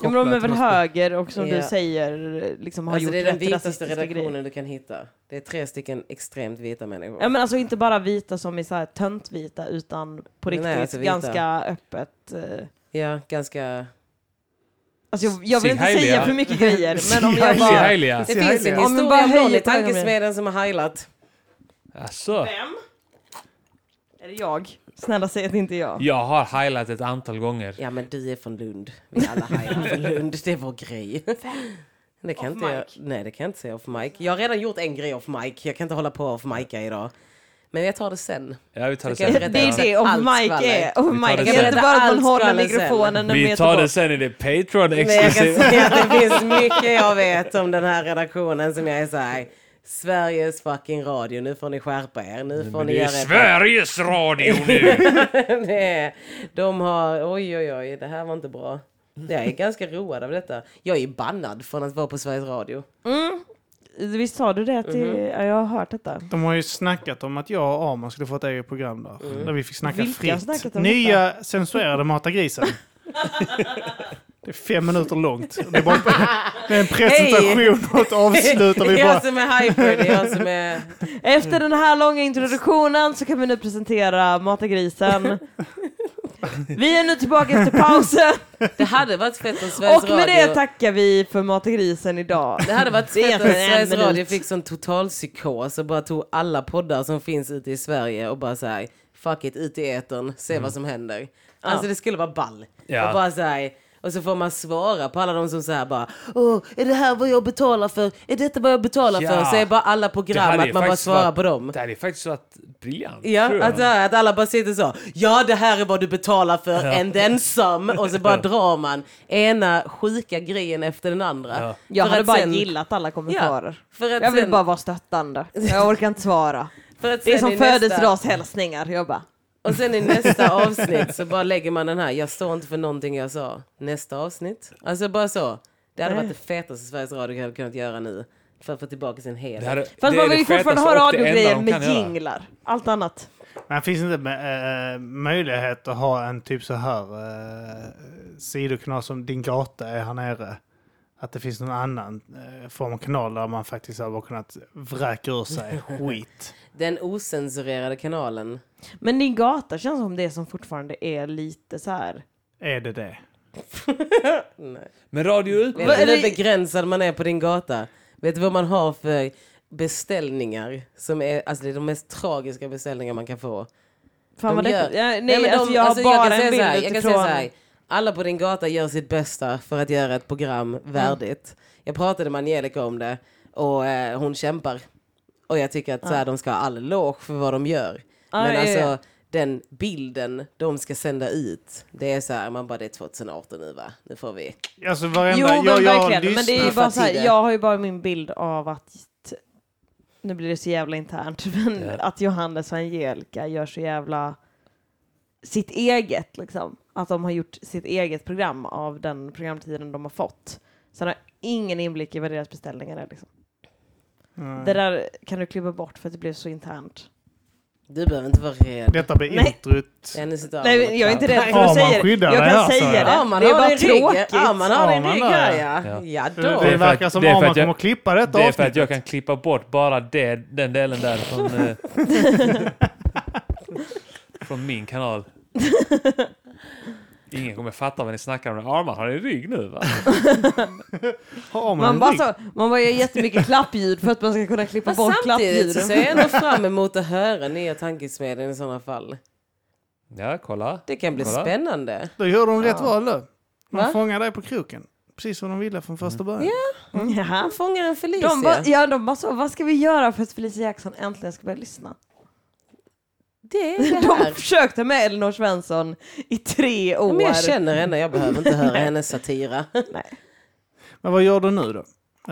Ja, men de är kopplade väl till något spe- höger och som Ja. du säger liksom har Alltså gjort det är den rätt vitaste rasistiska redaktionen grejer. du kan hitta. Det är tre stycken extremt vita människor. Ja men alltså inte bara vita som är så här töntvita utan på Nej, riktigt alltså vita. ganska öppet. eh, Ja, ganska... Alltså jag, jag vill inte Sigheliga. säga för mycket grejer men om jag Se bara... Heilia. Det Se finns en här, Om historia du bara om någon höjer i på ögonen. tankesmedjan som har heilat. Alltså, Vem? Är det jag? Snälla säg att det inte är jag. jag har heilat ett antal gånger. Ja men du är från Lund. Vi alla heilar från Lund. Det är vår grej. Det kan Off inte jag, mic. nej det kan jag inte säga off mic. Jag har redan gjort en grej off mic. Jag kan inte hålla på och off mica idag. Men jag tar det sen. Ja, vi tar det Okej, sen. Det är Exakt. det om Allt Mike skvaller. är. Om Vi tar Mike det är sen. inte bara att man Allt håller skvaller sen. mikrofonen en Vi meter tar det bort. sen i det Patreon Men jag kan exklusivt. säga att det finns mycket jag vet om den här redaktionen som jag är så här. Sveriges fucking radio, nu får ni skärpa er. Nu får Men ni det är göra er Sveriges Radio nu! det är, de har, oj oj oj, det här var inte bra. Jag är ganska road av detta. Jag är bannad från att vara på Sveriges Radio. Visst sa du det? Att det ja, jag har hört detta. De har ju snackat om att jag och Arman skulle få ett eget program där. Där vi fick snacka Vilka har fritt. snackat om Nya censurerade Mata grisen. det fem minuter långt. Det är bara det är en presentation och ett avslut och Det vi är jag bara... Alltså- som är hyper, det är jag som är... Efter Mm. den här långa introduktionen så kan vi nu presentera Mata grisen. Vi är nu tillbaka efter pausen Det hade varit fett om Sveriges och med Radio... det tackar vi för Mata grisen idag. Det hade varit Det är fett om egentligen en Sveriges minut. Radio fick sån total psykos och bara tog alla poddar som finns ute i Sverige och bara såhär, fuck it, ut i etern, se vad som händer. Alltså det skulle vara ball. Mm. Ja. Och bara såhär, och så får man svara på alla de som såhär bara, åh, är det här vad jag betalar för? Är detta vad jag betalar Ja. för? Så är bara alla program att man bara svarar på dem. Det hade ju faktiskt varit briljant. tror Ja, alltså- jag. att, så här, att alla bara sitter så. Ja, det här är vad du betalar för, and then some. Och så bara drar man ena sjuka grejen efter den andra. Ja. Jag För hade att bara sen- gillat alla kommentarer. för att Jag vill sen- bara vara stöttande. Jag orkar inte svara. För att Det är sen som i nästa- födelsedagshälsningar. Jag bara, Och sen i nästa avsnitt så bara lägger man den här, jag står inte för någonting jag sa. Nästa avsnitt. Alltså bara så. Det hade varit det fetaste Sveriges Radio hade kunnat göra nu. För att få tillbaka sin Det helhet. hade- fast det är man vill det ju fortfarande fetaste ha och det enda radiogrejer de med kan göra. jinglar. Allt annat. Men finns det inte eh, möjlighet att ha en typ så här eh, sidokanal som Din Gata är här nere? Att det finns någon annan eh, form av kanal där man faktiskt har bara kunnat vräka ur sig skit. Den osensurerade kanalen. Men din gata känns som det som fortfarande är lite så här. Är det det? Men radio ut. Vet Vad är du hur det- begränsad man är på din gata? Vet du vad man har för beställningar? Som är, alltså det är de mest tragiska beställningar man kan få. Fan vad De det, gör- ja, nej, men de- alltså jag har alltså bara kan säga en bild så här, jag kan utifrån. säga så här, alla på din gata gör sitt bästa för att göra ett program värdigt. Jag pratade med Angelica om det och eh, hon kämpar. Och jag tycker att så här, de ska ha all eloge för vad de gör. Ja, men ja, alltså ja. den bilden de ska sända ut, det är så här, man bara det är 2018 nu va? Nu får vi... Alltså varenda... jo men jag, jag verkligen, men det är ju lyssnat bara så här, tidigare. jag har ju bara min bild av att nu blir det så jävla internt, men Ja. att Johannes och Angelica gör så jävla sitt eget liksom. Att de har gjort sitt eget program av den programtiden de har fått. Sen har jag ingen inblick i vad deras beställningar är liksom. Mm. Det där kan du klippa bort för att det blev så internt. Du behöver inte vara rädd. Detta blir Nej. introt. Jenny sitter av Nej, mot jag är inte knappen. rädd för att Ja, man säga det. skyddar Jag det kan här, sa säga jag. det. Ja, man det är har bara din rygg. tråkigt. Ja, man har din Ja, rygg man har här det. ja. Ja. Ja då. Det är för verkar att- som det är för att man att jag- kommer att klippa detta Det är för att jag avsnittet. kan klippa bort bara det, den delen där från, eh, från min kanal. Ingen kommer fatta vad ni snackar om. Arman har en rygg nu va? Har man Man en bara, rygg? så, man bara gör jättemycket klappljud för att man ska kunna klippa Fast bort samtidigt så ser klappljuden. jag ändå fram emot att höra nya tankesmedjan i sådana fall. Ja, kolla. Det kan bli Kolla. spännande. Då gör de rätt val då. Man Va? fångar dig på kroken. Precis som de ville från första Mm. början. Jaha. Han fångar en Felicia. De bara, ja, de bara så, vad ska vi göra för att Felicia Jackson äntligen ska börja lyssna? Det är det De här. försökte med Elinor Svensson i tre år. Men jag känner henne, jag behöver inte höra hennes satira. Men vad gör du nu då,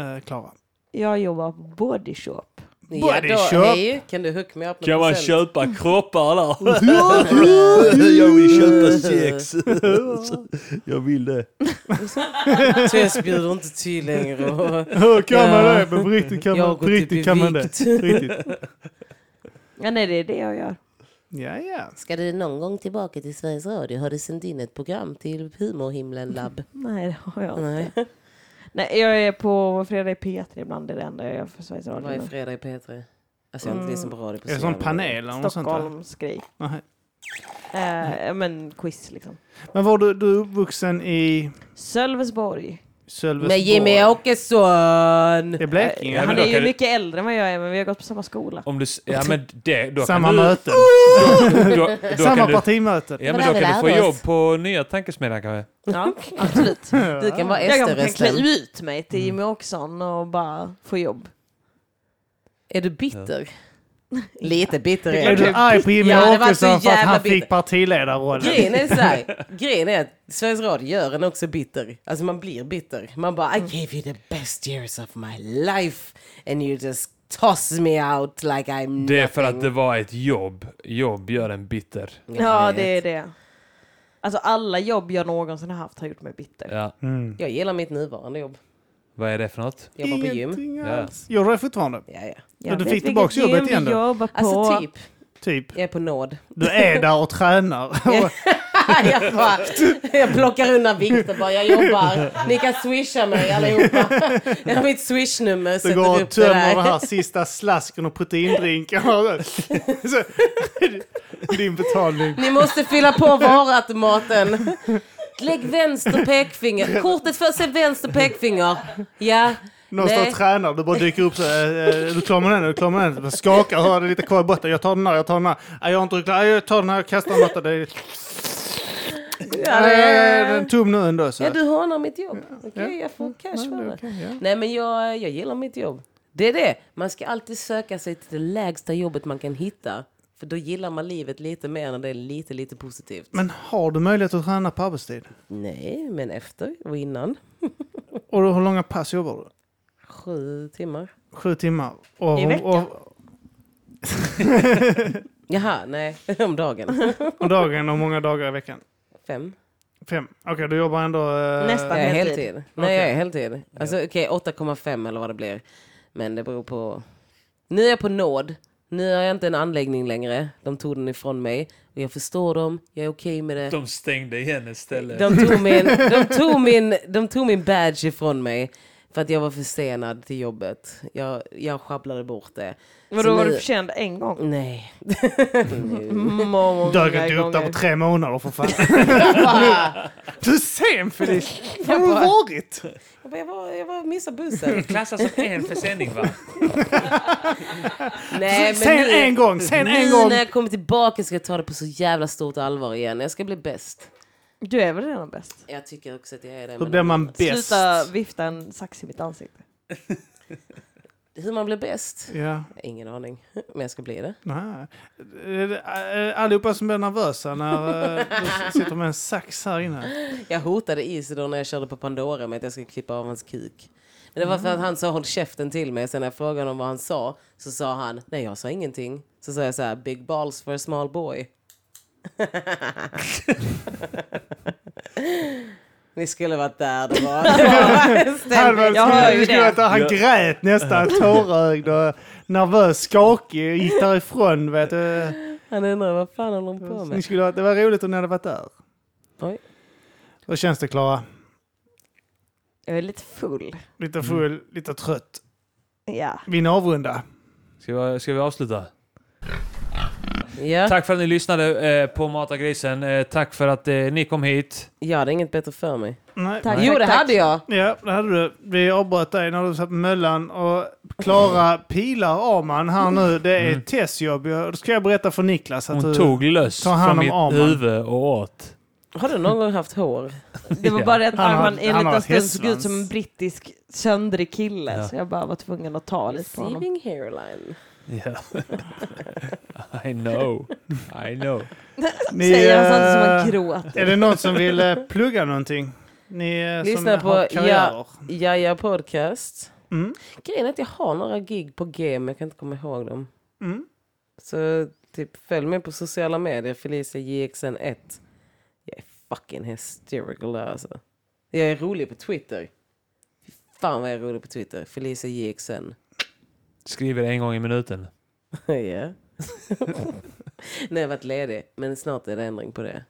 eh, Klara? Jag jobbar på Body Shop. ja, Body då, shop. hej, kan du hooka mig upp med Kan man procent? köpa kroppar där? jag vill köpa sex. jag vill det. Tess bjuder inte till längre. och Hur kan Ja. man det? Men på riktigt kan Jag man, har på gått upp i riktigt kan man det. vikt. Riktigt. Ja, nej, det är det jag gör. Ja, ja. Ska du någon gång tillbaka till Sveriges Radio? Har du sänt in ett program till Humorhimlen Lab? Nej, det har jag Nej, inte. Mm. Nej, jag är på Fredag i P3 ibland. Det är det enda jag gör för Sveriges Radio. varje nu. fredag i P3. Alltså Mm. jag har inte lyssnat på radio på Är det så jävla sån länge. panel eller något sånt där? Stockholmsgrej. Nej. Eh, ja, men quiz liksom. Men var du, du är uppvuxen i Sölvesborg. Sölvesborg? Med Jimmy Åkesson! I Blekinge? Ja, men Eh, han då är ju kan du- mycket äldre än vad jag är, men vi har gått på samma skola. Om du, s- ja men det, då Samma kan du, möten. Då, då Samma kan du, partimöten. ja, men Vad då är det kan du få där då? jobb på nya tankesmedjan kanske. Ja, absolut. Du kan vara Jag kanske kan SD-rösten. klä ut mig till Jimmy Åkesson och bara få jobb. Är du bitter? Lite bitter Är är du du. arg på Jimmy Ja, det var så Åkesson för att jävla han bitter. fick partiledarrollen? Grejen är, så här, grejen är att Sveriges Radio gör en också bitter. Alltså man blir bitter. Man bara I Mm. gave you the best years of my life and you just toss me out like I'm Det är för att det var ett jobb. Jobb gör en bitter. Ja, det är det. Alltså alla jobb jag någonsin har haft har gjort mig bitter. Ja. Mm. Jag gillar mitt nuvarande jobb. Vad är det för något? Jobbar på gym. Ingenting Ja. alls. Gör du det fortfarande? Ja, ja. typ, Jag vet du fick vilket tillbaks gym jobbet igen vi då? jobbar på. Alltså typ, Typ. jag är på nåd. Du är där och tränar. jag, bara, jag plockar undan vikter bara, jag jobbar. Ni kan swisha mig allihopa. Jag har mitt swishnummer. Du Sätter går och upp det tömmer där. den här sista slasken och proteindrinken. Så, Din betalning. Ni måste fylla på varuautomaten. Lägg vänster pekfinger. Kortet för sig vänster pekfinger. Ja. Någon står och Nej. tränar, du bara dyker upp så här. eh, eh, Du klamrar den, du klamrar den. Skakar, har det lite kvar i botten. Jag tar den här, jag tar den här. Nej, jag har inte reklam. Nej, Jag tar den här, jag kastar den åt dig. Ja, Nej, det- den är tom nu ändå. Så. Ja, du hånar mitt jobb. Okej, jag får cash för det. Nej, men jag, jag gillar mitt jobb. Det är det. Man ska alltid söka sig till det lägsta jobbet man kan hitta. För då gillar man livet lite mer när det är lite, lite positivt. Men har du möjlighet att träna på arbetstid? Nej, men efter och innan. Och hur långa pass jobbar du? Sju timmar. Sju timmar? Och, I veckan. Och, Jaha, nej. Om dagen. och dagen och många dagar i veckan? Fem. Fem. Okej, du jobbar ändå... eh, Nästan. Jag är Heltid. heltid. Nej, jag är heltid. Alltså okej, 8,5 eller vad det blir. Men det beror på... Nu är jag på nåd. Nu har jag inte en anläggning längre. De tog den ifrån mig. Och jag förstår dem. Jag är okej med det. De stängde igen istället. De tog, min, de, tog min, de tog min badge ifrån mig för att jag var försenad till jobbet. Jag, jag sjabblade bort det. Vadå, var nu- du försenad en gång? Nej. Mm. Många Dök inte upp där gånger. på tre månader för fan. du är sen Felicia! Var har du varit? Eh, Jag, bara, jag, var, jag var missade bussen. Klassas som en försäljning va? Nej, sen nu- en gång, sen en Nu gång! när jag kommer tillbaka ska jag ta det på så jävla stort allvar igen. Jag ska bli bäst. Du är väl redan bäst? Jag tycker också att jag är det. Hur men- blir man bäst? Sluta vifta en sax i mitt ansikte. Hur man blir bäst? Ja, Ingen aning. Men jag ska bli det. nej. Eh, Allihopa som blir nervösa när eh, du sitter med en sax här inne. Jag hotade Isidor när jag körde på Pandora med att jag skulle klippa av hans kuk. Men det var för att han sa håll käften till mig. Sen när jag frågade honom vad han sa så sa han nej jag sa ingenting. Så sa jag så här big balls for a small boy. Ni skulle varit där det var. Det var en Han, stämning. var, Jag hör ju skulle det. veta, han grät nästan, tårögd och nervös, skakig, gick därifrån. Vet du. Han undrar vad fan håller hon Mm. på Ni med? skulle, ha- det var roligt om ni hade varit där. Oj. Hur känns det Klara? Jag är lite full. Lite full, lite trött. Ja. Vill ni avrunda? Ska vi, ska vi avsluta? Ja, Tack för att ni lyssnade eh, på Mata Grisen. Eh, tack för att eh, ni kom hit. jag hade inget bättre för mig. Nej. Tack. Jo det hade jag. Ja, det hade du. Vi avbröt dig när du satt på möllan och Klara pilar Arman här nu. Det är ett testjobb. Jag- Då ska jag berätta för Niklas att Mm. Hon du... tog löss ta hand från om mitt Arman. huvud och åt. Har du någon gång haft hår? Det var bara det att Han har- Arman i en han har liten stund hästsvans. såg ut som en brittisk söndrig kille. Ja. Så jag bara var tvungen att ta lite på honom. Receiving hairline. Ja. I know. I know. Ni, Säger han samtidigt som han eh, Är gråter. det någon som vill eh, plugga någonting? Ni eh, Lyssna som på- har karriärer. Jaja podcast. Mm. Grejen är att jag har några gig på G men jag kan inte komma ihåg dem. Mm. Så typ följ mig på sociala medier, Felicia JXN1. Jag är fucking hysterical där alltså. Jag är rolig på Twitter. Fy Fan vad jag är rolig på Twitter. Felicia JXN. Skriver en gång i minuten. ja. Nej, jag har varit ledig, men snart är det ändring på det.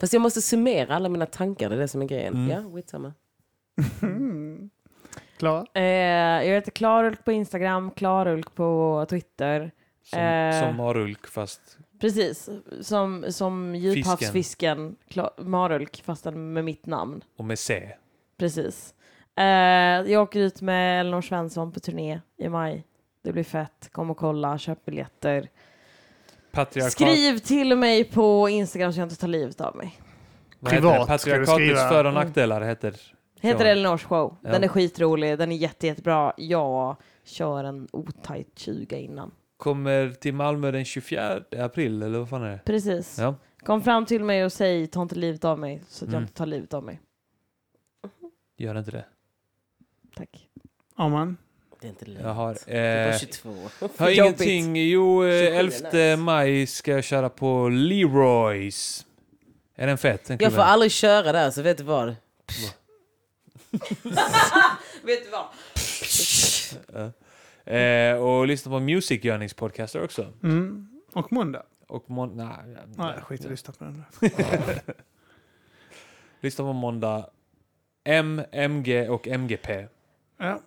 Fast jag måste summera alla mina tankar, det är det som är grejen. Mm. Ja, skitsamma. Klara? Eh, jag heter Klarulk på Instagram, Klarulk på Twitter. Som, Eh. som Marulk fast... Precis, som, som djuphavsfisken Kla- Marulk fastän med mitt namn. Och med C. Precis. Eh, jag åker ut med Elinor Svensson på turné i maj. Det blir fett. Kom och kolla, köp biljetter. Patriarkat. Skriv till mig på Instagram så jag inte tar livet av mig. Vad heter det? Privat ska du Patriarkatets skriva. Mm. för och nackdelar heter Heter Ja. Elinors show. Den Ja. är skitrolig, den är jätte, jättebra. Jag kör en otajt 20 innan. Kommer till Malmö den 24 april, eller vad fan är det? Precis. Ja. Kom fram till mig och säg ta inte livet av mig så att jag Mm. inte tar livet av mig. Gör inte det. Tack. Arman? Det är inte lätt. Jag har... Det är bara Eh, 22. har Jobbigt. ingenting. Jo, eh, 27 11 maj ska jag köra på Leroys. Är den fet? Den Jag får klubben? aldrig köra där, så vet du vad? Vet du vad? Eh, och lyssna på Music Yearnings podcaster också. Mm. Och måndag? Och måndag... Nej, Nej, skit i att lyssna på den. Lyssna på måndag. M, MG och MGP. Ja.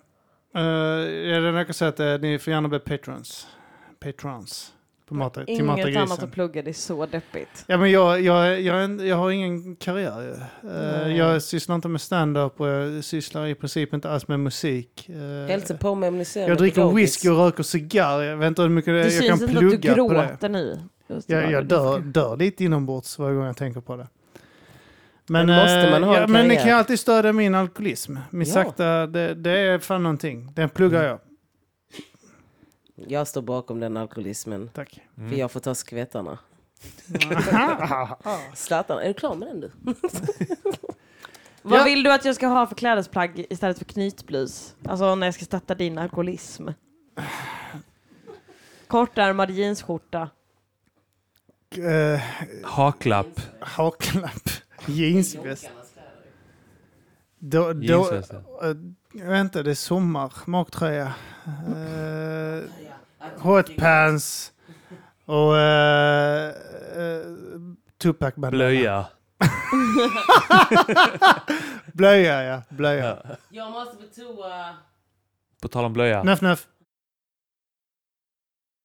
Uh, ja, det räcker att säga att eh, ni får gärna bli patrons. Patrons. På mata, till Inget annat Matagrisen. att plugga, det är så deppigt. Ja, men jag, jag, jag, är en- jag har ingen karriär ju. Eh, Nej. jag sysslar inte med stand-up och jag sysslar i princip inte alls med musik. Eh, Hälsa på med amniserande jag dricker potatis. whisky och röker cigarr. Jag vet inte hur mycket det, Det jag kan syns inte att du plugga på det. gråter nu. Just det, Jag, jag du dör, ska- dör lite inombords varje gång jag tänker på det. Men måste eh, man ha en ja, Men ni karriär? kan ju alltid stödja min alkoholism. Min Ja. sakta, det, det är fan någonting. Den pluggar Mm. jag. Jag står bakom den alkoholismen. Tack. Mm. För jag får ta skvättarna. Zlatan, är du klar med den du? Vad Ja. vill du att jag ska ha för klädesplagg istället för knytblus? Alltså när jag ska stötta din alkoholism. Kortärmad jeansskjorta. Eh, Haklapp. Haklapp. Jeansväst. Då, då, Jeansväst. eh, vänta, det är sommar. Magtröja. Uh, hotpants. Och uh, Tupac bandana. Blöja. Blöja, ja. Blöja. Ja. Jag måste betona... På tal om blöja. Nöff, nöff.